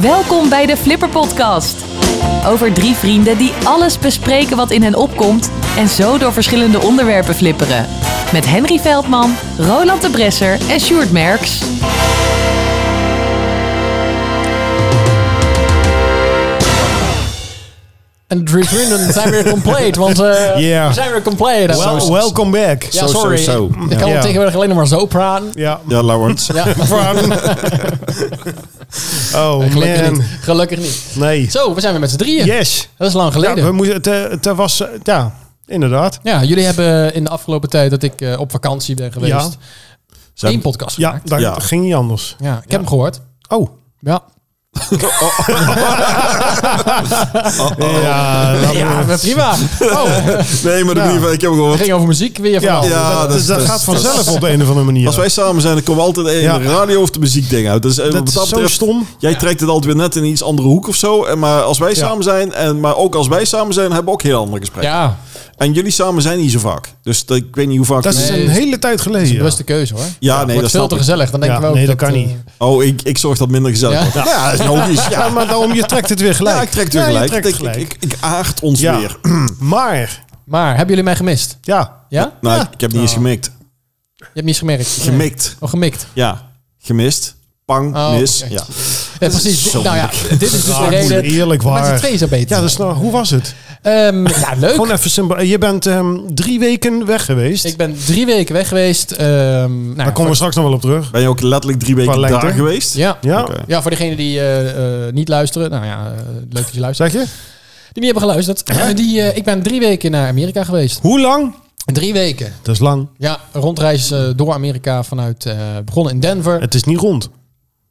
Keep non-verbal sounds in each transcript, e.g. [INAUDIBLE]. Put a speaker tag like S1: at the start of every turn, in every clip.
S1: Welkom bij de Flipper Podcast. Over drie vrienden die alles bespreken wat in hen opkomt en zo door verschillende onderwerpen flipperen. Met Henry Veldman, Roland de Bresser en Sjoerd Merks.
S2: En de referendum zijn
S3: [LAUGHS]
S2: weer compleet, want eh
S3: Ja.
S2: we zijn weer compleet.
S3: Wel-
S2: Wel-
S3: welcome back.
S2: ja,
S4: zo,
S2: sorry.
S4: zo.
S2: Ik kan
S3: Ja.
S2: tegenwoordig alleen nog maar zo praten.
S3: Ja. [LAUGHS]
S4: Ja, Laurens.
S2: Ja,
S3: Oh
S2: gelukkig
S3: man.
S2: niet. Gelukkig niet.
S3: Nee.
S2: Zo, we zijn weer met z'n drieëren.
S3: Yes.
S2: Dat is lang
S3: Ja,
S2: geleden.
S3: we
S2: Ja,
S3: moeten, het, eh, het eh, was, eh, ja, inderdaad.
S2: jullie hebben in de afgelopen tijd dat ik eh, op vakantie ben geweest,
S4: Zijn-
S2: één podcast
S3: Ja,
S2: gemaakt.
S3: dat
S4: Ja.
S3: ging niet anders.
S2: Ja, ik heb hem gehoord.
S3: Oh.
S2: Ja,
S4: Oh,
S3: Ja, dat-
S2: ja
S3: dat- [LAUGHS]
S2: prima. Oh,
S4: Nee, maar de
S3: Ja.
S4: manier- ik heb
S2: het
S4: gehoord.
S2: ging over muziek weer van
S3: ja,
S2: alles.
S4: Ja,
S3: dat,
S4: dat is-
S3: dat
S4: dat is-
S3: gaat vanzelf
S4: dat is-
S3: op de een of andere manier.
S4: Als wij samen zijn, dan komen we altijd in
S3: Ja.
S4: de radio of de muziekding uit. Dus eh,
S3: dat
S4: wat
S3: is
S4: dat
S3: zo
S4: betreft,
S3: stom.
S4: jij trekt het altijd weer net in een iets andere hoek of zo. En maar als wij
S3: Ja.
S4: samen zijn, en, maar ook als wij samen zijn, hebben we ook heel andere gesprekken.
S2: Ja,
S4: En jullie samen zijn niet zo vaak. Dus dat- ik weet niet hoe vaak...
S3: Dat is
S4: jullie-
S2: Nee,
S3: een
S2: dat is-
S3: hele tijd
S2: dat is een
S3: geleden.
S2: bewuste keuze hoor.
S4: ja, nee, dat
S2: Wordt veel
S4: snap
S2: te
S4: ik.
S2: gezellig. Dan denken
S3: Ja,
S2: we ook
S3: nee, dat kan
S2: eh,
S3: niet.
S4: Oh, ik, ik zorg dat minder gezellig
S2: Ja.
S4: wordt. Ja, dat is logisch. Ja,
S3: Ja, maar daarom, Nou, je trekt het weer gelijk.
S4: [LAUGHS] Ja, ik trek het weer
S3: Ja, je
S4: gelijk.
S3: trekt
S4: Ik,
S3: het gelijk.
S4: ik, ik, ik aard ons
S3: Ja.
S4: weer.
S3: Maar,
S2: Maar, hebben jullie mij gemist?
S3: ja.
S2: Ja?
S4: Nou, ik heb niet eens gemikt.
S2: Je hebt niet eens gemerkt. Nee.
S4: Gemikt.
S2: Oh, gemikt.
S4: Ja. Gemist. Pang.
S2: Oh,
S4: mis.
S2: oké.
S4: Ja.
S2: Ja, precies.
S4: Zo
S2: Nou ja, dit is dus de
S3: Ah,
S2: reden.
S3: eerlijk
S2: Maar met z'n
S3: waar.
S2: tweeën zou beter.
S3: Ja, dus nou, hoe was het?
S2: Ehm, ja, leuk.
S3: Gewoon even simpel. Je bent ehm, drie weken weg geweest.
S2: Ik ben drie weken weg geweest. Ehm nou,
S3: Daar komen we straks nog wel op terug.
S4: Ben je ook letterlijk drie weken
S3: lengte?
S4: daar geweest?
S2: ja.
S3: Ja,
S4: Oké.
S2: ja, voor degenen die eh, eh, niet luisteren. Nou ja, eh, leuk dat je luistert.
S3: zeg je?
S2: Die niet hebben geluisterd. Eh, die, eh, ik ben drie weken naar Amerika geweest.
S3: Hoe lang?
S2: Drie weken.
S3: Dat is lang.
S2: Ja, rondreis eh, door Amerika vanuit... eh, begonnen in Denver.
S3: Het is niet rond.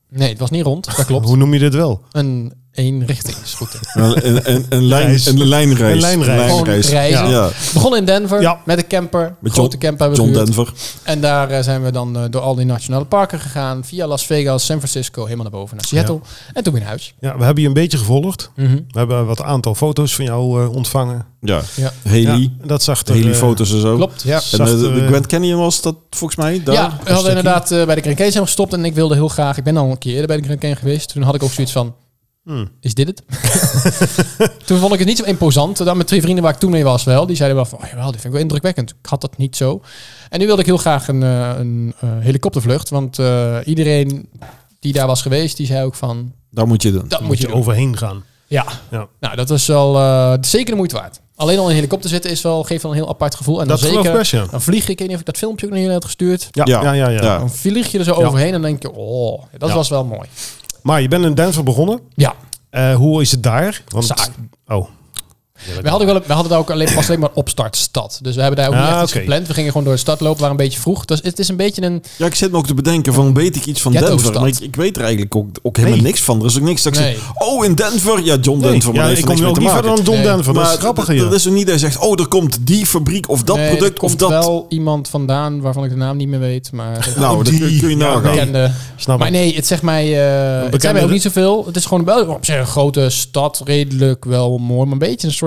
S2: Nee, het was niet rond. Dat klopt.
S3: Hoe noem je dit wel?
S2: Een één richting is goed. hè.
S4: Een, een, een, een, lijn,
S3: Reis.
S4: een lijnreis.
S3: Een lijnreis.
S2: Gewoon reizen.
S4: Ja.
S2: Begonnen in Denver.
S3: Ja.
S2: Met een camper.
S4: Met
S2: grote
S4: John-
S2: camper hebben we
S4: John
S2: gehuurd.
S4: Denver.
S2: En daar eh, zijn we dan eh, door al die nationale parken gegaan. Via Las Vegas, San Francisco, helemaal naar boven naar Seattle. En toen weer naar huis.
S3: Ja, we hebben je een beetje gevolgd. We hebben wat aantal foto's van jou eh, ontvangen.
S4: Ja.
S2: Ja.
S4: Haley.
S3: Ja, dat zag er...
S4: Haley
S3: eh,
S4: foto's en zo.
S2: Klopt, ja.
S4: En eh,
S3: Zacht,
S4: de, de
S3: eh,
S4: Grand Canyon was dat volgens mij. Daar,
S2: ja, we hadden inderdaad eh, bij de Grand Canyon zijn we gestopt. En ik wilde heel graag... Ik ben al een keer eerder bij de Grand Canyon geweest. Toen had ik ook zoiets van... Is dit [LAUGHS] het? toen vond ik het niet zo imposant. Dan met twee vrienden waar ik toen mee was wel. Die zeiden wel van... Oh, jawel, dit vind ik wel indrukwekkend. Ik had dat niet zo. En nu wilde ik heel graag een, eh, een eh, helikoptervlucht. Want eh, iedereen die daar was geweest... Die zei ook van...
S4: Daar moet je doen.
S2: Dat
S3: Moet,
S2: moet
S3: je
S2: je over.
S3: overheen gaan.
S2: Ja.
S3: Ja.
S2: Nou, dat is wel eh, zeker de moeite waard. Alleen al in een helikopter zitten is wel, geeft wel een heel apart gevoel. En dan
S3: Dat geloof ik
S2: zeker,
S3: best, ja.
S2: dan vlieg ik, ik weet niet of ik dat filmpje ook naar jullie had gestuurd.
S3: Ja, ja, ja. ja,
S2: Dan vlieg je er zo
S3: Ja.
S2: overheen en denk je, oh, dat
S3: Ja.
S2: was wel mooi.
S3: Maar je bent in Denver begonnen.
S2: Ja,
S3: Eh, hoe is het daar? Want,
S2: Saai.
S3: Oh.
S2: we hadden, wel, we hadden daar ook alleen, was alleen maar opstartstad. Dus we hebben daar ook niet
S3: Ah,
S2: echt iets
S3: oké.
S2: gepland. We gingen gewoon door de stad lopen, waren een beetje vroeg. Dus het is een beetje een...
S4: Ja, ik zit me ook te bedenken van weet ik iets van
S2: Ghetto
S4: Denver.
S2: stad.
S4: Maar ik, ik weet er eigenlijk ook, ook helemaal
S3: Nee.
S4: niks van. Er is ook niks dat ik
S2: Nee.
S4: zeg, oh in Denver. Ja, John
S3: Nee,
S4: Denver. Maar
S3: ja,
S4: daar
S3: ik
S4: heeft
S3: kom je ook
S4: er niks mee
S3: niet
S4: te
S3: verder
S4: maken.
S3: dan Don
S2: Nee.
S3: Denver. Dat is
S4: Maar
S3: grappig
S4: d- d-
S3: hier.
S4: er is ook niet dat je zegt, oh er komt die fabriek of dat
S2: Nee, eh, er
S4: product of
S2: komt
S4: dat.
S2: wel iemand vandaan waarvan ik de naam niet meer weet. Maar
S4: Nou, dat kun je- kun je
S3: Ja,
S4: nagaan.
S3: nee.
S2: bekende...
S4: Oh,
S3: Snap
S2: Maar
S3: ik.
S2: nee, het zegt mij, eh het zijn mij ook niet zoveel. Het is gewoon wel op zich een grote stad, redelijk wel mooi, maar een beetje een soort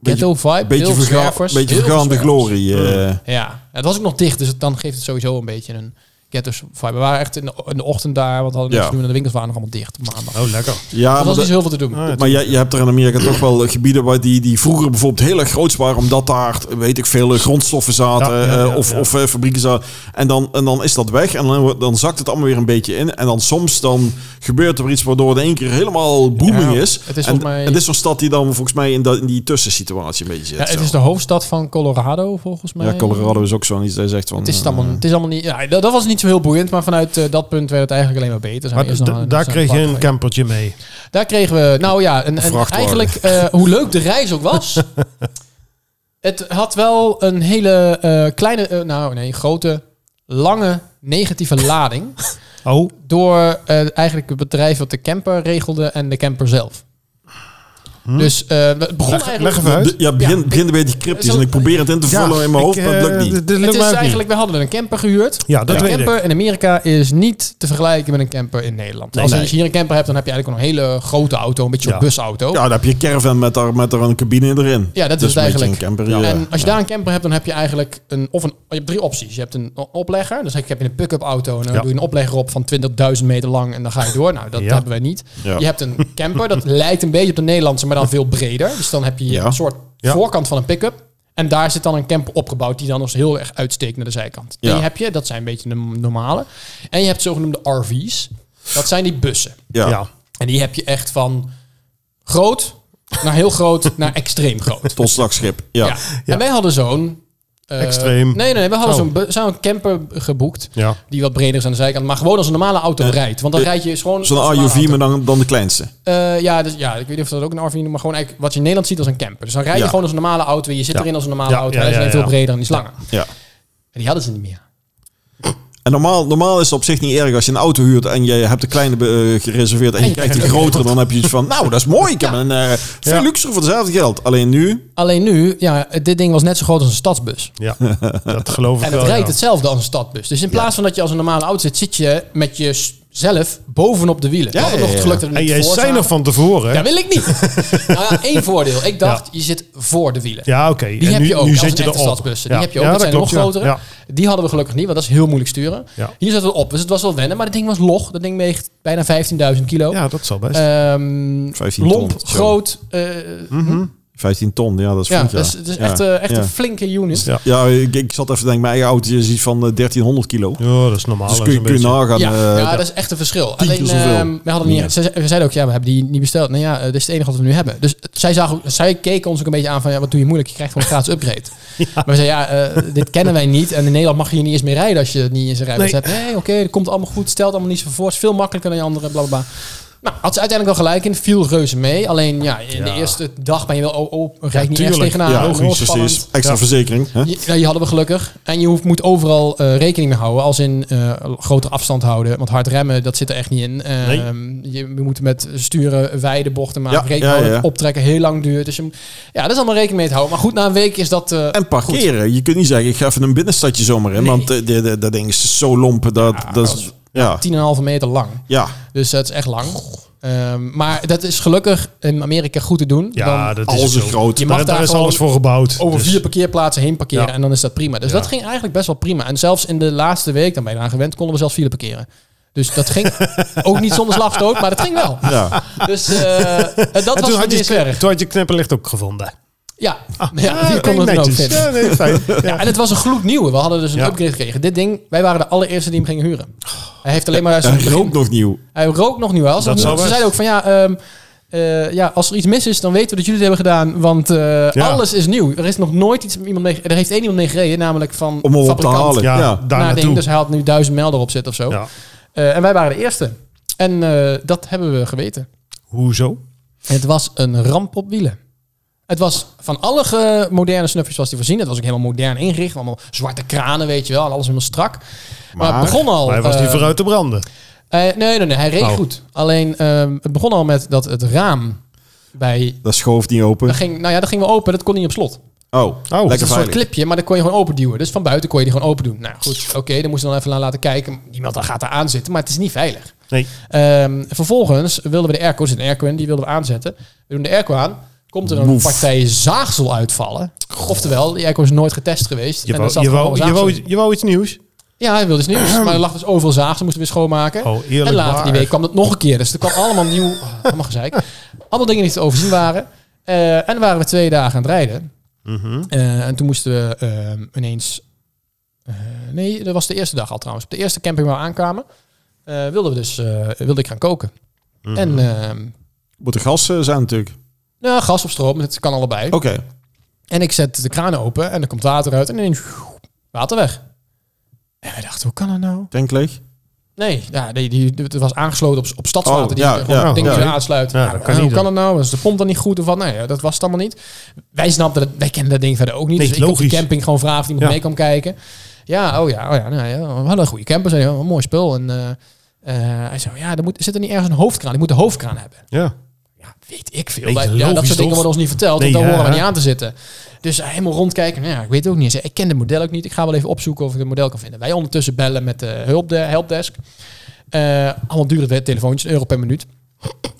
S4: Beetje-
S2: ghetto vibe.
S4: Beetje,
S2: heel veel
S4: verga
S2: zwervers,
S4: beetje
S2: heel veel
S4: vergaande
S2: zwervers.
S4: glorie. eh.
S2: Ja, het was ook nog dicht, dus het- dan geeft het sowieso een beetje een ghetto vibe. We waren echt in de, in de ochtend daar, want we hadden
S4: Ja.
S2: niks te doen en de winkels waren nog allemaal dicht op maandag.
S3: Oh, lekker.
S4: Ja,
S2: er
S4: maar
S2: was
S4: dat-
S2: niet zoveel te doen.
S3: Ah,
S4: Maar je, je hebt er in Amerika toch wel gebieden waar die, die vroeger bijvoorbeeld heel erg groot waren, omdat daar, weet ik veel, eh, grondstoffen zaten
S3: Ja, ja, ja,
S4: eh, of,
S3: ja.
S4: of eh, fabrieken zaten. En dan, en dan is dat weg en dan, wordt- dan zakt het allemaal weer een beetje in. En dan soms dan gebeurt er iets waardoor het in één keer helemaal booming
S2: Ja,
S4: is.
S2: het is
S4: en,
S2: volgens mij-
S4: en dit is zo'n stad die dan volgens mij in, dat, in die tussensituatie een beetje zit.
S2: ja, het
S4: zo.
S2: is de hoofdstad van Colorado, volgens mij.
S4: ja, Colorado is ook zo'n iets dat zegt van...
S2: Het is, het
S4: eh,
S2: allemaal, het is allemaal niet... Ja, dat, dat was niet zo heel boeiend, maar vanuit eh, dat punt werd het eigenlijk alleen maar beter. Zijn
S3: Maar
S2: we eerst
S3: d-
S2: nog aan-
S3: daar
S2: zijn
S3: kreeg je
S2: park
S3: een
S2: geweest.
S3: campertje mee.
S2: Daar kregen we, nou ja, en, en
S4: vrachtwagen.
S2: eigenlijk eh, hoe leuk de reis ook
S3: [LAUGHS]
S2: was. het had wel een hele eh, kleine, eh, nou nee, grote, lange negatieve lading.
S3: [LAUGHS] Oh,
S2: door eh, eigenlijk het bedrijf wat de camper regelde en de camper zelf. Dus eh, het begon
S3: Hm? Leg, leg
S2: eigenlijk...
S3: even uit.
S4: De- ja, begin, begin een beetje cryptisch.
S2: Zo-
S4: En ik probeer het in te vullen in mijn hoofd,
S3: ik,
S4: maar
S3: eh,
S4: het lukt niet.
S3: dit- dit
S2: Het
S3: lukt
S2: is
S3: mij ook niet.
S2: eigenlijk, we hadden een camper gehuurd.
S3: Ja, dat
S2: een
S3: weet ik.
S2: camper in Amerika is niet te vergelijken met een camper in Nederland.
S3: Nee,
S2: als, je-
S3: nee.
S2: als je hier een camper hebt, dan heb je eigenlijk een hele grote auto, een beetje een
S3: Ja.
S2: busauto.
S4: Ja, dan heb je een caravan met daar, met daar een cabine erin.
S2: Ja, dat
S4: Dus
S2: is het
S4: een beetje
S2: eigenlijk.
S4: een camper, ja.
S2: En als je daar een camper hebt, dan heb je eigenlijk een, of een, je hebt drie opties. Je hebt een o- oplegger, dus ik heb je een pick-up auto en dan
S3: Ja.
S2: doe je een oplegger op van 20.000 meter lang en dan ga je door. Nou, dat
S3: Ja.
S2: hebben wij niet.
S4: Ja.
S2: Je hebt een camper,
S4: [LAUGHS]
S2: dat lijkt een beetje op de Nederlandse, maar dan veel breder. Dus dan heb je
S4: Ja.
S2: een soort
S3: Ja.
S2: voorkant van een pick-up. En daar zit dan een camper opgebouwd die dan nog eens heel erg uitsteekt naar de zijkant.
S4: Ja.
S2: Die heb je, dat zijn een beetje de normale. En je hebt zogenoemde RV's. Dat zijn die bussen.
S4: Ja.
S3: Ja.
S2: En die heb je echt van groot naar heel
S4: [LAUGHS]
S2: groot naar extreem groot.
S4: Tot slagschip. Ja.
S2: Ja. En wij hadden zo'n... eh,
S3: Extreem.
S2: Nee, nee, we hadden
S3: Oh.
S2: zo'n bu- zo'n camper geboekt.
S3: Ja.
S2: Die wat breder is aan de zijkant. Maar gewoon als een normale auto rijdt. Want dan
S4: eh,
S2: rijd je gewoon... als een
S4: Zo'n
S2: normale
S4: RUV,
S2: auto.
S4: maar dan, dan de kleinste.
S2: Eh, ja, dus, ja, ik weet niet of dat ook een RV noemt. Maar gewoon eigenlijk wat je in Nederland ziet als een camper. Dus dan rijd je
S4: Ja.
S2: gewoon als een normale auto. Je zit
S3: Ja.
S2: erin als een normale
S3: Ja,
S2: auto.
S3: ja,
S2: Hij is
S3: ja,
S2: alleen
S3: ja.
S2: veel breder en die is langer.
S4: Ja.
S2: En die hadden ze niet meer.
S4: En normaal, normaal is het op zich niet erg als je een auto huurt en je hebt de kleine eh, gereserveerd en je krijgt een grotere, dan heb je iets
S2: [LAUGHS]
S4: van, nou, dat is mooi. Ik heb een eh, veel
S3: Ja.
S4: luxer voor hetzelfde geld. Alleen nu,
S2: Alleen nu, ja, dit ding was net zo groot als een stadsbus.
S3: Ja, dat geloof ik
S2: En
S3: wel.
S2: het rijdt
S3: ja.
S2: hetzelfde als een stadbus. Dus in plaats van dat je als een normale auto zit, zit je met jezelf bovenop de wielen.
S4: Ja,
S2: We hadden
S4: ja,
S2: nog het
S4: ja.
S2: geluk dat we
S3: En
S2: niet
S3: jij
S2: voor
S3: zei
S2: zaten.
S3: nog van tevoren. hè?
S2: Dat wil ik niet.
S3: [LAUGHS]
S2: nou ja, één voordeel. Ik dacht, je zit voor de wielen.
S3: Ja, oké.
S2: Die
S3: en
S2: heb
S3: nu,
S2: je ook.
S3: Nu
S2: als
S3: zit
S2: een
S3: je
S2: echte
S3: erop.
S2: stadsbussen. Die
S3: Ja.
S2: heb je ook.
S3: Ja,
S2: dat,
S3: dat
S2: zijn
S3: klopt,
S2: nog
S3: ja.
S2: grotere.
S3: Ja.
S2: Die hadden we gelukkig niet, want dat is heel moeilijk sturen.
S3: Ja.
S2: Hier zaten we op, dus het was wel wennen. Maar het ding was log. Dat ding weegt bijna 15.000 kilo.
S3: Ja, dat zal best.
S2: Ehm,
S4: 15
S2: lomp,
S4: ton, zo.
S2: groot. eh,
S3: Hm?
S4: 15 ton, ja, dat is
S2: ja,
S4: flink, ja.
S2: dat is, dat is
S4: Ja.
S2: echt, eh, echt
S4: Ja.
S2: een flinke unit.
S3: Ja.
S4: Ja, ik, ik zat even te denken, mijn eigen autootje is iets van eh, 1300 kilo.
S3: Ja, dat is normaal.
S4: dus
S3: dat
S4: kun
S3: is
S4: je,
S3: een
S4: kun je
S3: beetje-
S4: nagaan.
S2: Ja,
S4: eh,
S2: ja, dat is echt een verschil.
S4: Tien
S2: Alleen,
S4: keer zoveel.
S2: ehm, we hadden niet,
S4: Meer.
S2: ze, ze- we zeiden ook, ja, we hebben die niet besteld. Nou ja, eh, dit is het enige wat we nu hebben. Dus het- zij, zagen, ook- zij keken ons ook een beetje aan van, ja, wat doe je moeilijk? Je krijgt gewoon een gratis upgrade. Maar we zeiden, ja, eh, dit kennen wij niet. En in Nederland mag je hier niet eens meer rijden als je het niet in zijn rijbewijs
S3: Nee.
S2: hebt. Nee, oké, dat komt allemaal goed. Stelt allemaal niet zo voor. is veel makkelijker dan je andere, bla, bla, bla. Nou, had ze uiteindelijk wel gelijk in. Viel reuze mee. Alleen, ja, in de
S3: Ja.
S2: eerste dag ben je wel, oh, oh rijd ik niet echt
S3: tuurlijk.
S2: tegenaan.
S3: Ja,
S2: Oh,
S3: logisch,
S2: spannend.
S4: precies. Extra
S3: Ja.
S4: verzekering. Hè?
S2: Ja, die hadden we gelukkig. En je hoeft, moet overal eh, rekening mee houden. Als in eh, grote afstand houden. Want hard remmen, dat zit er echt niet in. Ehm, je, je moet met sturen wijde bochten maken.
S4: Ja,
S2: rekening
S4: ja,
S2: houden,
S4: ja.
S2: optrekken heel lang duurt. Dus je, moet- ja, dat is allemaal rekening mee te houden. Maar goed, na een week is dat... eh,
S4: En parkeren. Je kunt niet zeggen, ik ga even een binnenstadje zomaar in.
S2: Nee.
S4: Want eh, dit- dit- dat ding is zo lomp. Dat, dat is, ja.
S2: 10,5 meter lang.
S4: ja.
S2: Dus dat is echt lang. Ehm, maar dat is gelukkig in Amerika goed te doen.
S3: Ja,
S2: Dan
S3: dat
S4: Al
S3: is
S4: zo
S3: zo.
S4: groot.
S2: Je mag
S3: Daar, daar
S2: daar
S3: is
S2: gewoon
S3: alles voor gebouwd.
S2: over
S3: dus-
S2: vier parkeerplaatsen heen parkeren.
S3: Ja.
S2: En dan is dat prima. Dus
S3: Ja.
S2: dat ging eigenlijk best wel prima. En zelfs in de laatste week, dan ben je eraan gewend, konden we zelfs file parkeren. Dus dat
S3: [LAUGHS]
S2: ging ook niet zonder slagstoot, maar dat ging wel. [LAUGHS]
S4: Ja.
S2: Dus eh, dat was
S3: En toen had,
S2: niet
S3: je,
S2: eens
S3: kn-
S2: erg.
S3: toen had je knipperlicht ook gevonden.
S2: Ja, ja
S3: Ah,
S2: die
S3: oké,
S2: konden we toen ook
S3: netjes.
S2: vinden.
S3: Ja, nee, fijn. Ja.
S2: Ja, en het was een gloednieuwe. We hadden dus een
S3: Ja.
S2: upgrade gekregen. Dit ding, wij waren de allereerste die hem gingen huren. Hij heeft alleen maar...
S4: En rook nog nieuw.
S2: Hij rookt nog niet wel. Ze
S3: Dat zou
S2: ze
S3: best.
S2: zeiden ook van ja, ehm, eh, ja, als er iets mis is, dan weten we dat jullie het hebben gedaan. Want eh,
S3: Ja.
S2: alles is nieuw. Er is nog nooit iets iemand mee, er heeft één iemand mee gereden, namelijk van
S4: Om hem op te
S2: fabrikant
S4: halen.
S3: Ja,
S4: Ja.
S3: daar
S2: naar ding.
S3: naartoe.
S2: Dus hij had nu duizend mijl erop zitten of zo.
S3: Ja.
S2: Eh, en wij waren de eerste. En eh, dat hebben we geweten.
S3: Hoezo?
S2: Het was een ramp op wielen. Het was van alle ge- moderne snuffies was die voorzien. Het was ook helemaal modern ingericht. Allemaal zwarte kranen, weet je wel. En alles helemaal strak. Maar,
S4: Maar
S2: het begon al...
S3: Maar hij was
S2: eh,
S3: niet vooruit te branden.
S2: eh, nee, nee, nee, hij reed
S3: Oh.
S2: goed. Alleen ehm, het begon al met dat het raam bij.
S4: Dat schoof niet open.
S2: Dat ging, nou ja, dat ging wel open, dat kon niet op slot.
S4: Oh,
S3: dat is
S4: lekker
S2: Een soort
S4: veilig.
S2: clipje, maar dat kon je gewoon open duwen. Dus van buiten kon je die gewoon open doen. Nou goed, oké, dan moest je dan even aan laten kijken. Iemand dan gaat daar aan zitten, maar het is niet veilig.
S3: Nee.
S2: Ehm, vervolgens wilden we de airco, er zit een airco in, die wilden we aanzetten. We doen de airco aan. Komt er een
S4: Woef.
S2: partij zaagsel uitvallen. Oftewel, die airco is nooit getest geweest.
S3: Je
S2: En
S3: wou,
S2: er zat
S3: je,
S2: gewoon
S3: wou, je,
S2: zaagsel in.
S3: wou, je wou iets nieuws.
S2: Ja, hij wilde iets nieuws. Maar er lag dus overal zaag. Ze moesten weer schoonmaken.
S3: Oh, eerlijk
S2: en later die
S3: waar.
S2: week kwam dat nog een keer. Dus er kwam allemaal nieuw... [LAUGHS] oh, allemaal gezeik. Allemaal dingen die te overzien waren. Eh, en dan waren we twee dagen aan het rijden. Eh, en toen moesten we ehm, ineens... eh, nee, dat was de eerste dag al trouwens. Op de eerste camping waar we aankwamen... eh, wilden we dus... eh, wilde ik gaan koken.
S4: Mhm.
S2: En... ehm,
S4: Moet er gas eh, zijn natuurlijk.
S2: nou, gas op stroom. Het kan allebei.
S4: Oké.
S2: En ik zet de kraan open. En er komt water uit. En ineens... Water weg. En wij dachten, hoe kan dat nou?
S4: Tank leeg.
S2: Nee, ja, die, die, het was aangesloten op, op stadswater.
S4: Oh,
S2: die
S4: ja,
S2: eh, gewoon
S4: ja,
S2: dingen
S4: ja.
S2: weer aansluit.
S3: Ja, dat
S2: Nou,
S3: kan
S2: hoe
S3: niet
S2: kan
S3: dan.
S2: het nou? Is de pomp dan niet goed? Of wat? Nee, ja, dat was het allemaal niet. Wij snapten dat, wij kennen dat ding verder ook niet.
S3: Nee,
S2: dus ik op de
S3: logisch.
S2: camping gewoon vragen of iemand
S3: Ja.
S2: mee kwam kijken. Ja, oh ja, oh ja, nou ja, we hadden een goede camper. Zei, hij, oh, een mooi spul. En eh, eh, hij zei, ja, er moet, zit er niet ergens een hoofdkraan? Ik moet de hoofdkraan hebben.
S3: Ja.
S2: Ja, weet ik veel.
S3: Beetje
S2: Wij- ja,
S3: logisch,
S2: dat soort dingen
S3: toch?
S2: worden ons niet verteld,
S3: Nee,
S2: want daar
S3: ja.
S2: horen we niet aan te zitten. Dus eh, helemaal rondkijken, nou ja, ik weet het ook niet. eens. Ik ken het model ook niet. Ik ga wel even opzoeken of ik het model kan vinden. Wij ondertussen bellen met de hulp- de helpdesk. Eh, allemaal dure we- telefoontjes, een euro per minuut.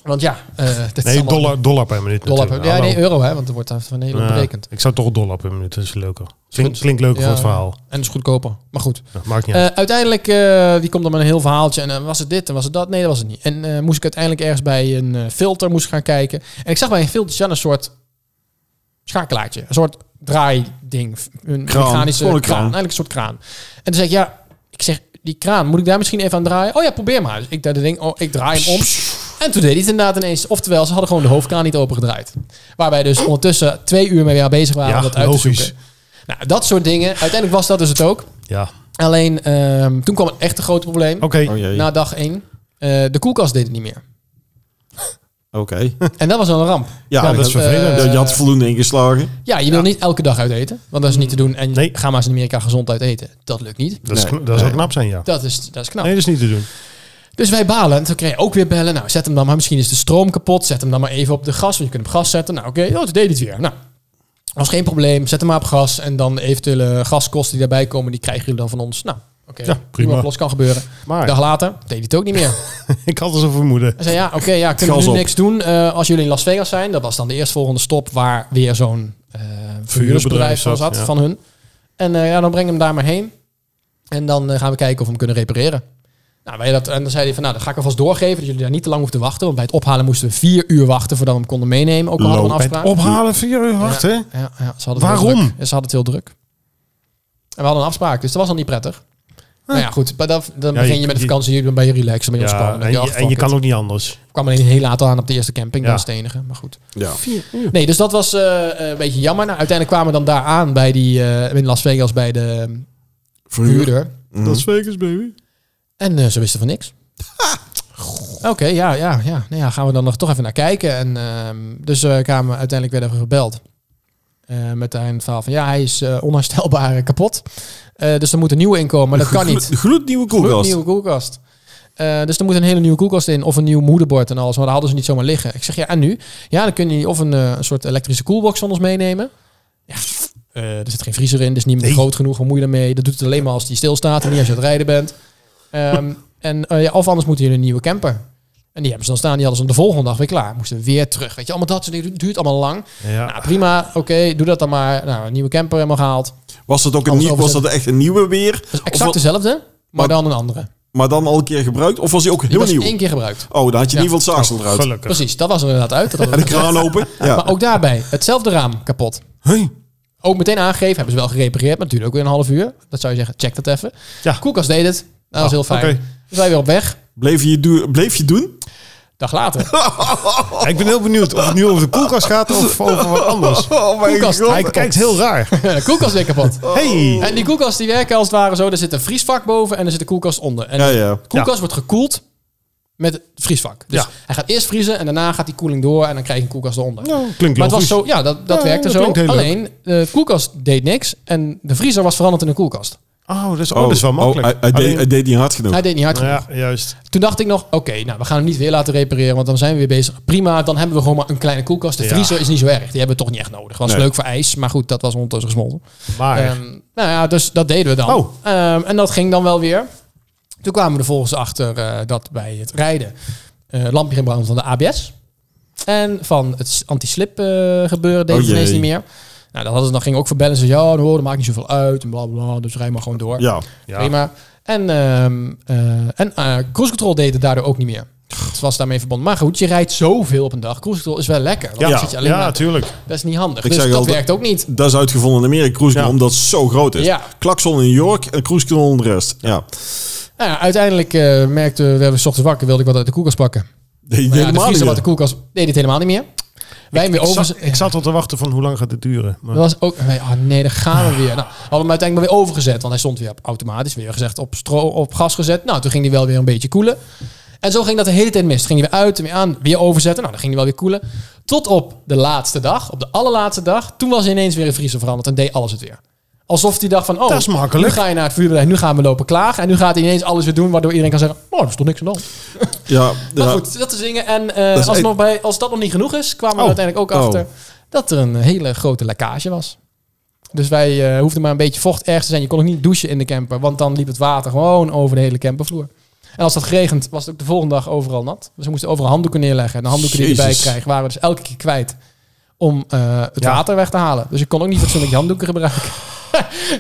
S2: Want ja, eh dat is
S3: Nee,
S2: allemaal-
S3: dollar, dollar per minuut.
S2: dollar per,
S3: natuurlijk.
S2: ja,
S3: Hallo.
S2: nee, euro hè, want er wordt daar van Nederland
S3: Ja,
S2: berekend.
S3: Eh, Ik zou toch dollar per minuut, dat is leuker. Klinkt,
S2: Goed.
S3: klinkt leuker
S2: Ja.
S3: voor het verhaal.
S2: En is goedkoper, maar goed.
S3: Ja, maakt niet
S2: Eh,
S3: uit.
S2: uiteindelijk, eh, die komt dan met een heel verhaaltje. En eh, was het dit en was het dat? Nee, dat was het niet. En eh, moest ik uiteindelijk ergens bij een eh, filter moest gaan kijken. En ik zag bij een filtertje aan een soort schakelaartje. Een soort draaiding. Een
S4: Kraan,
S2: mechanische
S4: gewoon
S2: kraan.
S4: een kraan.
S2: Eigenlijk een soort kraan. En toen zei ik, ja, ik zeg, die kraan, moet ik daar misschien even aan draaien? Oh ja, probeer maar. Dus ik, deed dat ding, oh, ik draai hem om. En toen deed hij het inderdaad ineens. Oftewel, ze hadden gewoon de hoofdkraan niet opengedraaid. Waarbij dus ondertussen twee uur mee bezig waren
S3: Ja,
S2: om dat uit te
S3: logisch.
S2: zoeken. Nou, dat soort dingen. Uiteindelijk was dat dus het ook.
S3: ja.
S2: Alleen, ehm, toen kwam het echt een groot probleem.
S3: Oké.
S4: Oh jee.
S2: Na dag één. Eh, de koelkast deed het niet meer. [LAUGHS]
S4: Oké.
S2: En dat was wel een ramp.
S4: Ja,
S2: Want,
S3: dat is vervelend.
S2: eh,
S4: je had voldoende ingeslagen.
S2: ja, je wil niet elke dag uit eten. Want dat is niet te doen. En
S3: Mm. Nee.
S2: ga maar eens in Amerika gezond uit eten. Dat lukt niet.
S3: Dat, is,
S4: Nee.
S3: kn- dat zou
S4: Nee.
S3: knap zijn, ja.
S2: Dat is, dat is knap.
S3: Nee, dat is niet te doen.
S2: Dus wij balen. En toen kreeg je ook weer bellen. Nou, zet hem dan maar. Misschien is de stroom kapot. Zet hem dan maar even op de gas. Want je kunt hem gas zetten. Nou, oké. Oh, toen deed hij het weer. Nou, was geen probleem. Zet hem maar op gas. En dan de eventuele gaskosten die daarbij komen, die krijgen jullie dan van ons. Nou, oké.
S3: Ja, prima. Ah,
S2: Los kan gebeuren.
S3: Maar
S2: Een dag later deed hij het ook niet meer.
S3: [LAUGHS] ik had al zo'n vermoeden.
S2: Hij zei, ja, oké, ja, kunnen we nu
S4: Gas op.
S2: niks doen eh, als jullie in Las Vegas zijn. Dat was dan de eerstvolgende stop waar weer zo'n eh verhuursbedrijf van
S3: zat,
S2: zat,
S3: ja.
S2: van hun. En eh, ja, dan breng hem daar maar heen. En dan eh, gaan we kijken of we hem kunnen repareren. Nou, wij dat, en dan zei hij van, nou, dan ga ik alvast doorgeven dat jullie daar niet te lang hoeven te wachten. Want bij het ophalen moesten we vier uur wachten voordat we hem konden meenemen. Ook al hadden we een
S3: Bij het
S2: afspraak.
S3: ophalen, vier uur wachten. hè?
S2: Ja, ja, ze hadden het heel
S3: Waarom?
S2: druk. Ja, Ze hadden het heel druk. En we hadden een afspraak, dus dat was al niet prettig. Nou ja, goed. Maar dat, dan
S3: Ah. Ja, je-
S2: begin je met de
S3: je-
S2: vakantie, jullie ben je relaxed, dan ben je
S3: Ja,
S2: ontspannen.
S3: en,
S2: Dan denk
S3: je,
S2: je,
S3: en
S2: ah,
S3: je
S2: fuck it.
S3: kan ook niet anders.
S2: Ik kwam alleen heel laat aan op de eerste camping.
S3: Ja.
S2: Dat was het enige, maar goed.
S4: Ja.
S2: Nee, dus dat was eh, een beetje jammer. Nou, uiteindelijk kwamen we dan daar aan bij die, eh, in Las Vegas bij de eh, huurder.
S4: Mhm.
S3: Dat is Vegas, baby.
S2: En eh, ze wisten van niks. Goh. Oké, ja, ja, ja. Nou ja, gaan we dan nog toch even naar kijken. En, ehm, dus eh, kwamen we uiteindelijk werden we gebeld. Eh, met daarin het verhaal van, ja, hij is eh, onherstelbaar eh, kapot. Eh, dus er moet een nieuwe in komen, maar dat kan
S4: Gloed-
S2: niet.
S4: Gloednieuwe
S2: Een
S4: koelkast.
S2: nieuwe koelkast. Eh, dus er moet een hele nieuwe koelkast in. Of een nieuw moederbord en alles. Maar dat hadden ze niet zomaar liggen. Ik zeg, ja, en nu? Ja, dan kun je of een, eh, een soort elektrische koelbox van ons meenemen. Ja, eh, er zit geen vriezer in. Dus niet meer
S3: Nee.
S2: groot genoeg. Hoe moet je daarmee? Dat doet het alleen maar als die stilstaat. En niet als je aan het rijden bent.
S4: [LAUGHS]
S2: Ehm, en, eh, ja, of anders moeten jullie een nieuwe camper. En die hebben ze dan staan. Die hadden ze dan de volgende dag weer klaar. Moesten weer terug. Weet je, allemaal dat soort dingen. Het duurt allemaal lang.
S3: Ja.
S4: Ah.
S2: Nou, prima. Oké, doe dat dan maar. Nou, een nieuwe camper helemaal gehaald.
S4: Was dat ook een
S2: Alles
S4: nieuw, was
S2: overzetten.
S4: dat echt een nieuwe weer?
S2: Dus
S4: Of
S2: exact
S4: wat-
S2: dezelfde, maar,
S4: Maar-
S2: dan een andere.
S4: Maar dan al een keer gebruikt? Of was die ook
S2: Die
S4: heel
S2: was
S4: nieuw?
S2: één keer gebruikt.
S4: Oh, dan had je in
S2: Ja. Oh,
S4: ieder geval het zaagsel eruit.
S3: Gelukkig.
S2: [LAUGHS] Precies, dat was er inderdaad uit. Dat
S3: [LAUGHS]
S2: hadden we
S4: En de kraan open.
S2: Maar [LAUGHS]
S4: Ja.
S2: ook daarbij, hetzelfde raam kapot.
S4: Hey.
S2: Ook meteen aangegeven, hebben ze wel gerepareerd, maar natuurlijk ook weer een half uur. Dat zou je zeggen, check dat even.
S3: Ja.
S2: Koelkast deed het, dat was
S3: Ah,
S2: heel fijn.
S3: oké.
S2: Dus wij weer op weg,
S4: Bleef je, doe- bleef je doen?
S2: dag later.
S3: [LAUGHS] Ja, ik ben heel benieuwd of het nu over de koelkast gaat of over wat
S2: [LAUGHS]
S3: anders.
S4: Oh mijn
S2: Koelkast.
S4: god.
S3: Hij kijkt heel raar.
S2: de koelkast weer kapot.
S3: Hey.
S2: En die koelkast die werken als het ware zo, er zit een vriesvak boven en er zit een koelkast onder. En
S4: Ja, ja.
S2: de koelkast wordt gekoeld met het vriesvak. Dus
S3: Ja.
S2: hij gaat eerst vriezen en daarna gaat die koeling door en dan krijg je een koelkast eronder.
S3: Nou, klinkt
S2: Maar het was
S3: logisch.
S2: zo, ja, dat, dat
S3: Ja,
S2: werkte
S3: dat klinkt
S2: zo.
S3: heel leuk.
S2: Alleen, de koelkast deed niks en de vriezer was veranderd in een koelkast.
S3: Oh, dat is, oh, dat is wel makkelijk.
S4: hij, hij deed,
S3: Alleen-
S4: hij deed niet hard genoeg.
S2: Hij deed niet hard genoeg.
S3: ja, juist.
S2: Toen dacht ik nog, oké, nou, we gaan hem niet weer laten repareren, want dan zijn we weer bezig. Prima, dan hebben we gewoon maar een kleine koelkast. De
S3: Ja.
S2: vriezer is niet zo erg, die hebben we toch niet echt nodig. Was
S4: Nee.
S2: leuk voor ijs, maar goed, dat was ondertussen gesmolten.
S3: Maar
S2: Ehm, nou ja, dus dat deden we dan.
S3: Oh.
S2: Ehm, en dat ging dan wel weer. Toen kwamen we er volgens achter eh, dat bij het rijden eh, het lampje ging branden van de ABS. En van het s- anti-slip eh, gebeuren deed
S4: Oh
S2: het ineens
S4: jee.
S2: niet meer. Nou, dat hadden ze dan ging ook voor bellen. Ze zeiden, ja, hoor, dat maakt niet zoveel uit en bla bla, bla. Dus rij maar gewoon door.
S4: Ja.
S3: ja,
S2: Prima. En, ehm, eh, en eh, cruise control deed het daardoor ook niet meer. Het was daarmee verbonden. Maar goed, je rijdt zoveel op een dag. Cruise control is wel lekker. Want
S3: ja,
S2: dan
S3: ja,
S2: zit je alleen maar-
S3: tuurlijk.
S2: dat is niet handig.
S4: Ik
S2: dus
S4: zeg
S2: dat
S4: altijd-
S2: werkt ook niet.
S4: Dat is uitgevonden in Amerika, cruise control,
S3: Ja.
S4: omdat het zo groot is.
S2: Ja.
S4: Klakson in New York en cruise control in de rest. Ja.
S2: Nou ja, uiteindelijk eh merkte we, werden we 's ochtends wakker, wilde ik wat uit de koelkast pakken. Maar
S4: Deed je
S2: ja, de
S4: helemaal
S2: vriezer
S4: niet
S2: wat de
S4: meer.
S2: koelkast deed dit helemaal niet meer. Wij hem weer
S3: Ik
S2: over.
S3: zat, ik zat al te wachten van hoe lang gaat dit duren. Maar,
S2: Dat was ook. wij, ah nee, daar gaan we weer. Nou, hadden we hem uiteindelijk maar weer overgezet, want hij stond weer op automatisch weer gezegd op, stro, op gas gezet. Nou, toen ging hij wel weer een beetje koelen. En zo ging dat de hele tijd mis. Toen ging hij weer uit en weer aan, weer overzetten. Nou, dan ging hij wel weer koelen. Tot op de laatste dag, op de allerlaatste dag, toen was hij ineens weer een vriezer veranderd en deed alles het weer. Alsof hij dacht van, oh,
S3: Dat is makkelijk.
S2: nu ga je naar het vuurbedrijf, nu gaan we lopen klagen. En nu gaat hij ineens alles weer doen, waardoor iedereen kan zeggen, oh, er is toch niks aan de hand.
S4: Ja,
S2: Maar
S4: ja.
S2: goed, dat is dingen. En eh,
S4: Dat is
S2: als,
S4: e-
S2: nog bij, als dat nog niet genoeg is, kwamen
S4: Oh.
S2: we uiteindelijk ook
S4: Oh.
S2: achter dat er een hele grote lekkage was. Dus wij eh, hoefden maar een beetje vocht ergens te zijn. Je kon ook niet douchen in de camper, want dan liep het water gewoon over de hele campervloer. En als dat geregend, was het ook de volgende dag overal nat. Dus we moesten overal handdoeken neerleggen. En de handdoeken die we erbij
S4: Jezus.
S2: krijgen, waren we dus elke keer kwijt om eh, het
S3: Ja.
S2: water weg te halen. Dus ik kon ook niet fatsoenlijk die handdoeken gebruiken. [LAUGHS]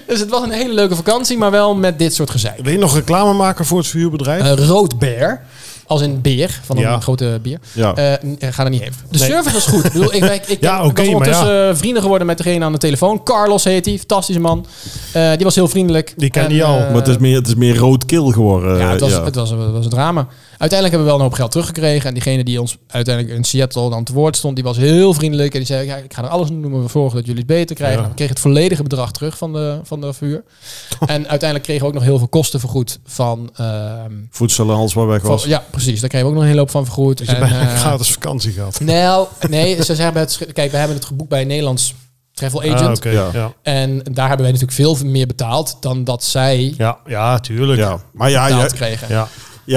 S2: dus het was een hele leuke vakantie, maar wel met dit soort gezeik.
S3: Wil je nog reclame maken voor het verhuurbedrijf?
S2: Eh, rood beer. Als in beer, van een
S3: Ja.
S2: grote bier.
S4: Ja.
S2: Eh, n- eh, ga er niet heen. De
S3: Nee.
S2: service was goed. ik,
S3: [LAUGHS]
S2: bedoel, ik, ik, ik,
S3: Ja,
S2: ik
S3: oké,
S2: was
S3: maar
S2: ondertussen eh, vrienden geworden met degene aan de telefoon. Carlos heet hij, fantastische man. Eh, die was heel vriendelijk.
S3: Die ken
S2: En,
S3: je al.
S2: eh,
S3: Maar
S4: maar het is meer, het is meer roodkil geworden.
S2: ja, het was,
S4: ja.
S2: Het, was, het was een drama. Uiteindelijk hebben we wel een hoop geld teruggekregen. En diegene die ons uiteindelijk in Seattle dan te woord stond, die was heel vriendelijk. En die zei, ja, ik ga er alles aan doen om ervoor te zorgen dat jullie het beter krijgen.
S3: Ja.
S2: We kregen het volledige bedrag terug van de, van de
S3: [LAUGHS]
S2: verhuur. en uiteindelijk kregen we ook nog heel veel kosten vergoed van... ehm,
S4: Voedsel en alles waar weg was.
S2: Van- ja, precies. Daar kregen we ook nog een hele hoop van vergoed.
S3: Dat je
S2: En,
S3: [LAUGHS] bijna
S2: eh,
S3: een gratis vakantie gehad.
S2: nou, nee, ze zeggen bij het, sch- kijk, we hebben het geboekt bij een Nederlands travel agent.
S3: Ah, oké,
S4: Ja.
S3: ja.
S2: En daar hebben wij natuurlijk veel meer betaald dan dat zij
S3: Ja, ja, tuurlijk.
S4: Ja, maar ja,
S2: betaald
S4: ja,
S2: kregen.
S3: Ja.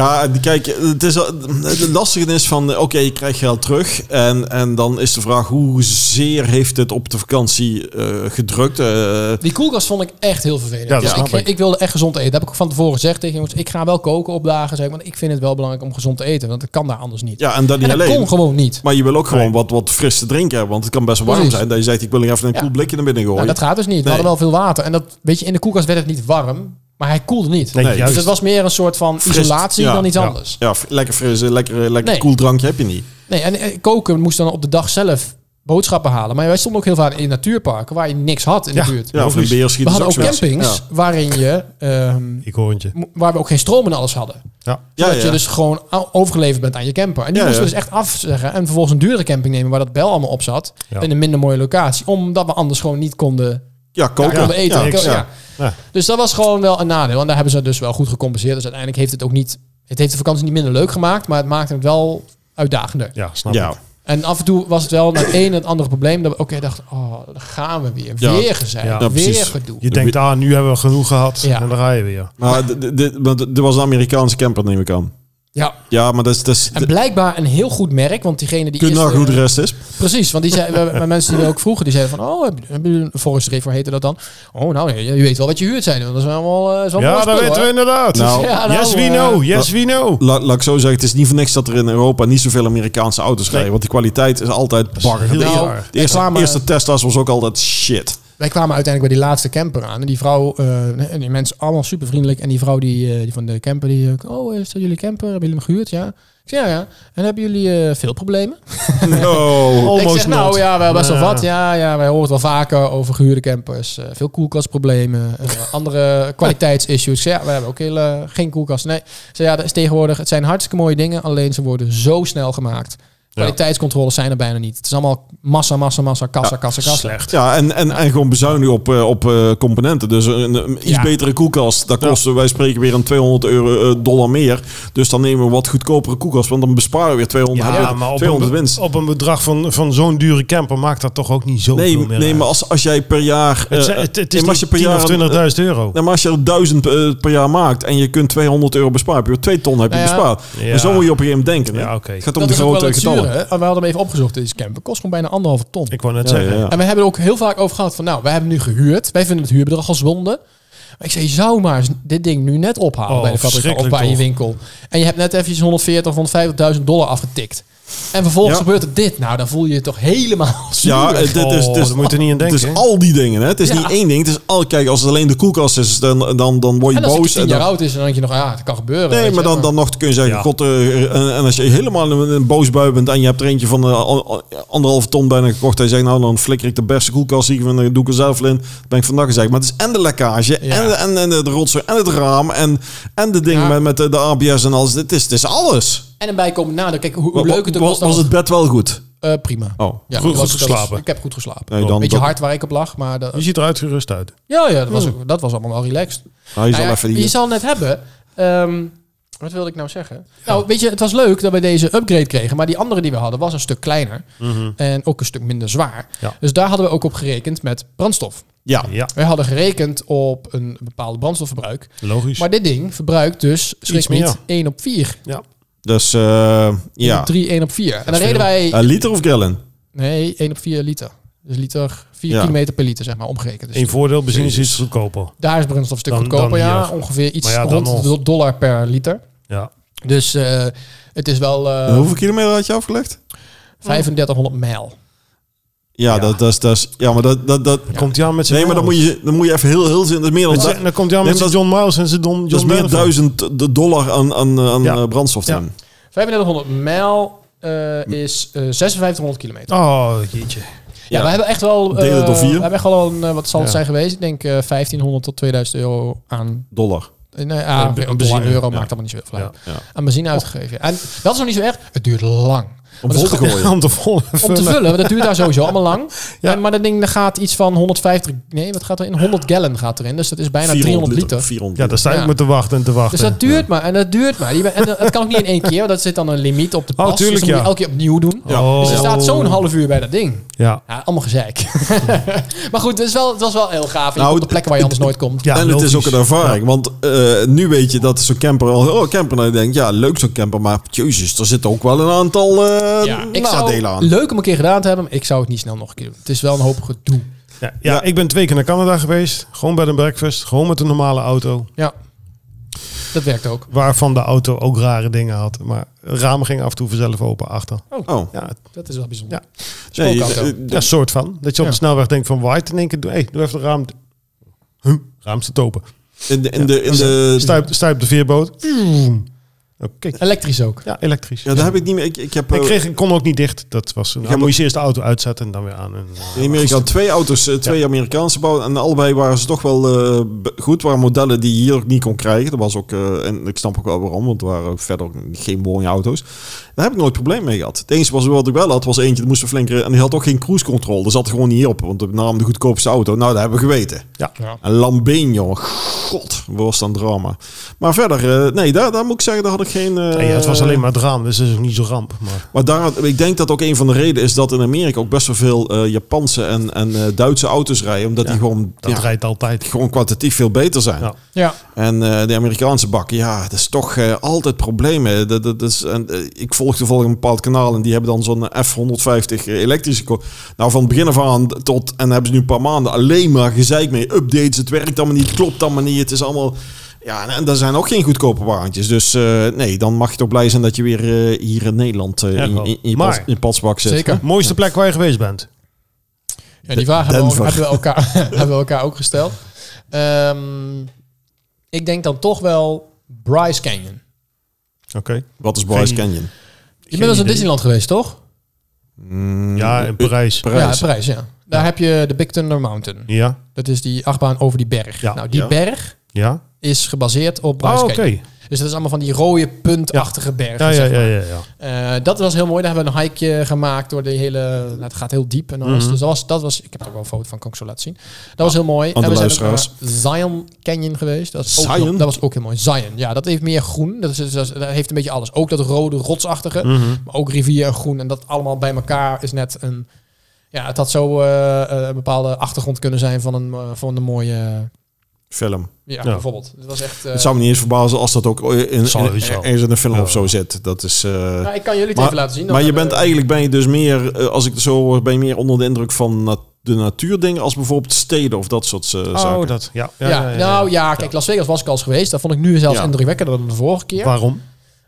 S4: ja, kijk, het, is, het lastige is van, eh, oké, je krijgt geld terug. En, en dan is de vraag, hoezeer heeft het op de vakantie eh, gedrukt? Eh,
S2: Die koelkast vond ik echt heel vervelend.
S3: Ja, dat
S2: Dus
S3: snap
S2: ik,
S3: ik.
S2: ik wilde echt gezond eten. Dat heb ik ook van tevoren gezegd tegen jongens. Ik ga wel koken op dagen, zeg ik. Want ik vind het wel belangrijk om gezond te eten. Want dat kan daar anders niet.
S4: ja, en dat
S2: en
S4: niet
S2: dat
S4: alleen.
S2: kon gewoon niet.
S4: Maar je wil ook gewoon
S3: Nee.
S4: wat, wat fris te drinken hebben. Want het kan best wel warm
S2: Precies.
S4: zijn. Dat je zegt, ik wil nog even een
S2: Ja.
S4: koel blikje naar binnen gooien.
S2: Nou, dat gaat dus niet. We
S4: Nee.
S2: hadden wel veel water. En dat, weet je, in de koelkast werd het niet warm. Maar hij koelde niet.
S3: Nee,
S4: Nee,
S2: dus
S3: juist.
S2: het was meer een soort van
S4: Fris,
S2: isolatie
S4: ja,
S2: dan iets
S3: ja.
S2: anders.
S4: Ja, f- lekker fris, eh, lekker, eh, lekker
S2: Nee.
S4: koel drankje heb je niet.
S2: Nee, en eh, koken moest dan op de dag zelf boodschappen halen. Maar wij stonden ook heel vaak in natuurparken waar je niks had in de
S3: Ja.
S2: buurt.
S4: Ja, of een
S3: Logisch.
S4: beer schiet
S2: We
S4: is
S2: hadden ook
S4: zoiets.
S2: campings
S4: Ja.
S2: waarin je, ehm,
S3: Ik hoorntje.
S2: mo- waar we ook geen stroom en alles hadden.
S3: Ja.
S4: Ja,
S2: Zodat
S4: ja.
S2: je dus gewoon o- overgeleverd bent aan je camper. En die
S4: Ja,
S2: moesten we
S4: ja.
S2: dus echt afzeggen. En vervolgens een duurdere camping nemen waar dat bel allemaal op zat.
S3: Ja.
S2: In een minder mooie locatie. Omdat we anders gewoon niet konden,
S4: ja, koken.
S2: konden eten.
S4: Ja,
S2: Ko-
S3: niks,
S4: ja.
S2: ja.
S3: Ja.
S2: Dus dat was gewoon wel een nadeel. En daar hebben ze dus wel goed gecompenseerd. Dus uiteindelijk heeft het ook niet... Het heeft de vakantie niet minder leuk gemaakt. Maar het maakte het wel uitdagender.
S3: ja, snap
S4: Ja.
S3: ik.
S2: En af en toe was het wel naar het ene en het andere probleem. Dat we oké dachten, oh, daar gaan we weer.
S4: Ja.
S2: Weer gezeik,
S3: Ja,
S2: weer
S4: precies.
S2: gedoe.
S3: Je denkt, ah, nu hebben we genoeg gehad.
S2: Ja.
S3: En dan ga je weer.
S4: Maar d- d- dit- want er was een Amerikaanse camper, neem ik aan.
S2: Ja.
S4: Ja, maar dat is... Dat is
S2: En
S4: de-
S2: blijkbaar een heel goed merk, want diegene die...
S4: kun je
S2: eerst,
S4: nou
S2: eh,
S4: hoe de rest is?
S2: Precies, want die zei, we- we- mensen die we ook vroegen, die zeiden van... Oh, hebben- hebben jullie een Forest River, heette dat dan? Oh, nou, je, je weet wel wat je huurt zijn. want Dat is allemaal... eh, is allemaal
S3: Ja,
S2: spullen,
S3: dat weten we
S2: hoor.
S3: inderdaad.
S4: Nou.
S2: Ja, nou,
S3: yes, we
S2: eh,
S3: know. Yes, we know.
S4: La- laat ik zo zeggen, het is niet voor niks dat er in Europa niet zoveel Amerikaanse auto's rijden. Want die kwaliteit is altijd bagger. De,
S3: heel
S4: eer-
S3: raar.
S4: de eerste,
S2: Wij kwamen-
S4: eerste testtas was ook altijd
S2: [LAUGHS]
S4: shit.
S2: Wij kwamen uiteindelijk bij die laatste camper aan. En die vrouw, eh, en die mensen allemaal super vriendelijk. En die vrouw die, eh, die van de camper, die... eh, oh, is dat jullie camper? Hebben jullie hem gehuurd? Ja. Ik zei, ja, ja. En hebben jullie eh, veel problemen?
S4: No.
S3: Almost
S2: ik zeg, nou
S3: not.
S2: ja, wel best wel
S3: Ja.
S2: wat. Ja, ja, wij horen het wel vaker over gehuurde campers. eh, veel koelkastproblemen,
S3: [LAUGHS]
S2: eh, andere kwaliteitsissues. Ik zeg, ja, we hebben ook heel, eh, geen koelkast. Nee, Ik zeg, ja, dat is tegenwoordig, het zijn hartstikke mooie dingen, alleen ze worden zo snel gemaakt. Kwaliteitscontroles zijn er bijna niet. Het is allemaal massa, massa, massa, kassa, kassa, kassa.
S3: Slecht.
S4: Ja, en, en, en gewoon bezuinigen op, eh, op eh, componenten. Dus een, een iets
S2: Ja.
S4: betere koelkast, dat kost, eh, wij spreken weer een 200 euro, eh, dollar meer. Dus dan nemen we een wat goedkopere koelkast, want dan besparen we weer 200,
S3: Ja,
S4: euro-
S3: maar op een,
S4: 200
S3: be-
S4: winst.
S3: op een bedrag van, van zo'n dure camper maakt dat toch ook niet zo
S4: Nee,
S3: veel meer
S4: nee
S3: uit.
S4: maar als, als jij per jaar... eh,
S3: Het, zijn- het, het is
S4: en als je
S3: niet
S4: per
S3: 10
S4: jaar
S3: of
S4: een-
S3: 20.000 euro.
S4: Nou, maar als je er 1000 eh, per jaar maakt en je kunt 200 euro besparen, heb je 2 ton heb je
S2: Nou ja.
S4: bespaard.
S3: Ja.
S4: En zo moet je op een gegeven moment denken. hè?
S3: Ja, oké.
S4: Het gaat om
S2: Dat
S4: de
S2: is ook wel
S4: grote
S2: het zure.
S4: getallen.
S2: hè. Ah, We hadden hem even opgezocht. Deze camper kost gewoon bijna anderhalve ton.
S3: Ik wou net
S4: Ja,
S3: zeggen.
S4: ja, ja.
S2: En we hebben er ook heel vaak over gehad van, nou, wij hebben nu gehuurd. Wij vinden het huurbedrag al zonde. Maar ik zei, je zou maar eens dit ding nu net ophalen
S3: Oh,
S2: bij de fabrikant of
S3: verschrikkelijk
S2: bij je
S3: toch?
S2: winkel. En je hebt net eventjes 140 of 150.000 dollar afgetikt. En vervolgens
S4: Ja.
S2: gebeurt er dit. Nou, dan voel je je toch helemaal [LAUGHS] zuur.
S4: Ja, het, het is, het
S3: Oh,
S4: is,
S3: daar moet je niet aan denken,
S4: Het
S3: hè?
S4: is al die dingen. Hè? Het is
S2: Ja.
S4: niet één ding. Het is al, kijk, als het alleen de koelkast is, dan, dan, dan word je
S2: en als het
S4: boos.
S2: 10
S4: en
S2: jaar
S4: dan,
S2: oud is, dan denk je nog, ja, het kan gebeuren. weet
S4: nee,
S2: je.
S4: maar dan, dan nog kun je zeggen,
S3: Ja.
S4: god, eh, en, en als je helemaal een, een boos bui bent en je hebt er eentje van eh, al- al- anderhalve ton bijna gekocht en je zegt, nou dan flikker ik de beste koelkast die ik van doe ik er zelf in. Dan ben ik vandaag gezegd. Maar het is en de lekkage
S2: Ja.
S4: en, de- en, en de rotzooi en het raam en, en de dingen
S2: Ja.
S4: met, met de, de ABS en alles. Het is, het is alles.
S2: En een bijkomend nadeel. Kijk, hoe, hoe
S4: Wa-
S2: leuk het ook
S4: wa-
S2: was.
S4: was,
S2: dan
S4: het bed wel goed?
S2: eh, prima.
S4: Oh.
S2: Ja,
S3: Goed-
S2: dat was-
S3: goed
S2: dat was-
S3: geslapen?
S2: ik heb goed geslapen.
S4: Nee, dan,
S2: Beetje
S4: dan-
S2: hard waar ik op lag, maar... dat-
S3: Je ziet eruit gerust uit.
S2: ja, ja, dat was,
S4: Hmm.
S2: ook, dat was allemaal wel relaxed.
S4: Nou, je zal
S2: Nou ja,
S4: even
S2: je
S4: die...
S2: zal net hebben. ehm, wat wilde ik nou zeggen? Nou, weet je, het was leuk dat we deze upgrade kregen. Maar die andere die we hadden was een stuk kleiner. En ook een stuk minder zwaar.
S3: Mhm. Ja.
S2: Dus daar hadden we ook op gerekend met brandstof.
S4: Ja.
S3: Ja,
S2: Wij hadden gerekend op een bepaald brandstofverbruik.
S3: logisch.
S2: Maar dit ding verbruikt dus, schrik
S3: Dus- Iets meer.
S2: niet, 1 op 4.
S3: ja.
S4: Dus eh, ja.
S2: 3, 1 op 4. En dan
S3: is
S2: reden wij...
S3: Eh,
S4: Een liter of gallon?
S2: Nee, 1 op 4 liter. Dus liter, 4
S4: Ja.
S2: kilometer per liter, zeg maar, omgerekend. Dus
S3: Eén voordeel, benzine is iets goedkoper.
S2: daar is brandstof een stuk
S3: Dan-
S2: goedkoper.
S3: dan
S2: ja,
S3: hier.
S2: ongeveer iets
S3: Maar ja, dan
S2: rond
S3: nog.
S2: de dollar per liter.
S3: Ja.
S2: Dus eh, het is wel eh,
S4: En hoeveel kilometer had je afgelegd?
S2: 3500 mijl.
S4: Ja,
S2: Ja.
S4: Dat, dat, is- dat is... Ja, maar dat... dat, dat
S3: Komt hij aan met zijn
S4: nee, maar dan moet, je, dan moet je even heel... heel zin, dat is meer dan...
S3: Dan,
S4: du-
S3: dan komt hij aan
S4: Nee,
S3: met
S4: maar
S3: zijn John Miles en zijn Don, John
S4: dat is meer
S3: Denver.
S4: duizend de dollar aan, aan, aan
S3: Ja.
S4: eh, brandstof
S3: Ja.
S4: dan.
S2: 3500 mijl eh, is eh 5600 kilometer.
S3: Oh, jeetje.
S2: Ja,
S4: Ja.
S2: we hebben echt wel... eh,
S4: Deel het door vier.
S2: We hebben echt wel een, eh, wat zal het
S3: Ja.
S2: zijn geweest? Ik denk eh, 1500 tot 2000 euro aan...
S4: Dollar.
S2: eh, Nee, aan
S3: be-
S2: dollar,
S3: benzine.
S2: euro
S3: Ja.
S2: maakt allemaal niet zoveel uit.
S4: Ja. Ja.
S2: Aan benzine uitgegeven. En dat is nog niet zo erg. Het duurt lang.
S4: Om vol te gooien.
S3: [LAUGHS] Om te vol
S2: Om te
S3: vullen.
S2: vullen, want dat duurt daar sowieso allemaal lang.
S3: Ja.
S2: En, maar dat ding dat gaat iets van 150... Nee, wat gaat erin? 100 gallon gaat erin. Dus dat is bijna 300 liter.
S4: 400
S3: Ja, daar sta ik
S2: Ja.
S3: me te wachten en te wachten.
S2: Dus dat duurt maar en dat duurt maar. Die ben- En dat- het kan ook niet in één keer, want dat zit dan een limiet op de pas.
S3: Oh, tuurlijk,
S2: dus dan moet
S3: ja.
S2: je elke keer opnieuw doen.
S4: Ja.
S3: Oh.
S2: Dus je staat zo'n half uur bij dat ding.
S3: Ja.
S2: Ja, allemaal gezeik. [LAUGHS] maar goed, het, is wel, het was wel heel gaaf. En je
S4: Nou,
S2: komt op plekken waar je anders nooit komt.
S3: ja
S4: en het
S3: logisch.
S4: is ook een ervaring. Want eh, nu weet je dat zo'n camper al... Oh, camper. Nou, je denkt, ja, leuk zo'n camper. Maar jezus, er zitten ook wel een aantal eh,
S2: Ja, ik zou,
S4: nadelen aan.
S2: leuk om een keer gedaan te hebben, maar ik zou het niet snel nog een keer doen. Het is wel een hoop gedoe.
S3: Ja, ja,
S4: Ja.
S3: ik ben twee keer naar Canada geweest. Gewoon bij een breakfast. Gewoon met een normale auto.
S2: Ja, dat werkt ook.
S3: Waarvan de auto ook rare dingen had. Maar ramen gingen af en toe vanzelf open achter.
S4: Oh.
S3: Ja,
S2: Dat is wel bijzonder.
S3: Ja.
S4: Nee,
S2: Spookauto.
S4: eh,
S3: ja, soort van. Dat je op de
S2: Ja.
S3: snelweg denkt van white. En denk ik, doe, hey, doe even de raam. Huh, raam staat open.
S4: in de, in de, in de,
S3: Stuip, stuip de veerboot. Oké.
S2: Elektrisch ook.
S3: Ja, elektrisch.
S4: ja, daar heb ik niet meer. Ik, ik heb
S3: ik,
S4: eh,
S3: kreeg, ik kon ook niet dicht. Dat was, dan
S4: heb
S3: moest je eerst de auto uitzetten en dan weer aan. En, eh,
S4: in Amerika twee auto's, eh, twee Amerikaanse bouwen. En allebei waren ze toch wel eh, be- goed. Waren modellen die je hier ook niet kon krijgen. Dat was ook, eh, en ik snap ook wel waarom, want er waren ook verder ook geen mooie auto's. Daar heb ik nooit probleem mee gehad. Het enige was wat ik wel had, was eentje, die moest een flinke. En die had ook geen cruise control. Daar zat gewoon niet op. Want de naam de goedkoopste auto. Nou, dat hebben we geweten.
S3: ja.
S2: Ja.
S4: Een Lambeen, jongen. God, wat was dan drama. Maar verder, eh, nee, daar, daar moet ik zeggen, daar had ik geen... eh,
S3: Nee, ja, het was alleen maar het raam, dus dat is ook niet zo ramp. Maar
S4: Maar daar, ik denk dat ook een van de redenen is dat in Amerika ook best wel veel eh, Japanse en, en eh, Duitse auto's rijden. Omdat die gewoon,
S3: dat
S4: ja,
S3: rijdt altijd.
S4: gewoon kwalitatief veel beter zijn.
S3: Ja.
S2: Ja.
S4: En eh, de Amerikaanse bak, ja, dat is toch eh, altijd problemen. Dat, dat, dat is, en, eh, ik volg toevallig een bepaald kanaal en die hebben dan zo'n eh, F-150 elektrische... ko- Nou, van het begin af aan tot, en daar hebben ze nu een paar maanden alleen maar gezeik mee. Updates, het werkt allemaal niet, het klopt allemaal niet. Het is allemaal... Ja, en, en daar zijn ook geen goedkope wagentjes. Dus eh, nee, dan mag je toch blij zijn dat je weer eh, hier in Nederland eh,
S3: Ja,
S4: in,
S3: wel.
S4: in, in je
S3: Maar-
S4: pas- in je padsbak zit.
S2: Zeker.
S3: Mooiste plek waar je geweest bent?
S2: Ja, die vraag hebben we,
S4: Denver.
S2: hebben we elkaar, [LAUGHS] hebben we elkaar ook gesteld. Ehm, ik denk dan toch wel Bryce Canyon.
S3: Oké.
S4: Wat is Bryce
S3: Geen-
S4: Canyon?
S2: Je bent wel eens in
S3: idee.
S2: Disneyland geweest, toch?
S4: Mm,
S3: Ja, in Parijs.
S4: Parijs.
S2: Ja, Parijs, ja. Daar heb je de Big Thunder Mountain.
S3: Ja,
S2: Dat is die achtbaan over die berg.
S3: Ja.
S2: Nou, die
S4: Ja.
S2: berg
S3: ja.
S2: is gebaseerd op Bryce
S3: Ah, oké.
S2: Canyon. Dus dat is allemaal van die rode puntachtige bergen.
S3: Ja, ja,
S2: zeg maar.
S3: ja, ja, ja.
S2: Eh, dat was heel mooi. Daar hebben we een hikeje gemaakt door de hele... nou, het gaat heel diep en alles.
S4: Mhm.
S2: Dus dat was, dat was... Ik heb er ook wel een foto van, kan ik zo laten zien. Dat was heel mooi.
S4: Ah, aan de
S2: en we
S4: luisteraars.
S2: zijn ook naar Zion Canyon geweest. Dat was, ook,
S4: Zion?
S2: heel- dat was ook heel mooi. Zion, ja. Dat heeft meer groen. Dat, is, dat, is- dat heeft een beetje alles. Ook dat rode rotsachtige.
S4: Mhm.
S2: Maar ook rivier en groen. En dat allemaal bij elkaar is net een... Ja, het had zo eh, eh, een bepaalde achtergrond kunnen zijn van een, eh, van een mooie... eh,
S4: Film.
S2: ja,
S3: Ja.
S2: bijvoorbeeld. Het was echt... eh,
S4: Het zou me niet eens verbazen als dat ook in, in, in,
S3: Sowieso.
S4: ergens in een film
S3: Ja.
S4: of zo zit. Dat is... eh,
S2: nou, ik kan jullie het eh, even laten zien. Dan
S4: maar je
S2: hebben
S4: bent
S2: we-
S4: eigenlijk ben je dus meer, eh, als ik het zo hoor, ben je meer onder de indruk van nat- de natuurdingen als bijvoorbeeld steden of dat soort eh, zaken.
S3: Oh, dat. Ja, ja,
S2: Ja,
S3: ja, ja, ja.
S2: nou ja, kijk, Las Vegas was ik al eens geweest. Dat vond ik nu zelfs
S4: Ja.
S2: indrukwekkender dan de vorige keer.
S3: Waarom?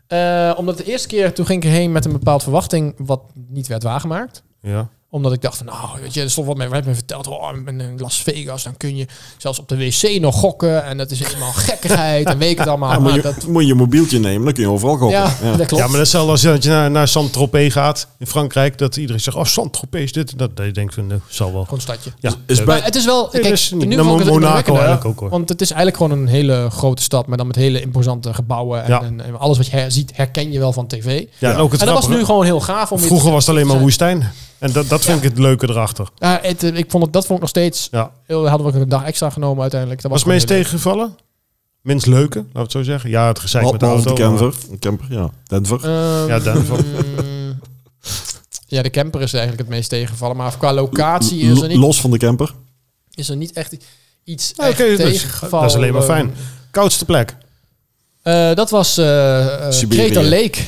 S2: Eh, omdat de eerste keer, toen ging ik erheen met een bepaald verwachting, wat niet werd waargemaakt.
S3: Ja.
S2: Omdat ik dacht van, nou, weet je, er stond wat mij werd me verteld, oh, ik ben in Las Vegas, dan kun je zelfs op de wc nog gokken. En dat is
S3: [LAUGHS]
S2: helemaal gekkigheid en weet ik het allemaal.
S4: Ja, moet,
S2: Maar
S4: Ah, je,
S2: ah, dat,
S4: moet je je mobieltje nemen, dan kun je overal kopen.
S2: ja, [LAUGHS] dat klopt.
S3: Ja, maar dat is hetzelfde als dat je naar, naar Saint-Tropez gaat in Frankrijk. Dat iedereen zegt, oh, Saint-Tropez is dit. en Dat, dat je denkt, van, nou, zal wel.
S2: Gewoon een stadje.
S3: Ja,
S4: Is
S3: eh,
S4: bij-
S2: Maar het is wel, kijk,
S3: dat is niet-
S2: nu
S3: nou,
S2: vond ik het
S3: Monaco
S2: indrukwekkender,
S3: eigenlijk ook, hoor.
S2: Want het is eigenlijk gewoon een hele grote stad, maar dan met hele imposante gebouwen. En,
S3: Ja.
S2: en- en alles wat je her- ziet, herken je wel van tv.
S3: ja, en ook het
S2: en dat was
S3: grappige-
S2: nu gewoon heel gaaf om je te-
S3: Vroeger was het alleen maar
S2: zijn.
S3: woestijn. En dat, dat vind ik het leuke erachter.
S2: Ja, het, eh, ik vond het, dat vond ik nog steeds.
S3: Ja.
S2: Heel, hadden we ook een dag extra genomen uiteindelijk. Dat
S3: Was
S2: was
S3: het meest
S2: gewoon heel
S3: tegengevallen? Minst leuke, laten we het zo zeggen. Ja, het gezeik
S4: Behalve
S3: met de auto. eh,
S4: de camper, een camper, ja. Denver.
S2: leuk.
S3: Ja,
S2: Ehm, [LAUGHS] mm,
S3: Denver.
S2: ja, de camper is eigenlijk het meest tegengevallen. Maar qua locatie
S4: L-
S2: is er niet.
S4: Los van de camper.
S2: is er niet echt iets
S3: Nou,
S2: echt
S3: oké, dat is-
S2: tegengevallen.
S3: dat is alleen maar fijn. Koudste plek.
S2: Eh, dat was eh eh,
S4: Siberië.
S2: Creta Lake.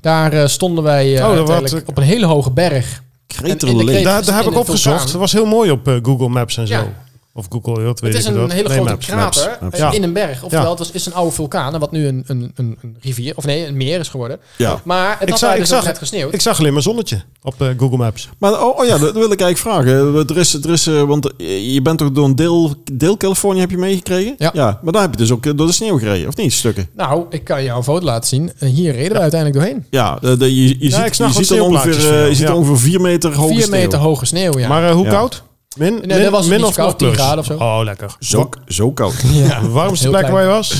S2: Daar eh, stonden wij eh,
S3: Oh, dat was-
S2: uiteindelijk op een hele hoge berg. En in de
S4: Kreterleek.
S2: Kreet-
S3: Daar, daar heb
S2: in
S3: ik
S2: een
S3: opgezocht.
S2: vulkaan.
S3: Dat was heel mooi op eh, Google Maps en zo.
S2: Ja.
S3: Of Google Earth, weet
S2: het is
S3: ik
S2: een
S3: dat.
S2: hele
S3: Nee,
S2: grote
S3: Maps,
S2: krater
S3: Maps.
S4: Maps.
S2: eh,
S3: Ja.
S2: in een berg. Oftewel,
S3: Ja.
S2: het was, is een oude vulkaan, en wat nu een, een, een, een rivier, of nee, een meer is geworden.
S4: Ja.
S2: Maar het
S3: Ik
S2: had
S3: zag,
S2: daar
S3: ik,
S2: dus ook
S3: zag,
S2: net gesneeuwd.
S3: ik zag alleen maar zonnetje op eh, Google Maps.
S4: Maar oh, oh ja, dat wil ik eigenlijk vragen. Er is, er is, eh, want eh, je bent toch door een deel, deel Californië heb je meegekregen?
S2: Ja.
S4: Maar daar heb je dus ook eh, door de sneeuw gereden, of niet? Stukken.
S2: Nou, ik kan jou een foto laten zien. En Hier reden we uiteindelijk doorheen.
S4: Ja, de, de- je, je
S3: Ja, ik
S4: ziet,
S3: snag
S4: je
S3: wat
S4: ziet dan
S3: sneeuwplaatjes
S4: ongeveer,
S3: van
S4: eh,
S3: jou.
S4: je ziet
S3: Ja.
S4: ongeveer vier meter hoge
S2: 4
S4: sneeuw.
S2: meter hoge sneeuw, ja.
S3: Maar eh, hoe
S4: Ja.
S3: koud? Min, min,
S2: dat was het
S3: min
S2: niet
S3: of
S2: zo koud,
S3: nog plus?
S2: 10 graden of zo.
S3: Oh, lekker.
S4: Zo, zo koud.
S2: Ja.
S3: De warmste
S2: Heel
S3: plek
S2: klein.
S3: waar je was?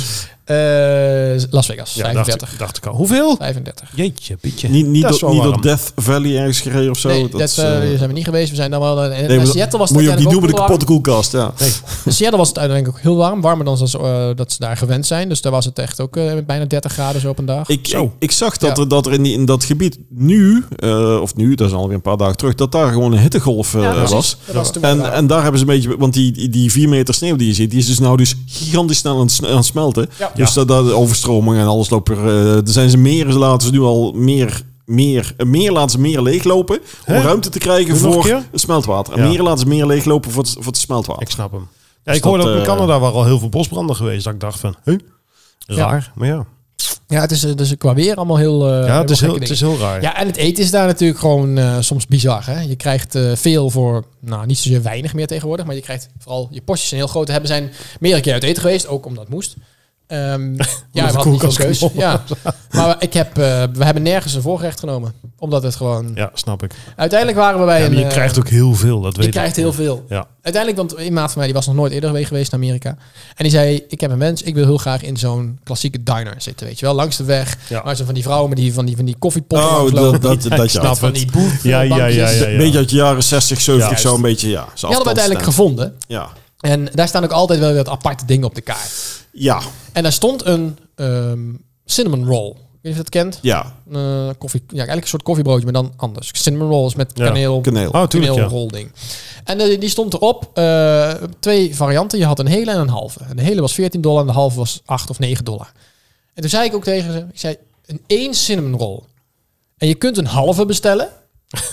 S2: Eh, Las Vegas,
S3: Ja,
S2: 35.
S3: dacht, dacht ik al. Hoeveel?
S2: 35.
S3: Jeetje, pietje.
S4: Niet, niet,
S3: Dat is
S4: door,
S3: wel
S4: niet door
S3: warm.
S4: Death Valley ergens gereden of zo.
S2: nee,
S4: dat
S2: dat,
S4: is,
S2: eh,
S4: eh,
S2: zijn we niet geweest. We zijn dan wel... En,
S4: nee, maar
S2: Seattle was het
S4: moet je ook niet doen met
S2: uiteindelijk
S4: een
S2: ook
S4: kapotte koelkast. Ja.
S2: In Seattle was het uiteindelijk ook heel warm. Warmer dan ze, eh, dat ze daar gewend zijn. Dus daar was het echt ook eh, bijna 30 graden zo op een dag.
S4: Ik,
S3: Zo.
S4: ik, ik zag dat,
S2: Ja.
S4: er, dat er in, die, in dat gebied nu, eh, of nu, dat is alweer een paar dagen terug, dat daar gewoon een hittegolf eh,
S2: Ja, precies.
S4: was.
S2: Dat was toen wel
S4: En, eh,
S2: raar.
S4: en daar hebben ze een beetje, want die, die vier meter sneeuw die je ziet, die is dus nou dus gigantisch snel aan het, sne- aan het smelten.
S2: Ja.
S4: Dus dat, dat overstroming en alles loopt er. eh, er zijn ze meren, ze laten ze nu al meer, meer, eh, meer laten ze meer leeglopen om
S3: Hè?
S4: ruimte te krijgen
S3: Doe nog
S4: voor
S3: een keer?
S4: het smeltwater. En
S3: Ja.
S4: meer laten ze meer leeglopen voor het, voor het smeltwater.
S3: Ik snap hem. Ja,
S4: Dus
S3: ik hoorde
S4: dat,
S3: ook in
S4: eh,
S3: Canada waren al heel veel bosbranden geweest. Dat ik dacht van, hé, raar. Maar ja,
S2: Ja, het is eh, dus qua weer allemaal heel... eh,
S3: ja
S2: helemaal
S3: het, is heel,
S2: gekke
S3: het is
S2: dingen.
S3: heel raar.
S2: Ja, en het eten is daar natuurlijk gewoon eh, soms bizar. Hè? Je krijgt eh, veel voor, nou niet zozeer weinig meer tegenwoordig, maar je krijgt vooral je postjes zijn heel groot. We hebben zijn meerdere keer uit eten geweest, ook omdat het moest.
S3: [LAUGHS]
S2: Ehm ja, we
S3: de
S2: hadden niet veel
S3: koelkast
S2: keus.
S3: kon.
S2: Ja. Maar ik heb, eh, we hebben nergens een voorgerecht genomen, omdat het gewoon...
S3: Ja, snap ik.
S2: Uiteindelijk waren we bij
S3: Ja,
S2: een...
S3: maar je
S2: eh,
S3: krijgt ook heel veel, dat weet
S2: je
S3: ik.
S2: krijgt heel veel.
S3: Ja.
S2: Uiteindelijk, want een maat van mij die was nog nooit eerder geweest in Amerika. En die zei, ik heb een wens, ik wil heel graag in zo'n klassieke diner zitten, weet je wel. Langs de weg,
S3: Ja.
S2: waar ze van die vrouwen met die, van die, van die koffiepotten
S4: Oh,
S2: langslopen.
S4: dat- dat-
S2: [LAUGHS]
S4: dat-
S2: Met
S4: ja.
S2: van die boef,
S3: Ja, ja, ja, ja,
S2: bankjes.
S3: ja.
S2: Die
S4: Een beetje uit de jaren 60, 70,
S3: Juist.
S4: zo een beetje, ja. Die
S2: hadden we uiteindelijk gevonden.
S4: Ja.
S2: En daar staan ook altijd wel wat aparte dingen op de kaart.
S4: Ja,
S2: En daar stond een ehm, cinnamon roll. Ik weet niet of je dat kent.
S4: ja.
S2: Eh, koffie, ja, eigenlijk een soort koffiebroodje, maar dan anders. Cinnamon rolls met
S3: Ja.
S2: kaneel,
S4: Kaneel.
S3: Oh, tuurlijk, ja.
S2: toneelrolding. En eh, die stond erop. eh, twee varianten. Je had een hele en een halve. En de hele was 14 dollar en de halve was 8 of 9 dollar. En toen zei ik ook tegen ze, ik zei, een één cinnamon roll. En je kunt een halve bestellen.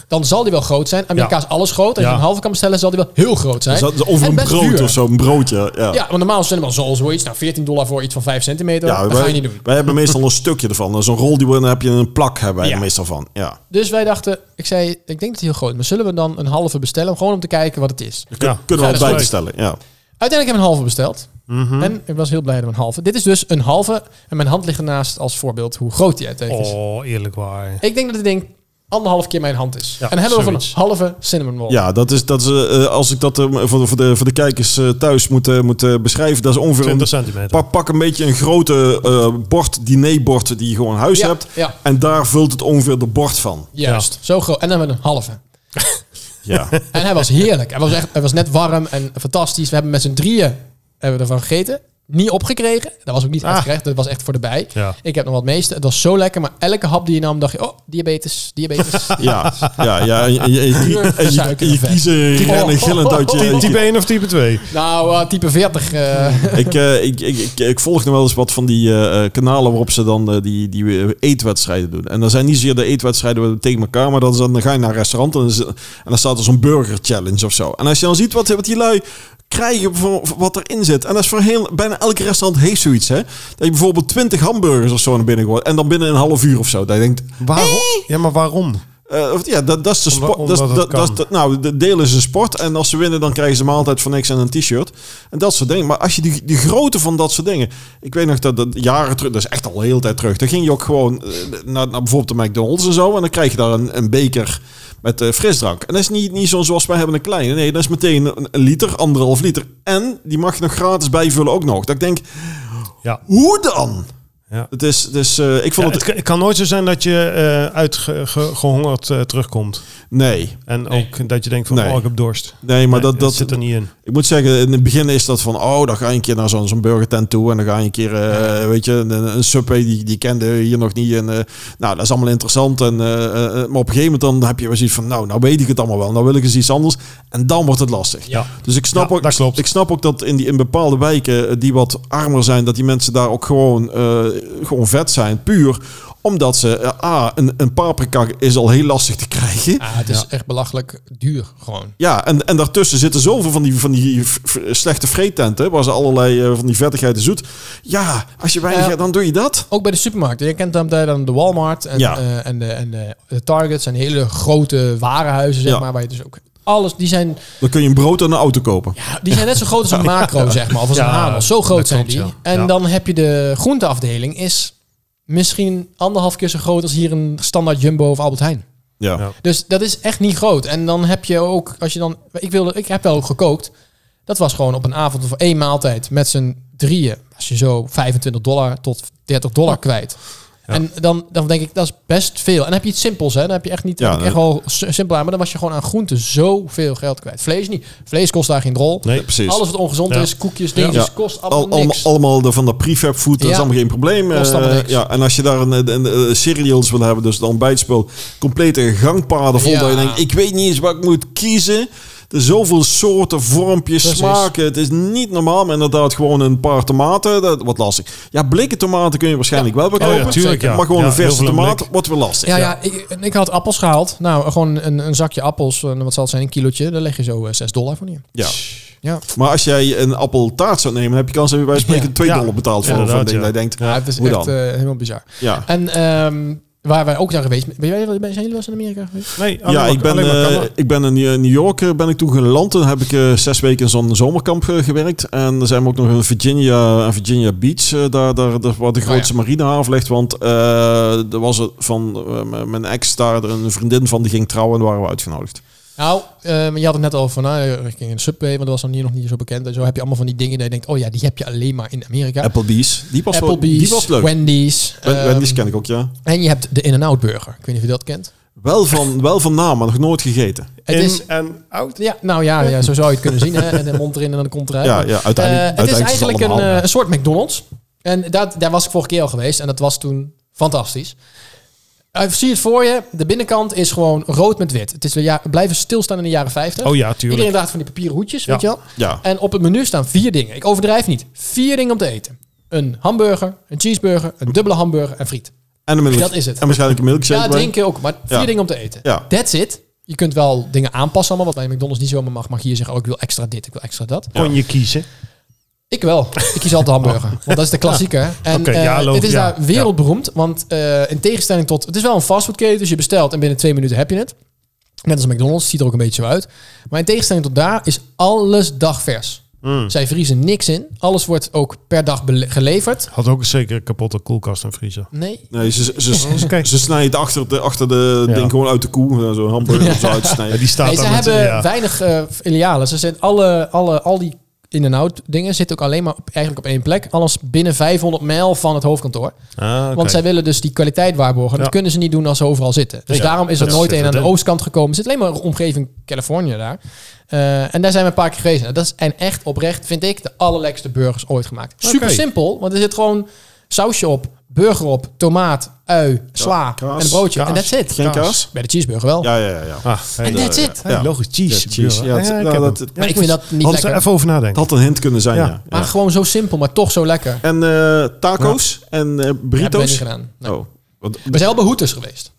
S2: Dan zal die wel groot zijn. Amerika
S3: Ja.
S2: is alles groot. Als je
S3: Ja.
S2: een halve kan bestellen, zal die wel heel groot zijn.
S4: Dus dat is over
S2: En
S4: een
S2: best
S4: brood
S2: duur.
S4: of zo, een broodje. Ja,
S2: Ja, want normaal is cinnamon roll zoiets. Nou, 14 dollar voor iets van 5 centimeter.
S4: Ja,
S2: dat
S4: wij,
S2: ga je niet doen.
S4: wij hebben meestal een stukje ervan. Zo'n rol die we dan heb je een plak hebben wij
S2: Ja.
S4: er meestal van. Ja.
S2: Dus wij dachten, ik zei, ik denk dat het heel groot is. Maar zullen we dan een halve bestellen? Gewoon om te kijken wat het is.
S3: Ja.
S4: Kunnen we
S2: Ja, dat is
S4: altijd
S3: leuk.
S4: stellen. Ja.
S2: Uiteindelijk hebben we een halve besteld.
S3: Mhm.
S2: En ik was heel blij dat we een halve. Dit is dus een halve. En mijn hand ligt ernaast als voorbeeld hoe groot die uiteindelijk is.
S3: Oh, eerlijk waar.
S2: Ik denk dat het ding anderhalf keer mijn hand is.
S3: Ja,
S2: en dan hebben we van een
S3: zoiets.
S2: halve cinnamon roll.
S4: ja, dat is, dat is eh, eh, als ik dat eh, voor, voor, de, voor de kijkers eh, thuis moet, eh, moet eh, beschrijven, dat is ongeveer
S3: 20
S4: een,
S3: centimeter.
S4: pak, pak een beetje een grote eh, bord, dinerbord die je gewoon in huis
S2: Ja,
S4: hebt.
S2: ja.
S4: En daar vult het ongeveer de bord van.
S2: Juist. Zo groot. En dan hebben we een halve. [LAUGHS]
S4: Ja.
S2: En hij was heerlijk. Hij was, echt, hij was net warm en fantastisch. We hebben met z'n drieën hebben we ervan gegeten. Niet opgekregen. Dat was ook niet
S3: Ah.
S2: uitgerecht. Dat was echt voor de bij.
S3: Ja.
S2: Ik heb nog wat meeste. Het was zo lekker. Maar elke hap die je nam, dacht je... Oh, diabetes, diabetes.
S4: [LAUGHS] ja, ja, ja. En, en- en- en- en- en-
S2: Suiker en
S4: je
S2: vet.
S4: kiezen rennen gillend uit je...
S3: Type- Type 1 of type 2?
S2: nou, eh, type 40. eh,
S4: [LAUGHS] ik, eh, ik, ik, ik, ik volg nog wel eens wat van die eh, eh, kanalen waarop ze dan eh, die, die eh, eetwedstrijden doen. En dan zijn niet zozeer de eetwedstrijden tegen elkaar, maar dat is dan, dan ga je naar een restaurant en, dan is- en dan staat er zo'n burger challenge of zo. En als je dan ziet wat, wat die lui krijgen voor, voor wat erin zit. En dat is voor heel, bijna elk restaurant heeft zoiets. Hè? Dat je bijvoorbeeld 20 hamburgers of zo naar binnen gooit en dan binnen een half uur of zo. Dat je denkt,
S3: Waarom? Ja, maar waarom?
S4: eh, of- ja, dat, dat is de
S3: Omdat-
S4: sport. Dat,
S3: omdat
S4: is-
S3: het
S4: dat, dat,
S3: kan.
S4: is de- nou, de deel is een sport. En als ze winnen, dan krijgen ze een maaltijd van niks en een t-shirt. En dat soort dingen. Maar als je die, die grootte van dat soort dingen... Ik weet nog dat, dat jaren terug... Dat is echt al heel de tijd terug. Dan ging je ook gewoon eh, naar, naar bijvoorbeeld de McDonald's en zo. En dan krijg je daar een, een beker met eh, frisdrank. En dat is niet, niet zo zoals wij hebben een kleine. Nee, dat is meteen een, een liter, anderhalf liter. En die mag je nog gratis bijvullen ook nog. Dat ik denk,
S3: Ja.
S4: hoe dan?
S3: Ja.
S4: Het is, dus, eh ik vond
S3: Ja, het,
S4: het...
S3: kan- het kan nooit zo zijn dat je eh, uitgehongerd eh, terugkomt.
S4: Nee,
S3: En ook dat je denkt van,
S4: Nee.
S3: oh, ik heb dorst.
S4: nee maar
S3: Nee,
S4: dat... dat
S3: zit er niet in.
S4: Ik moet zeggen, in het begin is dat van, oh, dan ga je een keer naar zo'n zo'n burgertent toe en dan ga je een keer, eh, weet je, een, een subway, die, die kende hier nog niet. En, eh, nou, dat is allemaal interessant. En, eh, eh, maar op een gegeven moment dan heb je weer zoiets van, nou, nou weet ik het allemaal wel, nou wil ik eens iets anders. En dan wordt het lastig.
S2: Ja.
S4: Dus ik snap,
S3: Ja,
S4: ook,
S3: dat klopt.
S4: ik snap ook dat in, die, in bepaalde wijken eh, die wat armer zijn, dat die mensen daar ook gewoon, eh, gewoon vet zijn, puur omdat ze, eh, ah, een, een paprika is al heel lastig te krijgen.
S2: Ah, het is echt belachelijk duur gewoon.
S4: Ja, en, en daartussen zitten zoveel van die, van die f- f- slechte vreetenten, waar ze allerlei eh, van die vettigheid zoet. Ja, als je weinig
S2: Ja.
S4: hebt, dan doe je dat.
S2: Ook bij de supermarkt. Je kent dan, dan de Walmart en,
S4: Ja.
S2: eh, en, de, en de, de Targets. En hele grote warenhuizen, zeg
S4: Ja.
S2: maar. Waar je dus ook... Alles, die zijn,
S4: Dan kun je een brood en een auto kopen.
S2: ja, die zijn net zo groot als een macro, zeg maar. Of als
S3: [LAUGHS] Ja,
S2: een Hanos. Zo groot
S3: dat
S2: zijn
S3: klopt,
S2: die.
S3: ja.
S2: En
S3: Ja.
S2: dan heb je de groenteafdeling. Is misschien anderhalf keer zo groot als hier een standaard Jumbo of Albert Heijn.
S4: Ja.
S3: Ja.
S2: Dus dat is echt niet groot. En dan heb je ook, als je dan. Ik, wilde, ik heb wel gekookt. Dat was gewoon op een avond of één maaltijd met z'n drieën. Als je zo 25 dollar tot 30 dollar kwijt. En dan, dan denk ik, dat is best veel. En dan heb je iets simpels, hè? Dan heb je echt niet
S4: Ja,
S2: echt
S4: nee.
S2: wel s- simpel aan. Maar dan was je gewoon aan groenten zoveel geld kwijt. Vlees niet. Vlees kost daar geen rol.
S3: Nee,
S4: precies.
S2: Alles wat ongezond
S3: Ja.
S2: is, koekjes, dingetjes,
S4: Ja.
S2: kost
S4: Al,
S2: allemaal
S4: allemaal-
S2: niks.
S4: allemaal de, van dat prefab food, dat
S2: Ja.
S4: is allemaal geen probleem.
S2: Kost allemaal
S4: Eh,
S2: niks.
S4: ja, en als je daar een, een, een- eh, cereals wil hebben, dus dan ontbijtspul, complete gangpaden vol,
S2: Ja.
S4: dat je denkt, ik weet niet eens wat ik moet kiezen. Er zijn zoveel soorten, vormpjes,
S2: Precies.
S4: smaken. Het is niet normaal, maar inderdaad gewoon een paar tomaten, dat wordt lastig. Ja, blikken tomaten kun je waarschijnlijk wel
S2: Oh ja,
S4: bekopen.
S3: tuurlijk, ja.
S4: Maar gewoon
S3: Ja,
S4: een
S3: heel
S4: verse
S3: veel in
S4: tomaat
S3: blik.
S4: wordt wel lastig.
S2: Ja, ja. Ik, en ik had appels gehaald. Nou, gewoon een, een zakje appels. eh, Wat zal het zijn? Een kilootje. Daar leg je zo eh, 6 dollar voor neer.
S4: Ja.
S2: Ja.
S4: Maar als jij een appeltaart zou nemen, dan heb je kans dat je bij wijze van spreken 2
S3: Ja.
S4: dollar betaald voor
S3: Inderdaad,
S4: van ding.
S3: ja.
S4: Dat je denkt,
S2: Ja, het is
S4: hoe
S2: echt
S4: dan?
S2: eh, helemaal bizar.
S4: ja.
S2: En ehm, waar wij ook naar geweest... Ben jij, ben, zijn jullie wel eens in Amerika geweest?
S3: Nee,
S4: Ja, ik ben, eh, ik ben in eh, New York eh, ben ik toen geland. Toen heb ik eh, zes weken in zo'n zomerkamp eh, gewerkt. En dan zijn we ook nog in Virginia, en Virginia Beach, eh, daar, daar, daar waar de
S2: Ah,
S4: grootste marinehaven ligt. Want eh, er was er van eh, m- mijn ex daar, een vriendin van, die ging trouwen en waren we uitgenodigd.
S2: Nou, ehm, je had het net al van... nou, richting een subway, want dat was dan hier nog niet zo bekend. En zo heb je allemaal van die dingen dat je denkt... oh ja, die heb je alleen maar in Amerika.
S4: Applebee's. Die was, wel-
S2: Applebee's,
S4: die was leuk.
S2: Wendy's.
S4: Wen-
S2: ehm,
S4: Wendy's ken ik ook, ja.
S2: En je hebt de In-N-Out Burger. Ik weet niet of je dat kent.
S4: Wel van, wel van naam, maar nog nooit gegeten.
S2: Het is...
S3: en out.
S2: Ja, nou ja, ja, zo zou je het kunnen zien.
S4: [LAUGHS]
S2: Hè? En de mond erin en dan komt eruit.
S4: Ja, ja uiteindelijk.
S2: Eh,
S4: uiteindelijk
S2: het is
S4: het
S2: eigenlijk een,
S4: allemaal,
S2: eh,
S4: ja.
S2: een soort McDonald's. En dat, daar was ik vorige keer al geweest. En dat was toen fantastisch. Eh, zie het voor je. De binnenkant is gewoon rood met wit. Het is de ja, blijven stilstaan in de jaren 50.
S3: Oh ja, tuurlijk.
S2: Iedereen draagt van die papieren hoedjes,
S3: Ja.
S2: weet je wel.
S4: Ja.
S2: En op het menu staan vier dingen. Ik overdrijf niet. Vier dingen om te eten. Een hamburger, een cheeseburger, een dubbele hamburger en friet.
S4: En een milkshake.
S2: dat is het.
S4: En waarschijnlijk een milkshake.
S2: Ja,
S4: bij.
S2: drinken ook. Maar vier
S4: Ja.
S2: dingen om te eten.
S4: Ja.
S2: That's it. Je kunt wel dingen aanpassen allemaal. Wat bij McDonald's niet zomaar mag. Mag je hier zeggen, oh, ik wil extra dit, ik wil extra dat.
S3: Kon je kiezen?
S2: Ik wel. Ik kies altijd de hamburger. Want dat is de
S3: [LAUGHS]
S2: klassieker. En
S3: Oh. Oké,
S2: eh,
S3: ja, logisch,
S2: het is
S3: ja.
S2: daar wereldberoemd. Want eh, in tegenstelling tot... Het is wel een fastfoodketen. Dus je bestelt en binnen twee minuten heb je het. Net als McDonald's. Ziet er ook een beetje zo uit. Maar in tegenstelling tot daar is alles dagvers.
S3: Hmm.
S2: Zij vriezen niks in. Alles wordt ook per dag bele- geleverd.
S3: Had ook zeker een kapotte koelkast en vriezer.
S2: Nee.
S4: Nee, ze, ze, ze,
S3: Oké.
S4: ze snijden het achter de, achter de
S3: Ja.
S4: ding gewoon uit de koe. eh, Zo'n hamburger of zo
S3: Ja,
S4: uitsnijden.
S3: die staat
S2: Nee, ze
S3: daar met-
S2: hebben
S3: ja.
S2: weinig eh, filialen. Ze zijn alle, alle, al die in-en-out dingen zitten ook alleen maar op, eigenlijk op één plek. Alles binnen 500 mijl van het hoofdkantoor.
S3: Ah, oké.
S2: Want zij willen dus die kwaliteit waarborgen.
S3: Ja.
S2: Dat kunnen ze niet doen als ze overal zitten. Dus
S3: Ja.
S2: daarom is er
S3: Ja,
S2: nooit
S3: zit
S2: een aan
S3: het
S2: de
S3: in.
S2: oostkant gekomen. Er zit alleen maar een omgeving Californië daar. Eh, en daar zijn we een paar keer geweest. Nou, dat zijn echt oprecht, vind ik, de allerlekste burgers ooit gemaakt. Super
S3: Oké.
S2: simpel, want er zit gewoon sausje op, burger op, tomaat, ui, sla
S4: kaas,
S2: en een broodje.
S3: kaas.
S2: En that's it.
S4: Geen kaas?
S2: Bij de cheeseburger wel.
S4: Ja, ja, ja. ja.
S3: Ah, hey,
S2: En
S3: ja.
S2: that's it.
S3: Hey,
S4: Ja.
S3: Logisch, cheese.
S4: Ja, cheese, ja,
S3: Ja,
S4: het-
S3: ik
S4: nou,
S3: heb
S4: dat-
S3: hem.
S4: Maar
S2: ik
S3: moest-
S2: vind dat niet
S3: Had er
S2: lekker.
S3: even over
S4: Het
S3: nadenken.
S4: had een hint kunnen zijn,
S3: Ja.
S4: ja.
S2: Maar
S4: Ja.
S2: gewoon zo simpel, maar toch zo lekker. Dat
S4: En eh, taco's en eh,
S2: hebben we niet
S4: burritos.
S2: gedaan. Nee.
S4: oh. Wat-
S2: We zijn wel bij Hoeters geweest.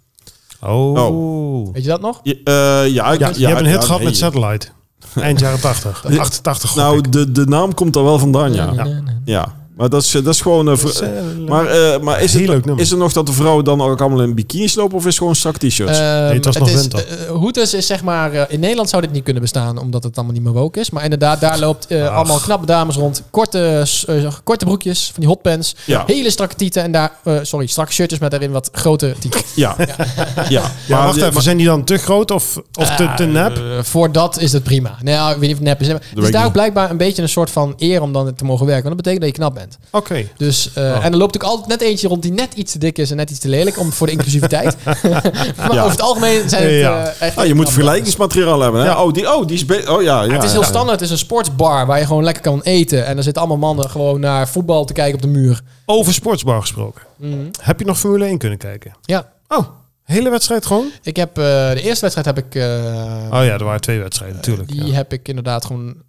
S3: Oh.
S2: Weet je dat nog?
S4: Je- eh, ja, ik-
S3: Ja, je hebt een hit
S4: ja,
S3: gehad
S4: nee.
S3: met Satellite. Eind jaren 80.
S4: [LAUGHS]
S3: 88 gok
S4: Nou,
S3: ik.
S4: de, de naam komt er wel vandaan, ja. Ja.
S2: Nee, nee, nee.
S4: Maar dat is, dat is gewoon... eh, vr-
S3: is, eh,
S4: maar eh, maar is,
S3: Heel leuk
S4: het,
S3: nummer.
S4: is het nog dat de vrouwen dan ook allemaal in bikinis lopen? Of is het gewoon strak t-shirts?
S2: Ehm,
S3: Nee, het was nog
S2: is,
S3: winter.
S2: eh, Hooters is zeg maar... eh, in Nederland zou dit niet kunnen bestaan, omdat het allemaal niet meer woke is. Maar inderdaad, daar loopt eh,
S3: Ach.
S2: allemaal knappe dames rond. Korte, eh, korte broekjes, van die hotpants.
S4: Ja.
S2: Hele strakke tieten en daar... eh, sorry, strakke shirtjes met daarin wat grote tieten.
S4: ja. ja.
S3: ja, wacht
S4: ja,
S3: even. Zijn die dan te groot of, of te, te nep?
S2: Eh, voor dat is het prima. Nou, ja, ik weet niet of het nep is. Het
S4: weet
S2: is
S4: ik
S2: daar ook
S4: niet.
S2: blijkbaar een beetje een soort van eer om dan te mogen werken. Want dat betekent dat je knap bent. bent.
S3: Oké.
S2: Dus, eh,
S3: Oh.
S2: En er loopt ook altijd net eentje rond die net iets te dik is en net iets te lelijk om, voor de inclusiviteit.
S4: [LAUGHS]
S2: maar
S4: Ja.
S2: over het algemeen zijn het eh,
S3: Ja.
S2: echt...
S4: Nou, je moet vergelijkingsmateriaal hebben. Hè?
S3: Ja.
S4: Oh, die, oh, die is... be- Oh, ja, ja,
S2: Ja, het is heel
S4: ja.
S2: standaard. Het is een sportsbar waar je gewoon lekker kan eten. En er zitten allemaal mannen gewoon naar voetbal te kijken op de muur.
S3: Over sportsbar gesproken.
S2: Mhm.
S3: Heb je nog Formule 1 kunnen kijken?
S2: Ja,
S3: Oh, hele wedstrijd gewoon?
S2: ik heb eh, de eerste wedstrijd heb ik... eh,
S3: Oh ja, er waren twee wedstrijden natuurlijk.
S2: Die
S3: ja.
S2: heb ik inderdaad gewoon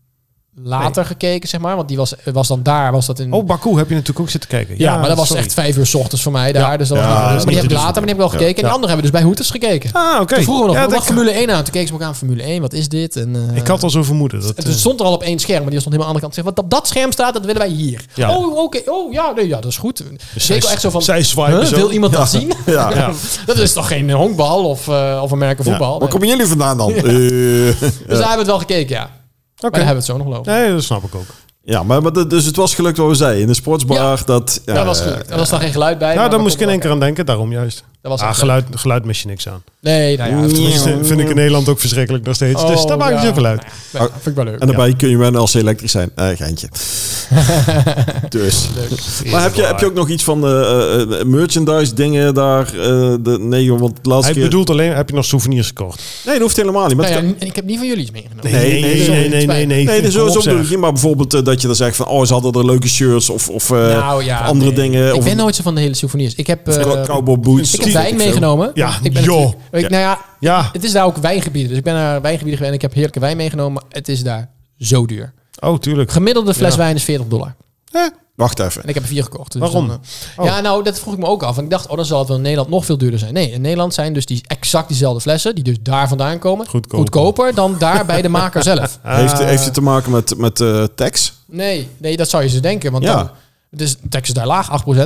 S2: later gekeken, zeg maar. Want die was, was dan daar, was dat in...
S3: Oh, Baku heb je natuurlijk ook zitten kijken.
S2: ja, maar dat was
S3: sorry.
S2: echt vijf uur 's ochtends voor mij daar. Dus dat was
S4: Ja,
S2: niet
S4: dat
S2: gerust.
S4: is
S2: maar die heb
S3: niet
S2: ik
S3: te
S2: later, maar die heb ik wel gekeken. En die anderen hebben dus bij Hoeters gekeken.
S3: Ah, oké.
S2: Toen vroegen we nog,
S3: Ja,
S2: wat
S3: dat-
S2: mag Formule 1 aan? Toen keken ze me ook aan Formule 1, wat is dit? En, eh,
S3: Ik had al zo vermoeden. Dat, eh,
S2: het stond er al op één scherm, maar die stond helemaal aan de andere kant. Zeg, wat op dat scherm staat, dat willen wij hier.
S3: Ja.
S2: Oh, oké. Oh, ja, nee, ja, dat is goed. Dus
S3: zij-
S2: Zeker echt zo van,
S3: zij zwipen
S2: huh,
S3: zo.
S2: wil iemand dat zien?
S4: Ja.
S3: Ja.
S2: [LAUGHS] dat is toch geen honkbal of, eh of Amerika voetbal?
S4: Waar
S2: Nee.
S4: komen jullie vandaan dan? Eh. Ja,
S2: Dus daar hebben we het wel gekeken, ja.
S3: Oké.
S2: Maar daar hebben we het zo nog lopen.
S3: Nee, dat snap ik ook. Nou,
S4: ja maar, maar dat- dus het was gelukt wat we zeiden. In de sportsbar, dat... eh, Ja,
S2: dat was goed. Er was dan geen geluid bij. maar
S3: nou,
S2: dat
S3: daar moest ik
S2: kon
S3: in één
S2: wel.
S3: keer aan denken. Daarom juist.
S2: Dat was
S3: ah,
S2: echt
S3: geluid, geluid mis je niks aan.
S2: Nee, nou ja. het-
S3: Tenminste, vind ik in Nederland ook verschrikkelijk nog steeds. dus
S2: Oh,
S3: dat maakt niet
S2: ja.
S3: zoveel uit.
S2: Nou ja, vind ik wel leuk.
S4: En daarbij kun je wel als ze elektrisch zijn. Eh,
S2: [LAUGHS]
S4: geintje. dus. Maar heb je, heb je ook nog iets van eh, eh, eh, merchandise dingen daar? eh, de, nee, joh, want de laatste
S3: Hij
S4: keer...
S3: bedoelt alleen, heb je nog souvenirs gekocht?
S4: Nee, dat hoeft helemaal niet. Maar
S2: Nou
S4: het
S2: ja,
S4: kan-
S2: en ik heb niet van jullie iets meegenomen.
S4: Nee, nee, nee,
S2: sorry, het spijt me.
S4: Nee, dus
S3: Kom op,
S4: sowieso bedoel
S3: zeg.
S4: ik niet. Maar bijvoorbeeld eh, dat je dan zegt van... Oh, ze hadden er leuke shirts of, of eh,
S2: Nou ja,
S4: andere
S2: nee.
S4: dingen.
S2: Ik
S4: of
S2: ben nooit zo van de hele souvenirs. Ik heb, eh,
S4: of cowboy boots.
S2: ik
S4: of
S2: heb
S4: weet
S2: wijn
S4: ik veel.
S2: meegenomen.
S3: Ja,
S2: ik ben
S3: joh.
S2: natuurlijk- Ik, nou ja,
S3: Ja.
S2: het is daar ook wijngebieden. Dus ik ben naar wijngebieden geweest en ik heb heerlijke wijn meegenomen. Het is daar zo duur.
S3: Oh, tuurlijk.
S2: Gemiddelde fles
S3: Ja.
S2: wijn is 40 dollar.
S4: Wacht even.
S2: En ik heb er vier gekocht. Dus
S3: Waarom?
S2: dan, eh,
S3: Oh.
S2: Ja, nou, dat vroeg ik me ook af. En ik dacht, oh, dan zal het wel in Nederland nog veel duurder zijn. Nee, in Nederland zijn dus die exact diezelfde flessen, die dus daar vandaan komen,
S3: Goedkoper.
S2: goedkoper dan daar bij de maker
S3: [LAUGHS]
S2: zelf.
S4: heeft, heeft het te maken met, met eh, tax?
S2: Nee, nee, dat zou je ze denken. Want
S4: Ja.
S2: dan, dus de tax is daar laag, 8%.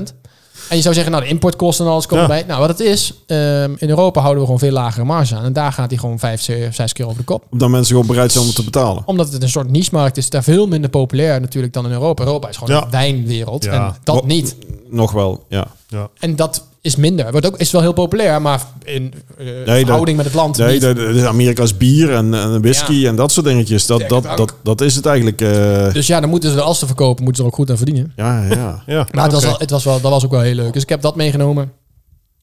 S2: En je zou zeggen, nou, de importkosten en alles komen
S3: Ja.
S2: bij. Nou, wat het is, ehm, in Europa houden we gewoon veel lagere marge aan. En daar gaat hij gewoon vijf, ze- zes keer over de kop.
S4: Omdat mensen gewoon bereid zijn om te betalen.
S2: Omdat het een soort niche-markt is, daar veel minder populair natuurlijk dan in Europa. Europa is gewoon
S3: Ja.
S2: een wijnwereld.
S3: Ja.
S2: En dat
S4: Wat-
S2: niet.
S4: Nog wel, ja.
S3: Ja.
S2: En dat is minder. Wordt ook, is wel heel populair, maar in eh
S4: dat-
S2: verhouding met het land
S4: Nee,
S2: niet.
S4: dat- dat is Amerika's bier en, en whisky en dat soort dingetjes. Dat, dat,
S2: drank.
S4: dat, dat is het eigenlijk. eh,
S2: Dus ja, dan moeten ze er als ze verkopen, moeten ze er ook goed aan verdienen.
S4: ja, ja.
S3: Ja.
S2: Maar het was
S3: oké.
S2: wel, het was wel, dat was ook wel heel leuk. Dus ik heb dat meegenomen.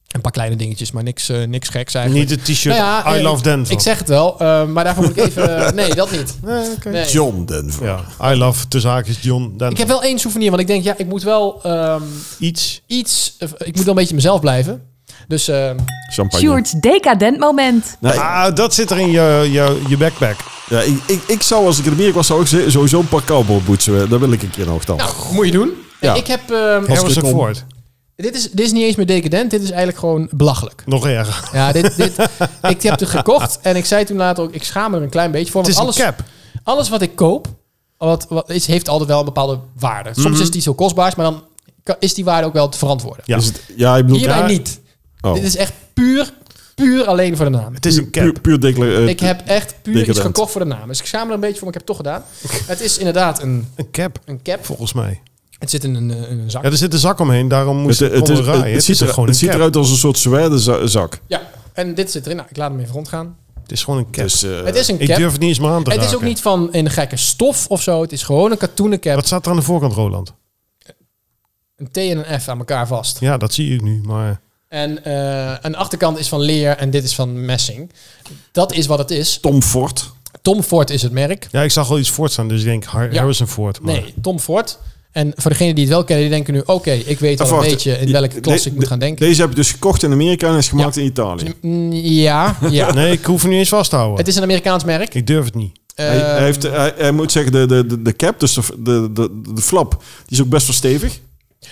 S2: Een paar kleine dingetjes, maar niks, eh, niks geks eigenlijk.
S3: Niet het t-shirt
S2: Nou ja,
S3: I
S2: eh,
S3: love Denver.
S2: Ik zeg het wel, eh, maar daarvoor moet ik even...
S3: [LAUGHS]
S2: eh, nee, dat niet.
S3: Nee, oké.
S2: Nee.
S4: John Denver.
S3: Ja, I love tussen haakjes John Denver.
S2: Ik heb wel één souvenir, want ik denk, ja, ik moet wel ehm,
S3: iets.
S2: iets... eh, ik moet wel een beetje mezelf blijven. Dus ehm,
S4: Champagne.
S1: Sjoerd's decadent moment.
S4: Nee,
S3: Ah, dat zit er in je, je, je backpack.
S4: ja, ik, ik, ik zou, als ik in Amerika was, zou ik ze- sowieso een paar cowboy boetsen. Dat wil ik een keer nog dan.
S2: nou, moet je doen.
S4: Ja.
S2: Ik heb... ehm,
S4: Als
S3: Harrison
S4: ik kon.
S3: Ford.
S2: dit, is, dit is niet eens meer decadent, dit is eigenlijk gewoon belachelijk.
S3: Nog erger.
S2: Ja, dit,
S3: [LAUGHS]
S2: dit, ik heb het gekocht en ik zei toen later ook, ik schaam me er een klein beetje voor.
S3: Het
S2: Want
S3: is
S2: alles,
S3: een cap.
S2: alles wat ik koop, wat, wat is, heeft altijd wel een bepaalde waarde. Soms is het iets heel kostbaars, maar dan kan- is die waarde ook wel te verantwoorden.
S3: Mhm. Ja.
S4: Is het, ja, ik bedoel,
S2: Hierbij
S4: ja,
S2: niet.
S4: Oh.
S2: Dit is echt puur, puur alleen voor de naam.
S3: Het is een cap.
S4: puur, puur decla- eh,
S2: Ik heb echt puur iets
S4: Decadent.
S2: gekocht voor de naam. Dus ik schaam me er een beetje voor, maar ik heb het toch gedaan.
S3: [LAUGHS]
S2: Het is inderdaad een,
S3: Een cap,
S2: een cap.
S3: volgens mij.
S2: Het zit in een, eh, in een zak.
S3: Ja, er zit een zak omheen, daarom
S4: het,
S3: moest
S4: het,
S3: het,
S4: is-
S3: onder
S4: het,
S3: draaien. Het
S4: ziet,
S3: is
S4: er,
S3: gewoon
S4: het
S3: een
S4: ziet
S3: cap.
S4: eruit als een soort zwaardenzak.
S2: Ja, en dit zit erin. Nou, ik laat hem even rondgaan.
S3: Het is gewoon een cap.
S4: Dus, eh,
S2: het is een
S3: ik
S2: cap.
S3: durf het niet eens meer aan te
S2: Het is ook
S3: raken.
S2: niet van een gekke stof of zo. Het is gewoon een katoenen cap.
S3: Wat staat er aan de voorkant, Roland?
S2: een T en een F aan elkaar vast.
S3: Ja, dat zie ik nu, maar...
S2: En eh een achterkant is van leer en dit is van messing. Dat is wat het is.
S4: Tom Ford.
S2: Tom Ford is het merk.
S3: Ja, ik zag al iets Ford staan, dus ik denk Har-
S2: Ja.
S3: Harrison Ford. Maar
S2: Nee, Tom Ford. En voor degenen die het wel kennen, die denken nu... oké, ik weet al een
S4: Wacht,
S2: beetje in
S4: die-
S2: welke klas
S4: de-
S2: ik moet gaan denken.
S4: Deze heb je dus gekocht in Amerika en is gemaakt in Italië.
S2: Mm, ja,
S4: [LAUGHS]
S2: ja.
S3: Nee, ik hoef hem niet eens vast te houden.
S2: Het is een Amerikaans merk.
S3: Ik durf het niet.
S4: Hij,
S2: Ehm,
S4: hij heeft, hij, hij moet zeggen, de, de, de, de cap, dus de, de, de, de flap, die is ook best wel stevig.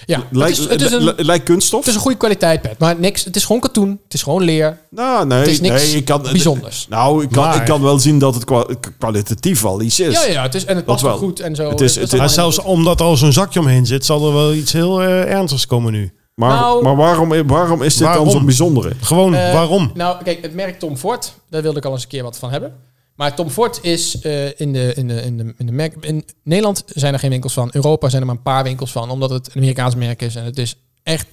S2: ja, het,
S4: Lijkt,
S2: is, het, is een,
S4: li-
S2: het
S4: lijkt kunststof.
S2: is een goede kwaliteit pet, maar niks. Het is gewoon katoen. Het is gewoon leer.
S4: nou, nee,
S2: Het is niks
S4: nee, ik kan,
S2: bijzonders.
S4: Nou, ik kan,
S3: Maar-
S4: ik kan wel zien dat het kwa- kwalitatief wel iets is.
S2: Ja, ja, het is, en het past
S4: wel.
S2: ook goed en zo.
S4: Het is-
S2: Dat
S4: het is-
S3: Maar
S2: allemaal
S3: zelfs
S2: heel
S3: omdat er al zo'n zakje omheen zit, zal er wel iets heel eh, ernstigs komen nu.
S4: Maar,
S2: Nou-
S4: maar waarom, waarom is dit
S3: Waarom?
S4: dan zo'n bijzondere?
S3: Gewoon,
S2: Eh,
S3: waarom?
S2: Nou, kijk, het merk Tom Ford, daar wilde ik al eens een keer wat van hebben. Maar Tom Ford is eh, in, de, in, de, in, de, in de merk... In Nederland zijn er geen winkels van. Europa zijn er maar een paar winkels van. Omdat het een Amerikaans merk is. En het is echt,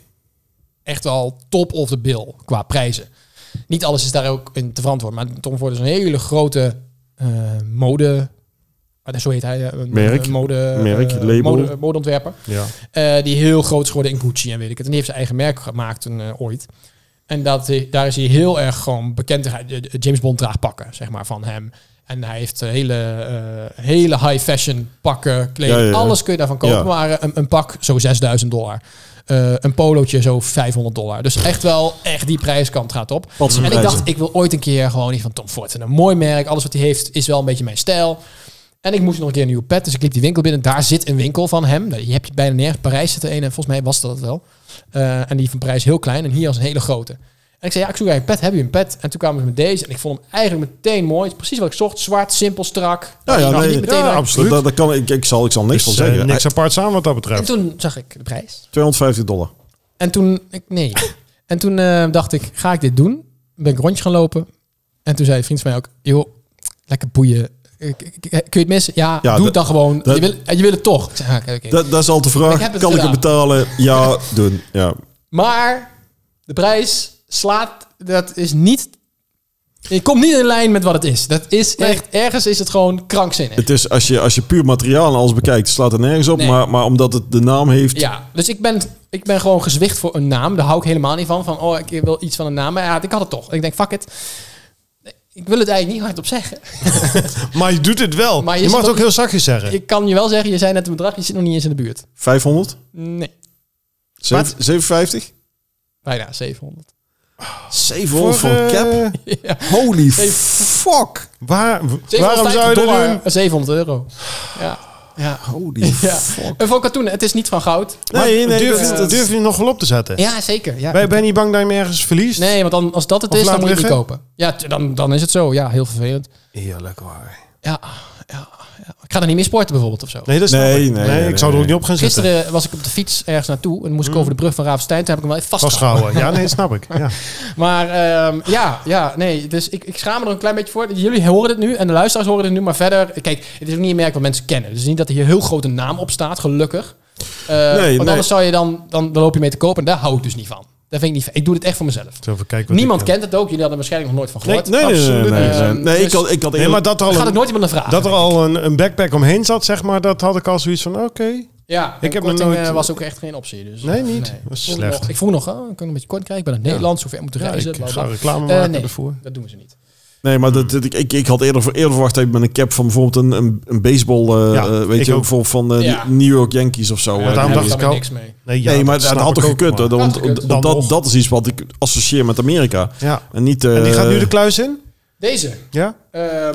S2: echt wel top of the bill qua prijzen. Niet alles is daar ook in te verantwoorden. Maar Tom Ford is een hele grote eh, mode eh, zo heet hij, eh, een
S4: Merk.
S2: een mode,
S4: Merk,
S2: eh,
S4: label.
S2: mode- eh, modeontwerper.
S3: Ja.
S2: Eh, die heel groot is geworden in Gucci en weet ik het. En die heeft zijn eigen merk gemaakt toen, eh, ooit. En dat, hij- daar is hij heel erg gewoon bekend. Hij- eh, James Bond draagt pakken, zeg maar, van hem. En hij heeft eh, hele, eh, hele high fashion pakken, kleding.
S4: Ja, ja, ja.
S2: Alles kun je daarvan kopen.
S4: Ja.
S2: Maar eh, een, een pak zo 6000 dollar. Eh, een polootje zo 500 dollar. Dus echt wel, echt die prijskant gaat op.
S4: Wat zijn
S2: En ik
S4: prijzen?
S2: dacht, ik wil ooit een keer gewoon iets van Tom Ford. En een mooi merk. Alles wat hij heeft is wel een beetje mijn stijl. En ik moest nog een keer een nieuwe pet. Dus ik liep die winkel binnen. Daar zit een winkel van hem. Nou, Die heb je bijna nergens. Parijs zit er een. En volgens mij was dat het wel. Eh, en die van Parijs heel klein. En hier als een hele grote. En ik zei, ja, ik zoek eigenlijk een pet. Heb je een pet? En toen kwamen ze met deze. En ik vond hem eigenlijk meteen mooi. Het is precies wat ik zocht. Zwart, simpel, strak.
S4: Ja, Nou ja,
S2: Ik dacht
S4: nee,
S2: niet meteen
S3: ja,
S2: waar ik-
S3: absoluut.
S4: Dat, dat kan, ik, ik, zal, ik zal niks
S3: Dus,
S4: van
S3: eh,
S4: zeggen.
S3: niks apart samen wat dat
S2: En
S3: betreft.
S2: toen zag ik de prijs.
S4: Hij- 250 dollar.
S2: En toen, ik, nee. En toen eh, dacht ik, ga ik dit doen? Ben ik rondje gaan lopen. En toen zei een vriend van mij ook, joh, lekker boeien. Ik- ik- ik- Kun je het missen? Ja,
S4: Ja,
S2: doe
S4: dat-
S2: het dan gewoon.
S4: dat-
S2: je, wil, je wil het toch. Ik zei, ah, oké, oké.
S4: Dat, dat is al de vraag.
S2: Ik heb het
S4: kan ik
S2: gedaan.
S4: het betalen? Ja, doen. Ja.
S2: Maar de prijs slaat, dat is niet... Je komt niet in lijn met wat het is. Dat is echt, ergens is het gewoon krankzinnig.
S4: Het is, als, je, als je puur materiaal en alles bekijkt, slaat er nergens op.
S2: Nee.
S4: Maar, maar omdat het de naam heeft,
S2: Ja, dus ik ben, ik ben gewoon gezwicht voor een naam. Daar hou ik helemaal niet van. Van, oh, ik wil iets van een naam. Maar ja, ik had het toch. En ik denk, fuck it. Ik wil het eigenlijk niet hardop zeggen.
S3: Maar je doet het wel.
S2: Maar je
S3: je mag
S2: zit
S3: het
S2: ook-
S3: ook heel zachtjes zeggen.
S2: Ik kan je wel zeggen, je zei net een bedrag, je zit nog niet eens in de buurt.
S4: 500?
S2: Nee,
S4: Zeven- 750?
S2: bijna 700.
S4: 700 voor
S3: Voor,
S4: een cap?
S3: eh,
S2: Ja.
S4: Holy
S2: Zeven-
S4: fuck!
S3: Waar, waarom zou je dat
S2: dollar,
S3: doen?
S2: 700 euro. Ja. Ja.
S4: Holy
S2: ja.
S4: fuck.
S2: En van katoen, het is niet van goud.
S4: Nee, nee,
S3: durf,
S4: dat-
S3: je-
S4: dat-
S3: durf je het nog wel op te zetten?
S2: Ja, zeker. Ja.
S3: Ben, je- ben je niet bang dat je hem ergens verliest?
S2: Nee, want dan, als dat het
S3: Of
S2: is, dan
S3: laat
S2: moet je het niet
S3: liggen?
S2: kopen. Ja, t- dan, dan is het zo. Ja, heel vervelend.
S3: Eerlijk waar.
S2: Ja, ja, ja. Ik ga er niet meer sporten bijvoorbeeld of zo.
S3: Nee, dat is
S4: Nee,
S3: nee,
S4: nee,
S3: nee,
S4: nee,
S3: ik zou er ook
S4: nee.
S3: niet op gaan zitten.
S2: Gisteren was ik op de fiets ergens naartoe en moest ik over de brug van Raafstein. Toen heb ik hem wel even vastgehouden.
S3: Vastgehouden. Ja, nee, snap ik. Ja.
S2: Maar ehm, ja, ja, nee. Dus ik, ik schaam me er een klein beetje voor. Jullie horen het nu en de luisteraars horen het nu. Maar verder, kijk, het is ook niet een merk wat mensen kennen. Dus niet dat er hier heel grote naam op staat, gelukkig. Eh, want
S4: nee.
S2: anders zou je dan, dan, dan loop je mee te kopen. En daar hou ik dus niet van. Daar vind ik niet van. Ik doe dit echt voor mezelf.
S3: Zo, even kijken wat
S2: Niemand
S3: ik-
S2: kent het ook. Jullie hadden er waarschijnlijk nog nooit van gehoord.
S4: Nee, nee, nee, nee,
S3: Absoluut
S4: nee,
S2: niet.
S4: nee.
S2: Ehm,
S4: Nee, ik
S2: dus-
S4: had, ik had
S3: Nee, maar dat er
S2: Daar
S3: al
S2: gaat ook
S3: een,
S2: nooit iemand naar vragen.
S3: dat er al een, een backpack omheen zat, zeg maar, dat had ik al zoiets van, oké.
S2: ja, ik
S3: heb
S2: heb
S3: nog
S2: korting
S3: nooit-
S2: eh, was ook echt geen optie. Dus,
S3: Nee,
S2: eh,
S3: niet. Dat is
S2: Ik vroeg
S3: slecht.
S2: nog- ik vroeg nog, oh, kan ik een beetje kort krijgen? Ik ben uit Nederland, zover moet
S3: Ja,
S2: reizen.
S3: ik
S2: bla, bla,
S3: ga
S2: bla.
S3: reclame
S2: Eh,
S3: maken
S2: nee,
S3: ervoor.
S2: dat doen ze niet.
S4: Nee, maar dat, dat- ik, ik, ik had eerder, eerder verwacht dat ik met een cap van bijvoorbeeld een, een, een baseball, eh,
S3: Ja,
S4: eh, weet
S3: ik
S4: je ook,
S3: ook.
S4: voor van eh,
S2: Ja.
S4: die New York Yankees of zo.
S3: Ja,
S4: hè.
S3: daarom
S4: Die-
S3: dacht
S2: daar
S3: ik
S2: heb
S3: al-
S2: niks mee.
S3: Nee, ja,
S4: Nee, maar dat
S3: snap
S4: had
S3: ik
S4: toch
S3: ook,
S4: gekund,
S3: maar-
S4: hoor, want
S2: Had gekund.
S4: dat,
S3: Dan
S4: dat,
S3: nog.
S4: dat is iets wat ik associeer met Amerika.
S3: Ja.
S4: En niet, eh,
S3: En die gaat nu de kluis in?
S2: Deze.
S3: Ja?
S2: Ehm,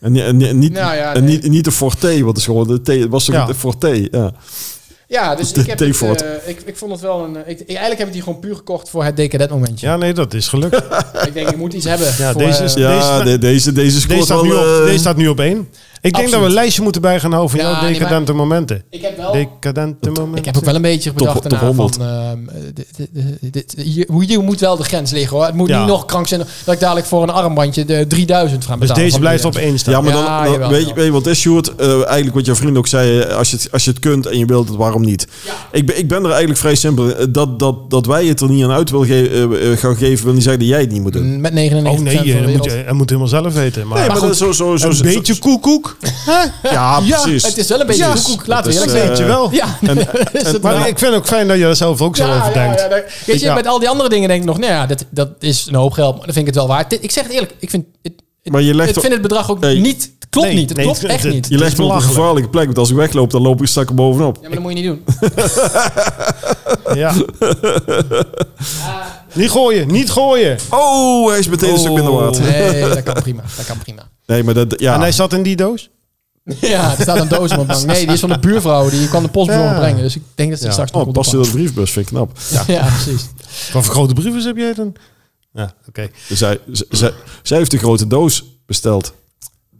S4: en, ni- en ni- en niet,
S2: Nou ja,
S4: en
S2: nee.
S4: niet, niet de Forte, wat is gewoon de T, was toch
S3: Ja.
S4: de Forte. Ja.
S3: [LAUGHS]
S2: ja, dus
S4: De
S2: ik, heb het,
S4: T-Fort.
S2: eh, ik, ik vond het wel een... eh, Ik, ik- eigenlijk heb ik die gewoon puur gekocht voor het decadent momentje.
S3: Ja, nee, dat is
S4: [LAUGHS]
S3: gelukt.
S2: Ik denk, ik moet iets hebben.
S3: Ja,
S2: voor,
S3: deze is-
S2: eh,
S4: Ja,
S3: Deze-
S4: de- deze, deze scoort
S3: Deze staat,
S4: wel...
S3: nu op,
S4: eh,
S3: deze staat nu op één. Ik denk dat we
S2: absoluut.
S3: een lijstje moeten bij gaan houden van
S2: Ja,
S3: jouw
S2: nee,
S3: decadente momenten.
S2: ik heb wel...
S3: Decadente momenten. Dus
S2: ik heb ook wel een beetje bedacht
S4: top
S2: daarna
S4: 100.
S2: van... ehm, eh, dit- dit- dit- dit- hier, hier moet wel de grens liggen hoor. Het moet
S3: Ja.
S2: niet nog krankzinnig dat ik dadelijk voor een armbandje de 3000 ga
S3: dus
S2: betalen.
S3: deze
S2: van
S3: blijft op
S2: Adidas.
S3: één staan.
S4: Ja, maar dan,
S2: Ja,
S4: dan-
S2: jawel,
S4: weet, je,
S2: jawel.
S4: weet je wat is, Sjoerd? Eh, eigenlijk wat jouw vriend ook zei, eh, als je het, als je het kunt en je wilt het, waarom niet? Ik, ben, ik ben er eigenlijk vrij simpel. in. Eh, Dat, dat, dat wij het er niet aan uit wil ge- eh, eh, gaan geven, wil niet zeggen dat jij het niet moet doen.
S2: Met 99
S3: Oh nee,
S2: van de
S3: je moet,
S2: wereld.
S3: je, hij moet helemaal zelf weten. Maar,
S4: Nee, maar
S3: maar
S4: dat is zo, zo, zo,
S3: een
S4: zo-
S3: beetje koekoek.
S4: [LAUGHS] Ja,
S2: Ja,
S4: precies.
S2: het is wel een beetje
S4: Ja,
S2: koekoek, laten we
S4: het is,
S2: eerlijk
S4: eh,
S2: zijn.
S3: Weet je
S2: Ja,
S3: wel.
S2: dat [LAUGHS] is het wel.
S3: Maar ik vind ook fijn dat je er zelf ook zo over denkt.
S2: Ja, ja, daar- Weet je,
S3: Ja.
S2: met al die andere dingen denk ik nog, nou ja, dat, dat is een hoop geld, maar dan vind ik het wel waard. Dit- Ik zeg het eerlijk, ik vind het, het-
S4: Maar je legt
S2: ik
S4: op-
S2: vind het bedrag ook
S4: Nee.
S2: niet, het klopt
S3: Nee,
S2: niet, het
S3: nee,
S2: klopt
S3: het-
S2: echt
S3: het-
S2: niet.
S4: Je
S2: Ja,
S3: is
S4: legt me op een
S3: belachelijk.
S4: gevaarlijke plek, want als ik wegloop, dan loop ik stak er bovenop.
S2: maar dat moet je niet doen.
S3: Ja. Niet gooien, niet gooien.
S4: Oh, hij is meteen een stuk minder waard.
S2: Nee, dat kan prima, dat kan prima.
S4: Nee, maar dat, ja.
S3: En hij zat in die doos?
S2: Ja, er staat een doos op mijn bank. Nee, die is van de buurvrouw, die kan de postbode
S3: Ja.
S2: brengen, dus ik denk dat ze
S3: Ja.
S2: straks nog
S4: Oh,
S2: moet
S4: past in
S2: oppakken.
S4: dat briefbus, vind ik knap. Ja.
S2: Ja, precies.
S3: Wat voor grote briefjes heb jij dan? Ja, oké.
S4: Zij, z- zij, zij heeft de grote doos besteld.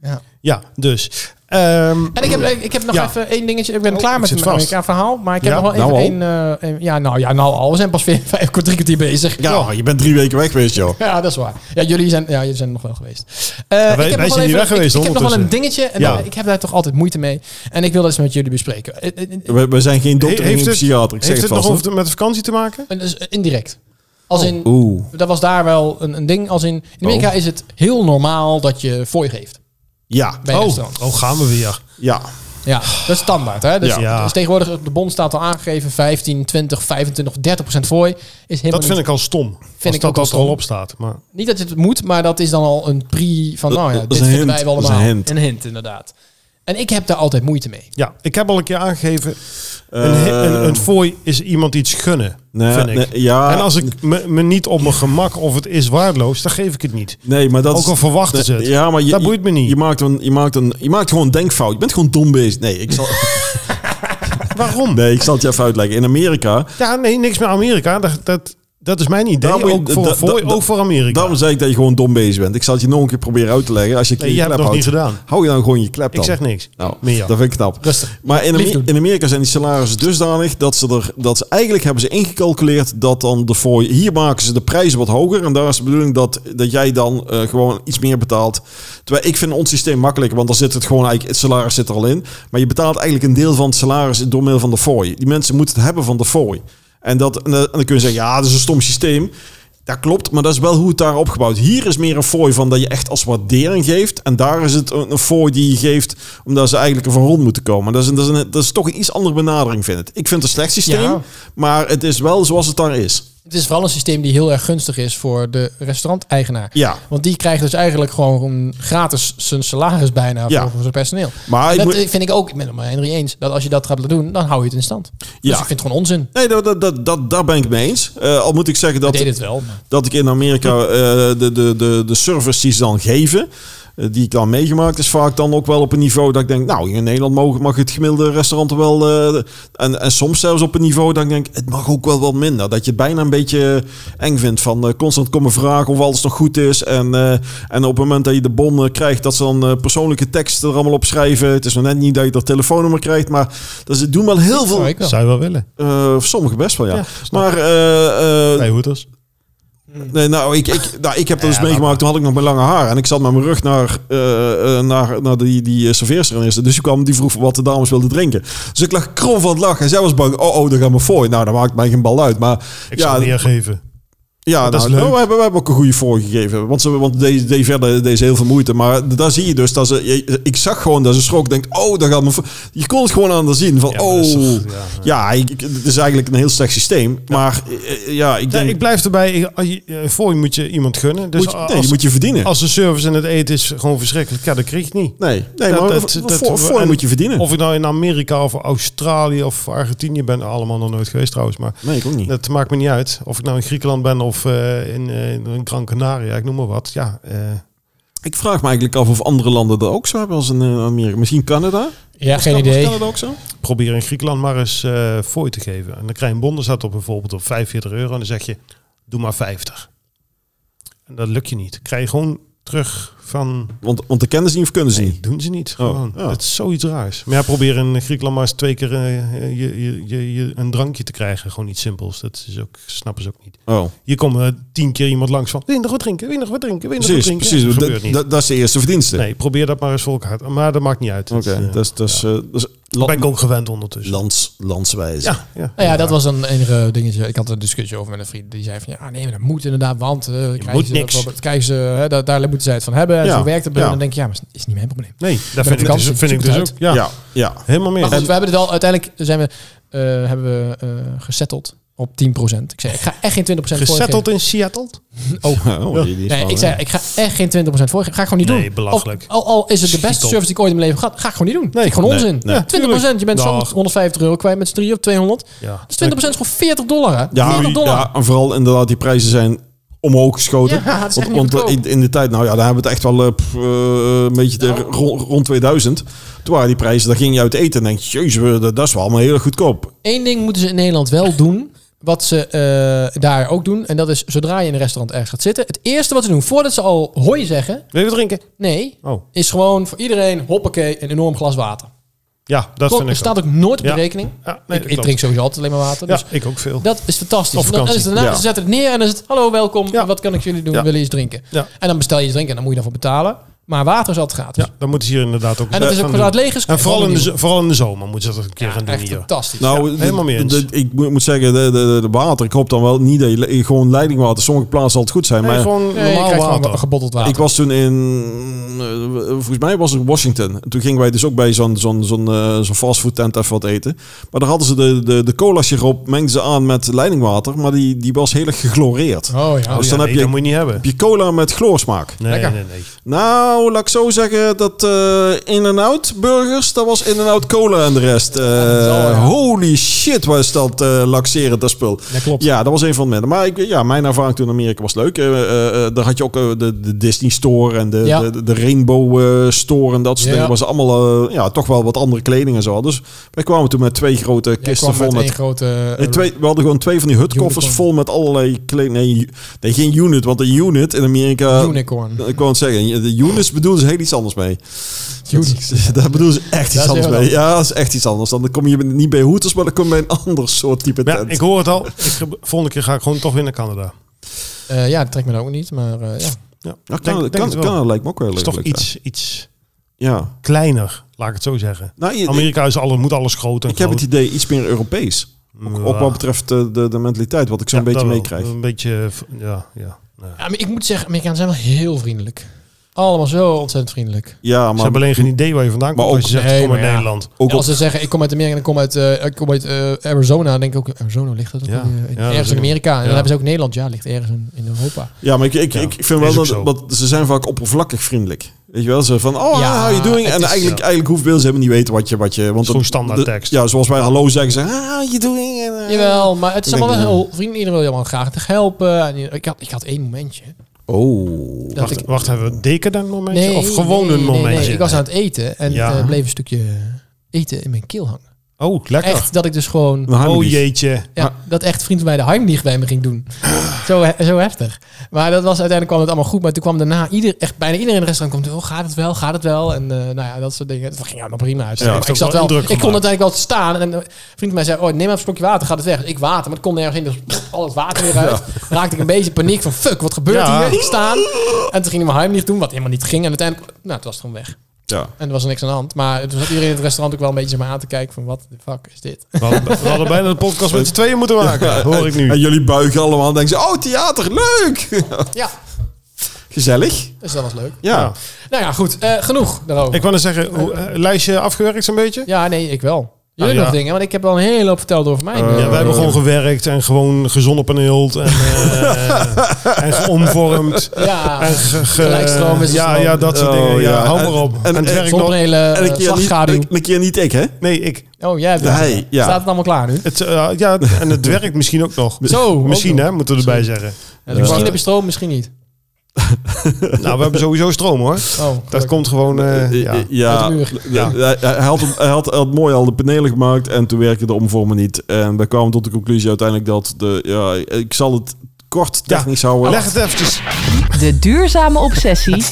S2: Ja.
S3: Ja, dus. ehm,
S2: En ik heb, ik heb nog
S3: Ja.
S2: even één dingetje. Ik ben
S3: Oh,
S2: klaar
S3: ik
S2: met
S3: zit
S2: mijn
S3: vast.
S2: Amerika verhaal. Maar ik heb
S3: Ja,
S2: nog wel
S4: nou
S2: even één... eh, één- ja, nou, ja, nou al. We zijn pas vijf, [LAUGHS] vijf drie kwartier bezig.
S4: Ja, je bent drie weken weg geweest,
S2: [LAUGHS]
S4: joh.
S2: Ja, dat is waar. Ja, jullie zijn, ja, jullie zijn er nog wel geweest. Eh,
S3: wij- wij
S2: nog wel
S3: zijn niet
S2: even-
S3: weg geweest
S2: Ik, ik heb nog wel een
S3: ondertussen.
S2: dingetje. En
S3: Ja.
S2: dan- ik heb daar toch altijd moeite mee. En ik wil dat eens met jullie bespreken. Eh, eh, eh,
S4: We, we zijn geen dokter,
S3: He-
S4: geen
S3: heeft het-
S4: psychiater. Ik zeg
S3: heeft
S4: het
S3: het
S4: vast.
S3: nog
S4: hoor.
S3: over de- met de vakantie te maken?
S2: en dus indirect. Als
S3: Oh,
S2: in,
S4: Oeh.
S2: dat was daar wel een, een ding. Als in, in Amerika
S4: Oh.
S2: is het heel normaal dat je fooi geeft.
S4: Ja,
S2: bij een
S3: Oh,
S2: restaurant.
S3: oh, gaan we weer.
S4: ja.
S2: Ja, dat is standaard. Hè? Dus,
S3: Ja.
S2: dus tegenwoordig, de bond staat al aangegeven, 15, 20, 25, 30 procent fooi. Is helemaal
S3: Dat vind
S2: niet,
S3: ik al stom. Vind
S2: ik
S3: als dat,
S2: ook al
S3: dat er al
S2: stom.
S3: op staat. Maar
S2: niet dat je het moet, maar dat is dan al een pre van,
S4: Dat-
S2: nou ja,
S4: dat
S2: dit
S4: is een
S2: vinden
S4: hint,
S2: wij wel
S4: dat is een
S2: allemaal.
S4: hint.
S2: Een hint, inderdaad. En ik heb daar altijd moeite mee.
S3: ja, ik heb al een keer aangegeven. Een,
S4: Eh,
S3: een, een fooi is iemand iets gunnen.
S4: nee,
S3: vind ik.
S4: nee, ja,
S3: en als ik me, me niet op mijn gemak of het is waardeloos, dan geef ik het niet.
S4: nee, maar dat
S3: Ook
S4: is-
S3: al verwachten ze het.
S4: Ja, maar je,
S3: Dat boeit me niet.
S4: Je maakt, een, je, maakt een, je maakt gewoon een denkfout. Je bent gewoon dom bezig. Nee, ik zal,
S3: [LAUGHS] Waarom?
S4: nee, ik zal het je even uitleggen. In Amerika,
S3: Ja, nee, niks met Amerika. Dat, dat, dat is mijn idee.
S4: Daar moet je-
S3: ook, voor,
S4: da-
S3: voor,
S4: da- da-
S3: ook voor Amerika.
S4: daarom zei ik dat je gewoon dom bezig bent. Ik zal het je nog een keer proberen uit te leggen. Als je een keer
S3: nee,
S4: je
S3: jij hebt
S4: klep
S3: het nog niet
S4: houdt,
S3: gedaan.
S4: hou je dan gewoon je klep dan.
S3: Ik zeg niks.
S4: Nou,
S3: Meer.
S4: dat vind ik knap.
S2: Rustig.
S4: Maar in, Ame-
S2: Lief doen.
S4: in Amerika zijn die salarissen dusdanig dat ze er dat ze eigenlijk hebben ze ingecalculeerd dat dan de fooi hier maken ze de prijzen wat hoger en daar is de bedoeling dat dat jij dan eh, gewoon iets meer betaalt. Terwijl ik vind ons systeem makkelijker, want dan zit het gewoon eigenlijk het salaris zit er al in, maar je betaalt eigenlijk een deel van het salaris door middel van de fooi. Die mensen moeten het hebben van de fooi. En dat en, dan- en dan kun je zeggen ja, dat is een stom systeem. Dat klopt, maar dat is wel hoe het daar opgebouwd. Hier is meer een fooi van dat je echt als waardering geeft. En daar is het een een fooi die je geeft omdat ze eigenlijk er van rond moeten komen. Dat is, een- dat is, een- dat is toch een iets andere benadering, vind ik. Ik vind het een slecht systeem,
S2: Ja.
S4: maar het is wel zoals het daar is.
S2: Het is vooral een systeem die heel erg gunstig is voor de restauranteigenaar.
S4: Ja,
S2: Want die krijgt dus eigenlijk gewoon gratis zijn salaris bijna
S4: Ja.
S2: voor- voor zijn personeel.
S4: maar ik
S2: dat
S4: moet-
S2: eh, vind ik ook, ik ben het met Henry eens, dat als je dat gaat doen, dan hou je het in stand. Dus
S4: Ja.
S2: ik vind het gewoon onzin.
S4: nee, dat, dat, dat, dat, daar ben ik mee eens. Eh, al moet ik zeggen
S2: Ik
S4: dat,
S2: deed het wel. maar-
S4: dat ik in Amerika eh, de, de, de, de service die ze dan geven, eh, die ik dan meegemaakt, is vaak dan ook wel op een niveau dat ik denk, nou, in Nederland mag, mag het gemiddelde restaurant wel. eh, en, en soms zelfs op een niveau dat ik denk, het mag ook wel wat minder. Dat je het bijna een beetje eng vindt van eh, constant komen vragen of alles nog goed is. En, eh, en op het moment dat je de bon eh, krijgt, dat ze dan eh, persoonlijke teksten er allemaal op schrijven. Het is nog net niet dat je dat telefoonnummer krijgt, maar dat ze doen wel heel veel.
S2: Oh, ik wel.
S3: Zou je wel willen.
S4: eh, sommigen best wel, ja.
S3: Ja, snap
S4: maar eh, eh,
S3: Bij hoeders.
S4: Nee, nou, ik, ik, nou, ik heb dat
S3: Ja,
S4: dus meegemaakt. Toen had ik nog mijn lange haar. En ik zat met mijn rug naar, eh, eh, naar, naar die, die eh, serveerster. en is. Dus die kwam die vroeg wat de dames wilden drinken. Dus ik lag krom van het lachen. En zij was bang. Oh, oh, daar gaan we voor. Nou, dat maakt mij geen bal uit. Maar
S3: Ik
S4: ja,
S3: zou neergeven.
S4: ja,
S3: Dat is
S4: nou,
S3: leuk.
S4: nou, we, hebben, we hebben ook een goede voor gegeven. Want, ze, want deze, deze, verder, deze heel veel moeite. Maar daar zie je dus dat ze... je- Ik zag gewoon dat ze schrok. Denkt, oh, daar gaat me... voor- Je kon het gewoon aan haar zien. Van,
S3: Ja, maar
S4: oh...
S3: dat is
S4: Ja,
S3: toch- ja,
S4: ik, ik- het is eigenlijk een heel slecht systeem. Maar eh, ja, ik
S3: Ja,
S4: denk...
S3: ik blijf erbij. Ik- als je- eh, Voor je moet je iemand gunnen. Dus
S4: moet je, nee,
S3: als,
S4: je moet je verdienen.
S3: als de service en het eten is gewoon verschrikkelijk, ja, dan krijg je het niet.
S4: Nee, nee
S3: Dat-
S4: maar
S3: dat-
S4: voor,
S3: dat-
S4: voor- voor
S3: en-
S4: moet je verdienen.
S3: Of ik nou in Amerika of Australië of Argentinië ben, allemaal nog nooit geweest trouwens. Maar
S4: nee, ik ook niet.
S3: dat maakt me niet uit. Of ik nou in Griekenland ben of eh, in, eh, in een Gran Canaria, ik noem maar wat. Ja, eh,
S4: Ik vraag me eigenlijk af of andere landen dat ook zo hebben als in eh, Amerika. Misschien Canada?
S2: Ja,
S4: Is
S2: geen
S4: Can- is
S2: idee.
S4: Canada ook zo?
S3: probeer in Griekenland maar eens eh fooi te geven. En dan krijg je een bondenstad op bijvoorbeeld op 45 euro. En dan zeg je, doe maar 50. En dat lukt je niet. Krijg je gewoon terug van...
S4: Want, want de kennen ze niet of kunnen ze
S3: Nee,
S4: niet.
S3: doen ze niet. Gewoon.
S4: ja.
S3: Het is zoiets raars. Oh. Maar ja, probeer in Griekenland maar eens twee keer eh, je, je, je, je- een drankje te krijgen. Gewoon iets simpels. Dat is ook, snappen ze ook niet.
S4: Oh,
S3: Hier komt eh, tien keer iemand langs van... Wil je nog wat drinken? Wil je nog wat drinken? Wil je nog wat
S4: precies.
S3: drinken?
S4: precies.
S3: Dat
S4: Dat,
S3: gebeurt niet.
S4: dat, dat is de eerste verdienste.
S3: nee, probeer dat maar eens voor elkaar. te- Maar dat maakt niet uit.
S4: Oké,
S3: Dat is, eh,
S4: dat is, dat is, eh, dat is
S3: daar
S4: land-
S3: ben ik ook gewend ondertussen.
S4: lands, landswijze.
S3: Ja, ja.
S2: Nou ja, dat was een enige dingetje. Ik had een discussie over met een vriend. Die zei van, ja nee, maar dat moet inderdaad, want eh krijgen
S3: moet
S2: ze,
S3: niks.
S2: bijvoorbeeld- krijgen ze, hè, da- daar moeten zij het van hebben. En
S4: Ja.
S2: zo werkt het.
S4: Ja.
S2: En dan denk je, ja, maar is is niet mijn probleem.
S3: Nee, daar
S2: de
S3: vind ik, dus,
S2: vakantie,
S3: vind ik
S2: zoek
S3: dus
S2: het
S3: ook. Ja,
S4: ja. ja.
S3: helemaal meer.
S2: Maar goed,
S3: En-
S2: we hebben het al, uiteindelijk zijn we, eh, hebben we eh gesetteld op 10%. Ik zei, ik ga echt geen 20%
S3: gezetteld in Seattle?
S4: [LAUGHS] Oh, die- die is
S2: Nee,
S4: wel,
S2: ik
S4: eh,
S2: zei, ik ga echt geen 20% voor. Ga ik gewoon niet
S3: Nee,
S2: doen.
S3: belachelijk.
S2: Al, al, al is het de beste
S3: Schiet op.
S2: service die ik ooit in mijn leven gehad, ga ik gewoon niet doen. Nee, gewoon
S4: nee,
S2: onzin.
S4: nee.
S2: Ja, 20%, je bent zo
S3: Dag.
S2: 150 euro kwijt met z'n drieën of 200.
S3: Ja.
S2: Dat is 20% is gewoon 40 dollar, hè?
S4: Ja,
S2: 40 dollar.
S4: ja, en vooral inderdaad, die prijzen zijn omhoog geschoten.
S2: Ja, [LAUGHS] dat is echt
S4: want
S2: niet
S4: want
S2: goedkoop.
S4: in, in de tijd, nou ja, daar hebben we het echt wel eh, pff, eh, een beetje de- rond, rond 2000. Toen waren die prijzen, daar ging je uit eten en denk je, jezus, we- dat, dat is wel allemaal heel erg goedkoop.
S2: Eén ding moeten ze in Nederland wel doen. Wat ze eh, daar ook doen. En dat is zodra je in een restaurant ergens gaat zitten. Het eerste wat ze doen, voordat ze al hoi zeggen.
S3: Wil je wat drinken?
S2: Nee.
S3: Oh,
S2: Is gewoon voor iedereen, hoppakee, een enorm glas water.
S3: ja, dat
S2: Klopt,
S3: vind ik
S2: er staat
S3: ook.
S2: ook nooit op de
S3: Ja.
S2: rekening.
S3: Ja, nee,
S2: ik,
S3: dat
S2: ik
S3: klopt.
S2: drink sowieso altijd alleen maar water.
S3: Ja,
S2: Dus
S3: ik ook veel.
S2: dat is fantastisch.
S3: Op
S2: En dan, en
S3: vakantie.
S2: is het daarna,
S4: Ja.
S2: ze zetten het neer en dan is het, hallo, welkom.
S3: Ja.
S2: Wat kan ik jullie doen?
S3: Ja.
S2: Willen iets drinken?
S3: Ja.
S2: En dan bestel je iets drinken en dan moet je daarvoor betalen. Maar water is altijd gratis.
S3: Ja, Dus dan moeten ze hier inderdaad ook
S2: En dat is ook
S3: van
S2: voor het
S3: doen.
S2: leeg is.
S3: En vooral in, de,
S2: gewoon
S3: z- vooral in de zomer moeten ze dat een keer gaan
S2: opnieuw.
S3: doen
S2: Echt
S3: hier.
S2: fantastisch.
S4: Nou,
S3: Ja, helemaal mee eens.
S4: de- de- ik moet, moet zeggen, de, de, de water. Ik hoop dan wel niet dat je le- gewoon leidingwater. Sommige plaatsen zal het goed zijn.
S3: Nee,
S4: maar
S3: gewoon
S2: Nee, je
S3: normaal
S2: krijgt gewoon
S3: water.
S2: gebotteld water.
S4: ik was toen in. eh, volgens mij was het Washington. En Toen gingen wij dus ook bij zo'n zo'n zo'n eh, zo'n fastfood tent even wat eten. Maar daar hadden ze de, de, de cola siroop mengden ze aan met leidingwater. Maar die, die was heel erg gegloreerd.
S2: Oh ja.
S3: Oh,
S4: Dus
S3: ja,
S4: dan heb
S3: nee,
S4: je-
S3: dat moet je niet hebben.
S4: Heb je cola met chloorsmaak?
S3: Nee,
S2: Lekker.
S3: nee, nee.
S4: Nou, laat ik zo zeggen dat eh In-N-Out burgers, dat was In-N-Out cola en de rest. Eh, Holy shit, was dat eh laxerend, dat spul.
S2: Ja, klopt.
S4: Ja, dat was een van de mensen. Maar ik, ja, mijn ervaring toen in Amerika was leuk. Eh, eh, eh, daar had je ook eh, de, de Disney Store en de,
S2: Ja.
S4: de, de Rainbow eh, Store en dat soort
S2: Ja.
S4: dingen. was allemaal eh, ja, toch wel wat andere kleding en zo. Dus wij kwamen toen met twee grote
S2: Jij
S4: kisten
S2: kwam
S4: vol
S2: met
S4: met
S2: één grote... eh,
S4: Nee, twee, we hadden gewoon twee van die hutkoffers
S2: Unicorn.
S4: vol met allerlei kleding. Nee, nee, geen unit, want een unit in
S3: eh,
S4: Amerika...
S2: Unicorn.
S4: Ik wou het zeggen, de units bedoelen ze heel iets anders mee.
S2: Units.
S4: Daar bedoelen ze
S2: Dat
S4: echt iets
S2: is
S4: anders
S2: heel
S4: mee. Ja, dat is echt iets anders. Dan kom je niet bij Hooters, maar dan kom je bij een ander soort type
S3: Maar
S4: tent.
S3: ja, ik hoor het al. Ik, heb- volgende keer ga ik gewoon toch weer naar Canada.
S2: Eh, ja, dat trekt me nou ook niet, maar eh, ja.
S3: Ja,
S4: Ja, kan,
S3: denk-
S4: kan,
S3: denk het
S4: kan,
S3: wel.
S4: dat lijkt me ook wel
S3: Het is
S4: leuk.
S3: toch
S4: leuk,
S3: iets, iets
S4: Ja. Ja.
S3: kleiner, laat ik het zo zeggen.
S4: Nou, je- ik,
S3: Amerika is alles, moet alles groot en
S4: ik heb het
S3: groot.
S4: idee iets meer Europees. Ook, ook
S3: Ja.
S4: wat betreft eh, de, de mentaliteit, wat ik zo'n
S3: Ja,
S4: beetje
S3: dat wel.
S4: meekrijg.
S3: Een beetje, eh, v- ja, ja. ja.
S2: ja maar ik moet zeggen, Amerikanen zijn wel heel vriendelijk. Allemaal zo ontzettend vriendelijk.
S4: Ja,
S3: Ze
S4: maar
S3: hebben alleen geen idee waar je vandaan komt
S4: maar
S3: als je
S2: ook-
S3: zegt,
S2: nee,
S3: kom uit
S2: maar ja.
S3: Nederland.
S4: ook
S2: Ja,
S4: al-
S2: als ze zeggen, ik kom uit Amerika en ik kom uit, eh, ik kom uit eh, Arizona, dan denk ik ook, Arizona ligt dat ook
S3: Ja.
S2: alweer?
S3: Ja, dat
S2: ergens
S3: is
S2: in
S3: ook-
S2: Amerika. En
S3: ja.
S2: dan hebben ze ook Nederland, ja, ligt ergens in, in Europa.
S4: Ja, maar ik, ik,
S3: Ja,
S4: ik vind
S3: is
S4: wel
S3: ook
S4: dat,
S3: zo.
S4: want ze zijn vaak oppervlakkig vriendelijk. Weet je wel, ze van, oh,
S2: Ja,
S4: how you doing?
S2: het
S4: En
S2: is-
S4: eigenlijk, eigenlijk hoeveel ze hebben niet weten wat je... Wat je want
S3: Zo'n standaard
S4: de-
S3: tekst.
S4: Ja, zoals wij hallo zeggen, ze, ah, how you doing? En, eh,
S2: Jawel, maar het is
S4: Ik
S2: allemaal wel
S4: denk,
S2: heel vriendelijk. Iedereen wil je allemaal graag te helpen. En je- ik, had, ik had één momentje.
S4: Oh.
S2: Dat
S3: Wacht,
S2: ik-
S3: wacht, hebben we een decadent momentje of gewoon
S2: nee,
S3: een
S2: nee, nee.
S3: momentje?
S2: Ik was aan het eten en
S3: Ja.
S2: eh, bleef een stukje eten in mijn keel hangen.
S3: Oh, lekker.
S2: Echt dat ik dus gewoon...
S4: Een
S3: Oh
S4: harmonie.
S3: jeetje.
S2: Ja, dat echt vriend van mij de Heimlich bij me ging doen.
S3: Ah.
S2: zo, he- zo heftig. Maar dat was uiteindelijk kwam het allemaal goed. Maar toen kwam daarna ieder, echt bijna iedereen in het restaurant kwam. Oh, gaat het wel? Gaat het wel? En eh, nou ja, dat soort dingen. Dat ging allemaal prima. uit.
S4: Ja,
S2: Maar
S3: heeft
S2: ik
S3: ook
S2: zat
S3: wel
S2: wel.
S3: indruk
S2: Ik kon
S3: gemaakt.
S2: uiteindelijk wel staan. En een vriend van mij zei: Oh, neem maar een slokje water. Gaat het weg? Dus ik water. Maar het kon nergens in. Dus pff, al het water weer uit. Raakte ik een beetje in paniek van: Fuck, wat gebeurt
S3: Ja.
S2: hier? Ik staan. En toen ging hij mijn Heimlich doen, wat helemaal niet ging. En uiteindelijk, nou, het was gewoon weg.
S4: Ja.
S2: En er was niks aan de hand. Maar toen zat iedereen in het restaurant ook wel een beetje maar aan te kijken: van wat de fuck is dit?
S3: We hadden, we hadden bijna de podcast met z'n tweeën moeten maken, hoor ik
S4: En
S3: nu.
S4: jullie buigen allemaal en denken ze, oh, theater, leuk! [LAUGHS]
S2: Ja,
S4: Gezellig.
S2: dus dat was leuk.
S4: Ja.
S3: Ja.
S2: Nou ja, goed. eh, genoeg daarover.
S3: Ik wou net zeggen, hoe, eh, lijstje afgewerkt zo'n beetje?
S2: Ja, nee, ik wel. Jullie
S3: Ah, ja.
S2: nog dingen, want ik heb al een hele hoop verteld over mij.
S4: Eh,
S3: Ja, wij hebben gewoon gewerkt en gewoon gezonopaneeld en,
S4: [LAUGHS]
S3: eh, en geomvormd. [LAUGHS]
S2: ja,
S3: En ge- ge-
S2: Gelijkstroom is een
S3: ja,
S2: stroom.
S3: ja, dat soort
S4: Oh,
S3: dingen. Ja,
S4: ja.
S3: hou
S4: En-
S3: maar op. En,
S4: en-
S3: het
S4: en-
S3: werkt nog.
S2: zonnepanelen,
S4: En een
S2: uh,
S4: keer, niet,
S2: slagschaduw.
S4: een, een keer niet ik, hè?
S3: Nee, ik.
S2: oh, jij hebt het.
S4: Hij, ja.
S2: Staat het allemaal klaar nu?
S3: Het, eh, ja, en
S4: [LAUGHS]
S3: het werkt misschien ook nog.
S2: Zo, ook
S3: Misschien,
S2: nog.
S3: hè, moeten we erbij zeggen.
S2: Ja, dus misschien
S3: Ja.
S2: heb je stroom, misschien niet.
S3: Nou, we hebben sowieso stroom, hoor.
S2: Oh,
S3: Dat
S2: gelukkig.
S3: komt gewoon... eh,
S4: Eh,
S3: ja.
S4: eh, ja.
S2: Uit de muur.
S4: Ja, Hij, hij had, hem- hij had, hij had mooi al de panelen gemaakt en toen werkte de omvormen niet. En we kwamen tot de conclusie uiteindelijk dat de, ja, ik zal het kort technisch houden.
S3: Leg het eventjes.
S1: De duurzame obsessie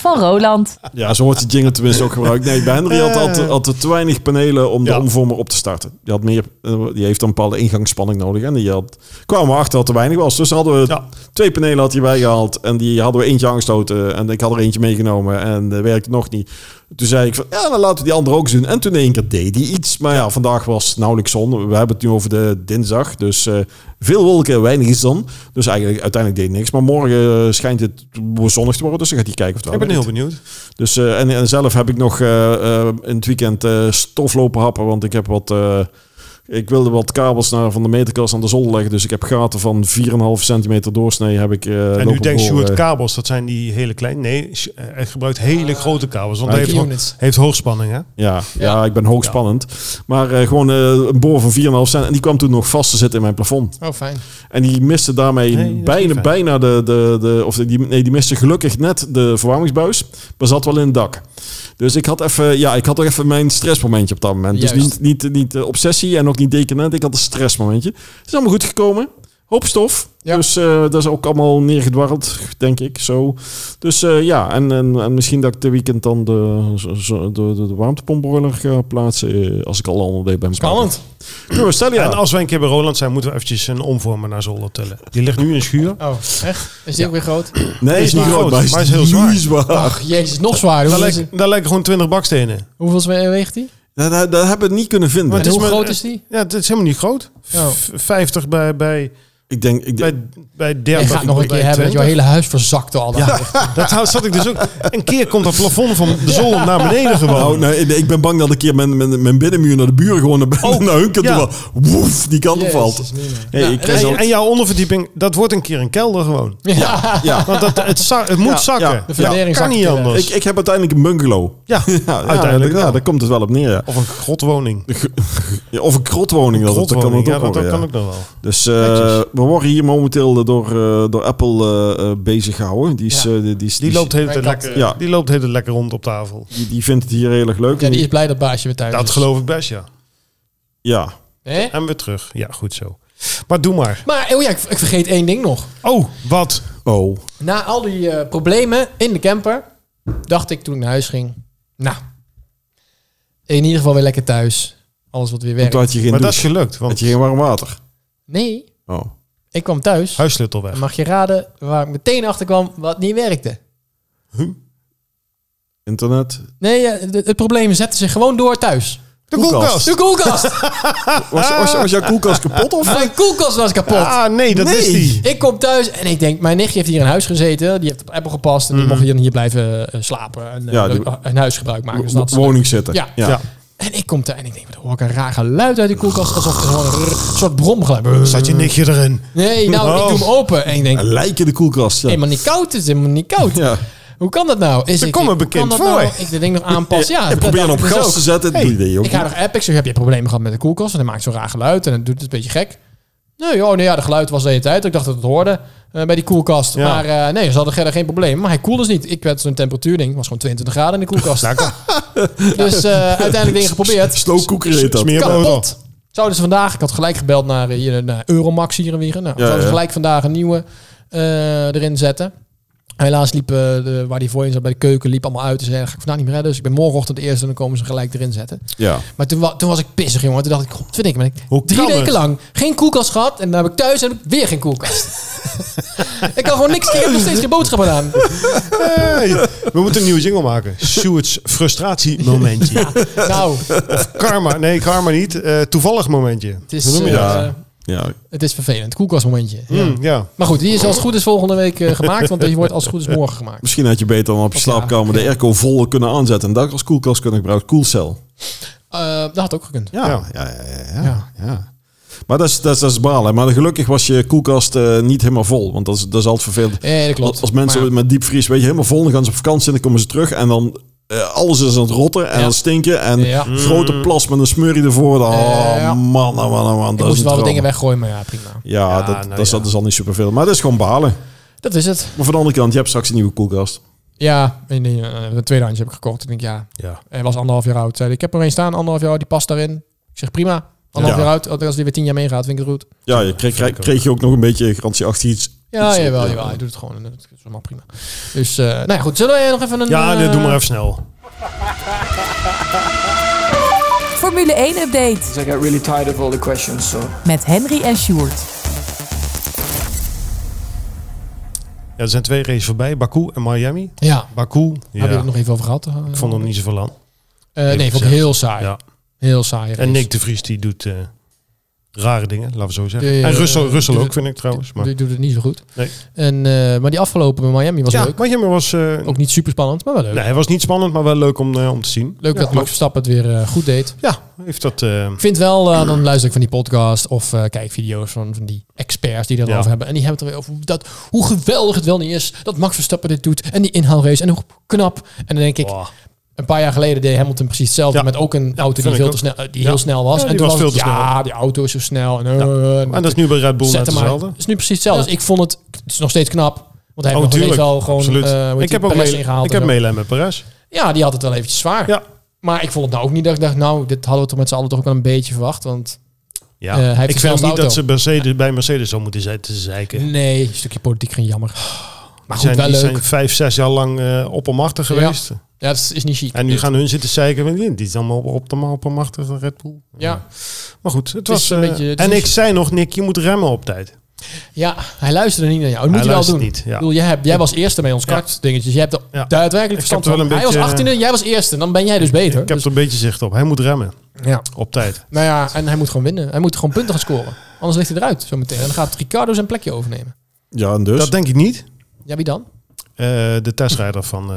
S1: van Roland.
S4: Ja, zo wordt de jingle tenminste ook gebruikt. Nee, bij Henry had, had, had er te weinig panelen om de
S3: Eh. Ja.
S4: omvormer op te starten. Die, had meer, eh, die heeft een bepaalde ingangsspanning nodig. En die had, kwamen we achter dat er weinig was. Dus hadden we
S3: Ja.
S4: twee panelen had hij bijgehaald. En die hadden we eentje aangestoten. En ik had er eentje meegenomen. En eh, werkte nog niet. Toen zei ik van, ja, dan laten we die andere ook eens doen. En toen in één keer deed hij iets. Maar ja, vandaag was nauwelijks zon. We hebben het nu over de dinsdag. Dus eh, veel wolken, weinig zon. Dus eigenlijk uiteindelijk deed hij niks. Maar morgen eh, schijnt het zonnig te worden. Dus dan gaat hij kijken of het wel
S3: Ik ben
S4: werkt.
S3: heel benieuwd.
S4: Dus, eh, en, en zelf heb ik nog eh, eh, in het weekend eh, stof lopen happen, want ik heb wat... eh, ik wilde wat kabels naar van de meterkast aan de zolder leggen, dus ik heb gaten van 4,5 centimeter doorsnee heb ik eh
S3: En nu
S4: lopen
S3: denkt
S4: boren.
S3: Sjoerd kabels, dat zijn die hele kleine. Nee, Sj- eh, hij gebruikt hele grote kabels. Want
S4: Ah,
S3: hij heeft, ho-
S2: units.
S3: heeft hoogspanning, hè?
S4: Ja, ja,
S2: Ja.
S4: ik ben hoogspannend. Maar eh, gewoon eh, een boor van 4,5 centimeter. En die kwam toen nog vast te zitten in mijn plafond.
S2: Oh, fijn.
S4: En die miste daarmee
S3: Nee, dat is niet
S4: bijna,
S3: fijn.
S4: bijna de, de, de... Of die, nee, die miste gelukkig net de verwarmingsbuis. Maar zat wel in het dak. Dus ik had even... Ja, ik had toch even mijn stressmomentje op dat moment. Dus
S2: Juist.
S4: niet, niet, niet eh, obsessie en ook niet decadent. Ik had een stressmomentje. Het is allemaal goed gekomen. hoop stof.
S2: Ja.
S4: Dus eh, dat is ook allemaal neergedwarreld, denk ik. Zo. Dus eh, ja, en, en, en misschien dat ik de weekend dan de, zo- zo- de, de, de warmtepompboiler ga plaatsen. eh, als ik al ander deed bij elkaar.
S2: Spannend.
S4: Nou, stel je
S3: En
S4: aan.
S3: als wij een keer bij Roland zijn, moeten we eventjes een omvormer naar Zolder tillen. Die ligt nu in een schuur.
S2: Oh, echt? Is die ook weer groot?
S3: [CLEARS THROAT]
S4: Nee,
S3: is
S4: is niet
S3: maar
S4: groot,
S3: groot,
S4: maar is,
S3: maar is heel zwaar.
S4: zwaar.
S2: Ach, jezus, nog zwaarder.
S3: Daar
S2: Hoeveel, is,
S3: lijken, daar lijken gewoon 20 bakstenen.
S2: hoeveel is- eh, weegt die?
S4: Dat, dat, dat hebben we niet kunnen vinden.
S3: Maar dus-
S2: En
S3: het is
S2: hoe
S3: maar-
S2: groot is die?
S3: Ja, het is helemaal niet groot.
S2: Oh.
S3: V- 50 bij, bij,
S4: Ik denk, ik denk
S3: bij, bij
S2: Je
S3: 30.
S2: gaat nog een
S3: bij
S2: keer hebben dat jouw
S3: 20.
S2: hele huis verzakt door al [LAUGHS] dat licht.
S3: Dat hou- zat ik dus ook. Een keer komt dat plafond van de zolder naar beneden gewoon.
S4: Nou, nee, ik- ik ben bang dat ik hier mijn, mijn, mijn binnenmuur naar de buren gewoon naar, ben- naar hun kan
S3: Oh, ja.
S4: doen. Woef, die kant op
S2: Jezus,
S4: valt.
S2: niet meer.
S4: Hey, ik krijg
S3: en,
S4: zo-
S3: en jouw onderverdieping, dat wordt een keer een kelder gewoon.
S2: Ja,
S4: ja.
S2: [LAUGHS]
S3: Want dat, het, za- het moet
S4: Ja,
S3: zakken.
S4: ja.
S2: de
S4: Ja,
S2: fundering
S3: kan
S2: zakt
S3: niet
S2: weer.
S3: anders.
S4: Ik, ik heb uiteindelijk een bungalow.
S3: Ja,
S4: [LAUGHS] Ja,
S3: uiteindelijk.
S4: uiteindelijk. Ja, daar komt het wel op neer. Ja.
S3: Of een grotwoning.
S4: Ja, of een krotwoning. Dat, dat kan
S3: Grotwoning,
S4: het
S3: ja,
S4: ook
S3: dat,
S4: wel,
S3: dat
S4: ja.
S3: kan ook nog wel.
S4: Dus eh,
S3: Netjes.
S4: we worden hier momenteel door, eh, door Apple eh, eh, bezig gehouden. Die, is,
S2: Ja.
S4: eh, die, die, is-
S3: Die loopt de hele tijd
S2: Mijn kat.
S3: lekker,
S4: Ja.
S3: die loopt de hele tijd lekker rond op tafel.
S4: die, die vindt het hier heel erg leuk.
S2: Ja,
S4: En
S2: die
S4: die-
S2: is blij dat baasje weer thuis
S3: Dat
S2: is.
S3: geloof ik best, ja.
S4: ja.
S2: Hè?
S3: En weer terug. Ja, goed zo. Maar doe maar.
S2: Maar oh ja, ik, ik vergeet één ding nog.
S3: Oh, wat?
S4: Oh.
S2: Na al die eh, problemen in de camper, dacht ik toen ik naar huis ging... Nou, in ieder geval weer lekker thuis. Alles wat weer
S4: En toen
S2: werkt.
S4: had je geen
S3: Maar dat is
S4: douche.
S3: gelukt, want
S4: Had je geen warm water.
S2: Nee,
S4: Oh.
S2: ik kwam thuis.
S3: huissleutel weg.
S2: En mag je raden waar ik meteen achter kwam wat niet werkte.
S4: Internet.
S2: Nee, eh, de- het probleem zette zich gewoon door thuis.
S3: De
S4: koelkast.
S3: koelkast.
S2: De
S4: [LAUGHS]
S2: koelkast!
S4: Was, was, was
S2: Ah.
S4: jouw koelkast kapot of?
S2: Mijn koelkast was kapot.
S3: Ah, nee, dat
S4: Nee.
S3: is die.
S2: Ik kom thuis en ik denk, mijn nichtje heeft hier in huis gezeten. Die heeft op Apple gepast en die mocht hier, hier blijven eh, slapen. En eh,
S4: Mm. Ja, die-
S2: een huisgebruik maken. Dus dat
S4: Op woning zitten.
S2: Ja.
S4: ja.
S3: Ja.
S2: en ik kom thuis en ik denk, wat hoor ik een raar geluid uit die koelkast. Alsof er gewoon een rrr- soort bromgeluid.
S3: Zat je
S4: Eh.
S3: nichtje erin?
S2: Nee, nou, ik doe hem open. En ik denk,
S4: Lijken de koelkast. Ja.
S2: helemaal niet koud. Het is helemaal niet koud.
S4: Ja.
S2: Hoe kan dat nou? Is
S3: Ze
S2: ik-
S3: komen
S2: ik-
S3: bekend
S2: kan dat nou?
S3: voor.
S2: Ik denk nog aanpassen. Ja,
S4: en
S2: dat
S4: probeer hem op
S2: dacht ik dus
S4: gas
S2: ook.
S4: te zetten.
S3: Hey,
S4: Doe je dat ook
S2: Ik ga nog app. Ik zeg, heb je problemen gehad met de koelkast? En hij maakt zo'n raar geluid en het doet het een beetje gek. Nee, oh, nee ja, de geluid was de hele tijd. Ik dacht dat het hoorde eh, bij die koelkast.
S3: Ja.
S2: Maar eh, nee, ze hadden verder geen probleem. Maar hij koelde dus niet. Ik werd zo'n temperatuurding. Het was gewoon 22 graden in de koelkast. [LAUGHS] dus eh, uiteindelijk dingen geprobeerd.
S4: Slowcooker heet dat.
S3: Smeerboter.
S2: Kapot. Zouden ze vandaag... Ik had gelijk gebeld naar, eh, hier, naar Euromax hier en weer. Nou, zouden ze
S4: ja.
S2: gelijk vandaag een nieuwe eh, erin zetten. Helaas liep eh, de, waar die voor in zat bij de keuken liep allemaal uit. Ze zeiden, ga ik vandaag niet meer redden. Dus ik ben morgenochtend de eerste en dan komen ze gelijk erin zetten.
S4: Ja.
S2: Maar toen, wa- toen was ik pissig, jongen. Toen dacht ik, god, vind ik, ben ik
S3: Hoe kan
S2: drie weken
S3: het?
S2: lang geen koelkast gehad. En dan heb ik thuis heb ik weer geen
S3: [LAUGHS]
S2: koelkast. ik kan gewoon niks. Ik heb nog steeds geen boodschappen aan.
S3: Hey, [LAUGHS] we moeten een nieuwe jingle maken. Stuart's frustratiemomentje.
S2: Nou,
S3: Karma, nee, karma niet. Eh, toevallig momentje.
S2: het is,
S3: Hoe noem je
S2: eh,
S3: dat?
S4: Ja. Ja.
S2: het is vervelend. Koelkastmomentje. Ja.
S3: Hmm, ja.
S2: Maar goed, die is als het goed is volgende week eh, gemaakt. Want die wordt als het goed is morgen gemaakt.
S4: Misschien had je beter dan op je
S2: Of
S4: slaapkamer de airco vol kunnen aanzetten. En dat ik als koelkast kunnen gebruiken. Koelcel.
S2: Eh, dat had ook gekund.
S4: Ja,
S3: Ja.
S4: ja, ja, ja, ja, ja. Maar dat is, dat is, dat is balen. Maar gelukkig was je koelkast eh, niet helemaal vol. Want dat is, dat is altijd vervelend.
S2: Nee, dat klopt.
S4: Als, als mensen
S2: Maar ja,
S4: met diepvries, weet je, helemaal vol. Dan gaan ze op vakantie en dan komen ze terug. En dan eh, alles is aan het rotten en aan het stinken. En Mm.
S2: Ja.
S4: grote plas met een smurrie ervoor. Dan, oh
S2: Ja.
S4: man, oh, man, oh, man.
S2: ik
S4: Dat
S2: moest
S4: is
S2: wel wat dingen
S4: weg.
S2: weggooien, maar ja, prima.
S4: Ja,
S3: Ja,
S4: dat,
S3: nou
S4: dat, is,
S3: ja.
S4: dat is al niet superveel. Maar dat is gewoon balen.
S2: Dat is het.
S4: Maar van de andere kant, je hebt straks een nieuwe koelkast.
S2: Ja, in die, eh, een tweedehands heb ik gekocht. Ik denk, ja,
S3: ja.
S2: Hij was anderhalf jaar oud. Zei hij, ik heb er een staan, anderhalf jaar, die past daarin. Ik zeg, prima. Anderhalf
S4: Ja.
S2: jaar oud, als die weer tien jaar meegaat, vind ik het goed.
S4: Ja, je kreeg, kreeg, kreeg je ook nog een beetje garantie achter iets.
S2: Ja,
S4: iets-
S2: jawel, jawel. Hij doet het gewoon. en Het is allemaal prima. Dus, eh nou ja, goed. Zullen wij nog even een...
S3: Ja, nee,
S2: eh,
S3: doe maar even snel.
S1: Formule 1 update
S5: 'Cause I got really tired of all the questions, so.
S1: met Henry en Sjoerd.
S3: Ja, er zijn twee races voorbij. Baku en Miami.
S2: Ja,
S3: Baku,
S2: hebben we
S3: ja.
S2: het nog even over gehad? eh?
S3: ik vond hem niet zoveel aan.
S2: Eh, nee, vond ik heel saai.
S3: Ja.
S2: Heel saai.
S3: En
S2: race.
S3: Nick de Vries, die doet eh, rare dingen, laten we zo zeggen.
S2: Ja, ja,
S3: en
S2: ja,
S3: Russell,
S2: ja.
S3: Russell
S2: Dus
S3: ook,
S2: het-
S3: vind ik trouwens. Maar,
S2: Die doet het niet zo goed.
S3: Nee.
S2: En, eh, maar die afgelopen bij Miami was
S3: ja,
S2: leuk.
S3: maar Jimmy was... eh,
S2: Ook niet super spannend, maar wel leuk.
S3: nee, hij was niet spannend, maar wel leuk om, eh, om te zien.
S2: Leuk
S3: Ja,
S2: dat Max
S3: klopt.
S2: Verstappen het weer eh, goed deed.
S3: Ja, heeft dat... eh,
S2: Ik vind wel, eh, dan luister ik van die podcast of eh, kijk video's van, van die experts die daarover
S3: Ja.
S2: hebben. En die hebben het er weer over hoe dat, hoe geweldig het wel niet is dat Max Verstappen dit doet. En die inhaalrace en hoe knap. En dan denk ik,
S3: boah.
S2: een paar jaar geleden deed Hamilton precies hetzelfde
S3: Ja.
S2: met ook een auto die,
S3: vind ik
S2: veel
S3: ook.
S2: te snel, eh, die
S3: Ja.
S2: heel snel
S3: Ja,
S2: was.
S3: die
S2: en toen
S3: was
S2: was
S3: veel te
S2: het, ja, die auto is zo snel. En, eh, en
S3: En dat is nu bij Red Boel net
S2: zet hem maar.
S3: hetzelfde.
S2: Het is nu precies hetzelfde. Dus ik vond het, het is nog steeds knap. Want hij
S3: Oh,
S2: heeft nog steeds
S3: tuurlijk.
S2: wel gewoon
S3: Absoluut.
S2: eh, hoe heet
S3: ik heb
S2: die,
S3: ook
S2: Perez
S3: mee,
S2: ingehaald
S3: ik
S2: en
S3: heb
S2: zo.
S3: meelijn met Perez.
S2: Ja, die had het wel eventjes zwaar.
S3: Ja.
S2: Maar ik vond het nou ook niet dat ik dacht, nou, dit hadden we toch met z'n allen toch ook wel een beetje verwacht. Want
S3: Ja.
S2: Eh, hij heeft
S3: ik
S2: dezelfde
S3: vind niet
S2: auto.
S3: dat ze Mercedes, bij Mercedes zou moeten zijn te zeiken.
S2: Nee, een stukje politiek geen jammer. Maar
S3: Die
S2: goed, Nou,
S3: zijn,
S2: wel
S3: die
S2: leuk.
S3: zijn vijf, zes jaar lang eh oppermachtig
S2: Ja.
S3: geweest.
S2: Ja, dat is- is niet chic.
S3: En nu
S2: Dit.
S3: gaan hun zitten zeiken. van, "Nee, Die is allemaal op, op de oppermachtig van Red Bull.
S2: Ja.
S3: Maar goed, het was...
S2: een
S3: eh,
S2: beetje- het
S3: en
S2: is-
S3: ik zei nog, Nick, je moet remmen op tijd.
S2: ja, hij luisterde niet naar jou. Dat moet
S3: Hij
S2: hij wel doen.
S3: luistert niet, ja.
S2: Ik bedoel, jij, hebt- jij was eerste bij ons
S3: Ja.
S2: kartdingetjes. Jij hebt er
S3: Ja.
S2: daadwerkelijk
S3: Ik heb
S2: verstand
S3: er
S2: van.
S3: wel een
S2: hij
S3: beetje-
S2: was 18e, jij was eerste. Dan ben jij dus beter.
S3: Ik heb
S2: Dus-
S3: er een beetje zicht op. Hij moet remmen
S2: ja.
S3: op tijd.
S2: Nou ja, en hij moet gewoon winnen. Hij moet gewoon punten gaan scoren. Anders ligt hij eruit zometeen. En dan gaat Ricardo zijn plekje overnemen.
S4: Ja, en dus?
S3: Dat denk ik niet.
S2: Ja, wie dan?
S3: Eh, de testrijder van, eh,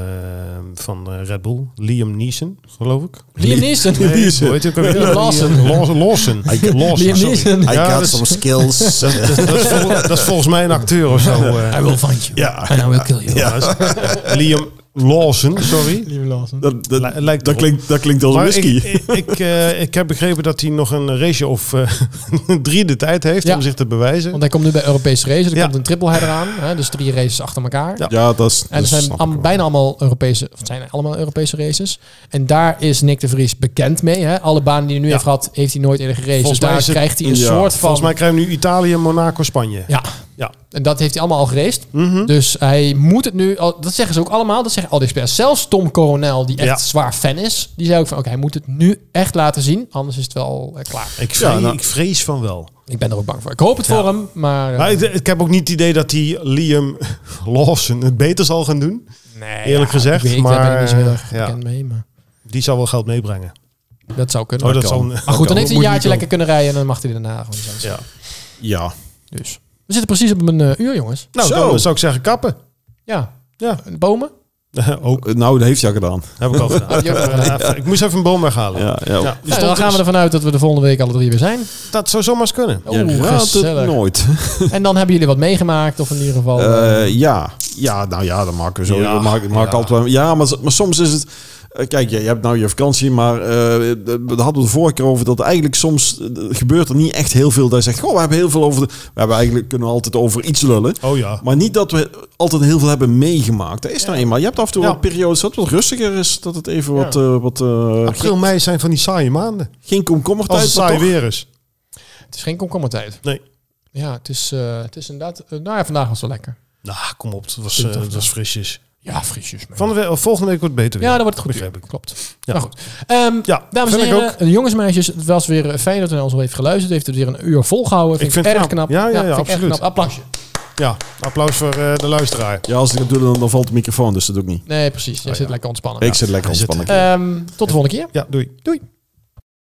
S3: van eh, Red Bull, Liam Neeson, geloof ik.
S2: Liam Neeson.
S4: Neeson.
S3: Hoe heet hij ook alweer?
S2: [LAUGHS] Liam Lawson.
S3: Liam Lawson. Lawson. Lawson,
S2: Liam
S3: sorry.
S2: Neeson.
S3: Ja,
S6: I
S3: dat
S6: got
S3: is-
S6: some
S4: [LAUGHS]
S6: skills.
S3: [LAUGHS] dat, dat is vol- dat is volgens mij een acteur of zo. eh.
S2: I will find you.
S4: Ja.
S2: And I will kill you.
S3: Ja, dat is- Liam Lawson, sorry.
S2: Liam Lawson.
S4: Dat, dat,
S3: Li- lijkt
S4: dat,
S3: erop.
S4: klinkt, dat klinkt als
S3: Maar ik,
S4: whisky.
S3: ik, ik, eh, ik heb begrepen dat hij nog een race of eh, [LAUGHS] drie de tijd heeft
S2: Ja.
S3: om zich te bewijzen.
S2: Want hij komt nu bij Europese races. Er
S3: Ja.
S2: komt een triple header aan. Hè, dus drie races achter elkaar.
S3: Ja.
S4: ja, dat is...
S2: En
S4: dat
S2: het zijn
S4: snap
S2: am-
S4: ik wel.
S2: bijna allemaal Europese, of het zijn allemaal Europese races. En daar is Nick de Vries bekend mee. Hè? Alle banen die hij nu
S3: Ja.
S2: heeft gehad, heeft hij nooit eerder gereden.
S3: Volgens
S2: Dus
S3: mij
S2: daar
S3: is het-
S2: krijgt hij een
S4: ja,
S2: soort van...
S3: Volgens mij krijgen we nu Italië, Monaco, Spanje.
S2: Ja.
S3: Ja.
S2: En dat heeft hij allemaal al gereest.
S3: Mhm.
S2: Dus hij moet het nu... al- Dat zeggen ze ook allemaal. Dat zeggen al die experts. Zelfs Tom Coronel, die echt
S3: Ja.
S2: zwaar fan is. Die zei ook van, oké, hij moet het nu echt laten zien. Anders is het wel eh, klaar.
S3: Ik, vrees,
S4: nou-
S3: ik vrees van wel.
S2: Ik ben er ook bang voor. Ik hoop het voor hem, maar... eh,
S3: Maar ik, ik heb ook niet het idee dat die Liam [LAUGHS] Lawson het beter zal gaan doen.
S2: nee,
S3: eerlijk gezegd,
S2: Ik weet, daar ben ik
S3: maar,
S2: niet zo heel erg
S3: ja.
S2: bekend mee, maar...
S3: Die zal wel geld meebrengen.
S2: Dat zou kunnen.
S3: Oh, dat [LAUGHS]
S4: kan.
S3: zal,
S2: maar goed, dan heeft hij een
S3: Moet
S2: jaartje
S3: niet
S2: lekker kunnen rijden en dan mag hij daarna gewoon zijn.
S3: Ja.
S2: [LAUGHS]
S4: Ja.
S2: Dus. We zitten precies op een eh, uur, jongens.
S3: Nou,
S4: Zo.
S3: dan zou ik zeggen kappen.
S2: Ja.
S3: Ja.
S2: Bomen?
S3: ook.
S4: Nou, dat heeft hij al gedaan.
S3: Heb ik al [LAUGHS] gedaan.
S2: Heb je ook al gedaan.
S3: [LAUGHS] Ja, Eh, Ik moest even een boom weghalen.
S4: Ja, ja.
S3: Ja, die
S2: Ja,
S3: stond
S2: dan gaan we
S3: dus-
S2: ervan uit dat we de volgende week alle drie weer zijn.
S3: Dat zou zomaar eens kunnen.
S4: Je
S2: Oeh,
S4: raadt
S2: Oh, gezellig.
S4: het nooit.
S2: En dan hebben jullie wat meegemaakt, of in ieder geval... eh,
S4: Eh, ja. ja, nou ja, dan maken we zo.
S3: Ja,
S4: Ja, maak,
S3: ja.
S4: maak Altijd wel- ja maar, maar soms is het... eh, Kijk, je, je hebt nou je vakantie, maar eh, d- daar hadden we de vorige keer over dat eigenlijk soms eh, gebeurt er niet echt heel veel. Dat je zegt, goh, we hebben heel veel over... De, we hebben eigenlijk kunnen we altijd over iets lullen.
S3: Oh ja.
S4: Maar niet dat we altijd heel veel hebben meegemaakt. Dat is nou eenmaal. Je hebt af en toe
S3: Ja.
S4: wel periodes dat het wat rustiger is. Dat het even wat... eh, wat eh,
S3: April, mei zijn van die saaie maanden.
S4: geen
S3: Als het
S4: komkommertijd, maar
S3: saai
S4: toch-
S3: weer is.
S2: het is geen komkommertijd.
S3: Nee.
S2: Ja, het is, eh, het is inderdaad... eh, nou ja, vandaag was het wel lekker.
S3: Nou, kom op. Het was, eh, het was frisjes.
S2: Ja, frisjes. man.
S3: Van de we- volgende week wordt het beter weer.
S2: Ja, dan wordt het goed.
S3: Begrijp ik.
S2: Klopt.
S3: Ja.
S2: Nou goed. Ehm,
S3: Ja,
S2: Dames en
S3: vind ik
S2: heren,
S3: ook.
S2: de jongens en meisjes, het was weer fijn dat u naar ons heeft geluisterd. Heeft u weer een uur volgehouden. Vind ik,
S3: Ik vind het
S2: erg
S3: knap.
S2: knap.
S3: Ja, ja, ja,
S2: vind ik echt
S3: absoluut.
S2: knap. Applausje.
S3: Ja, applaus voor eh, de luisteraar.
S4: Ja, als ik het doe, dan, dan valt de microfoon, dus dat doe ik niet.
S2: Nee, precies. Je zit lekker ontspannen.
S4: Ik zit lekker
S3: Hij zit-
S4: ontspannen.
S2: Ehm, tot de volgende keer.
S3: Ja, doei.
S2: Doei.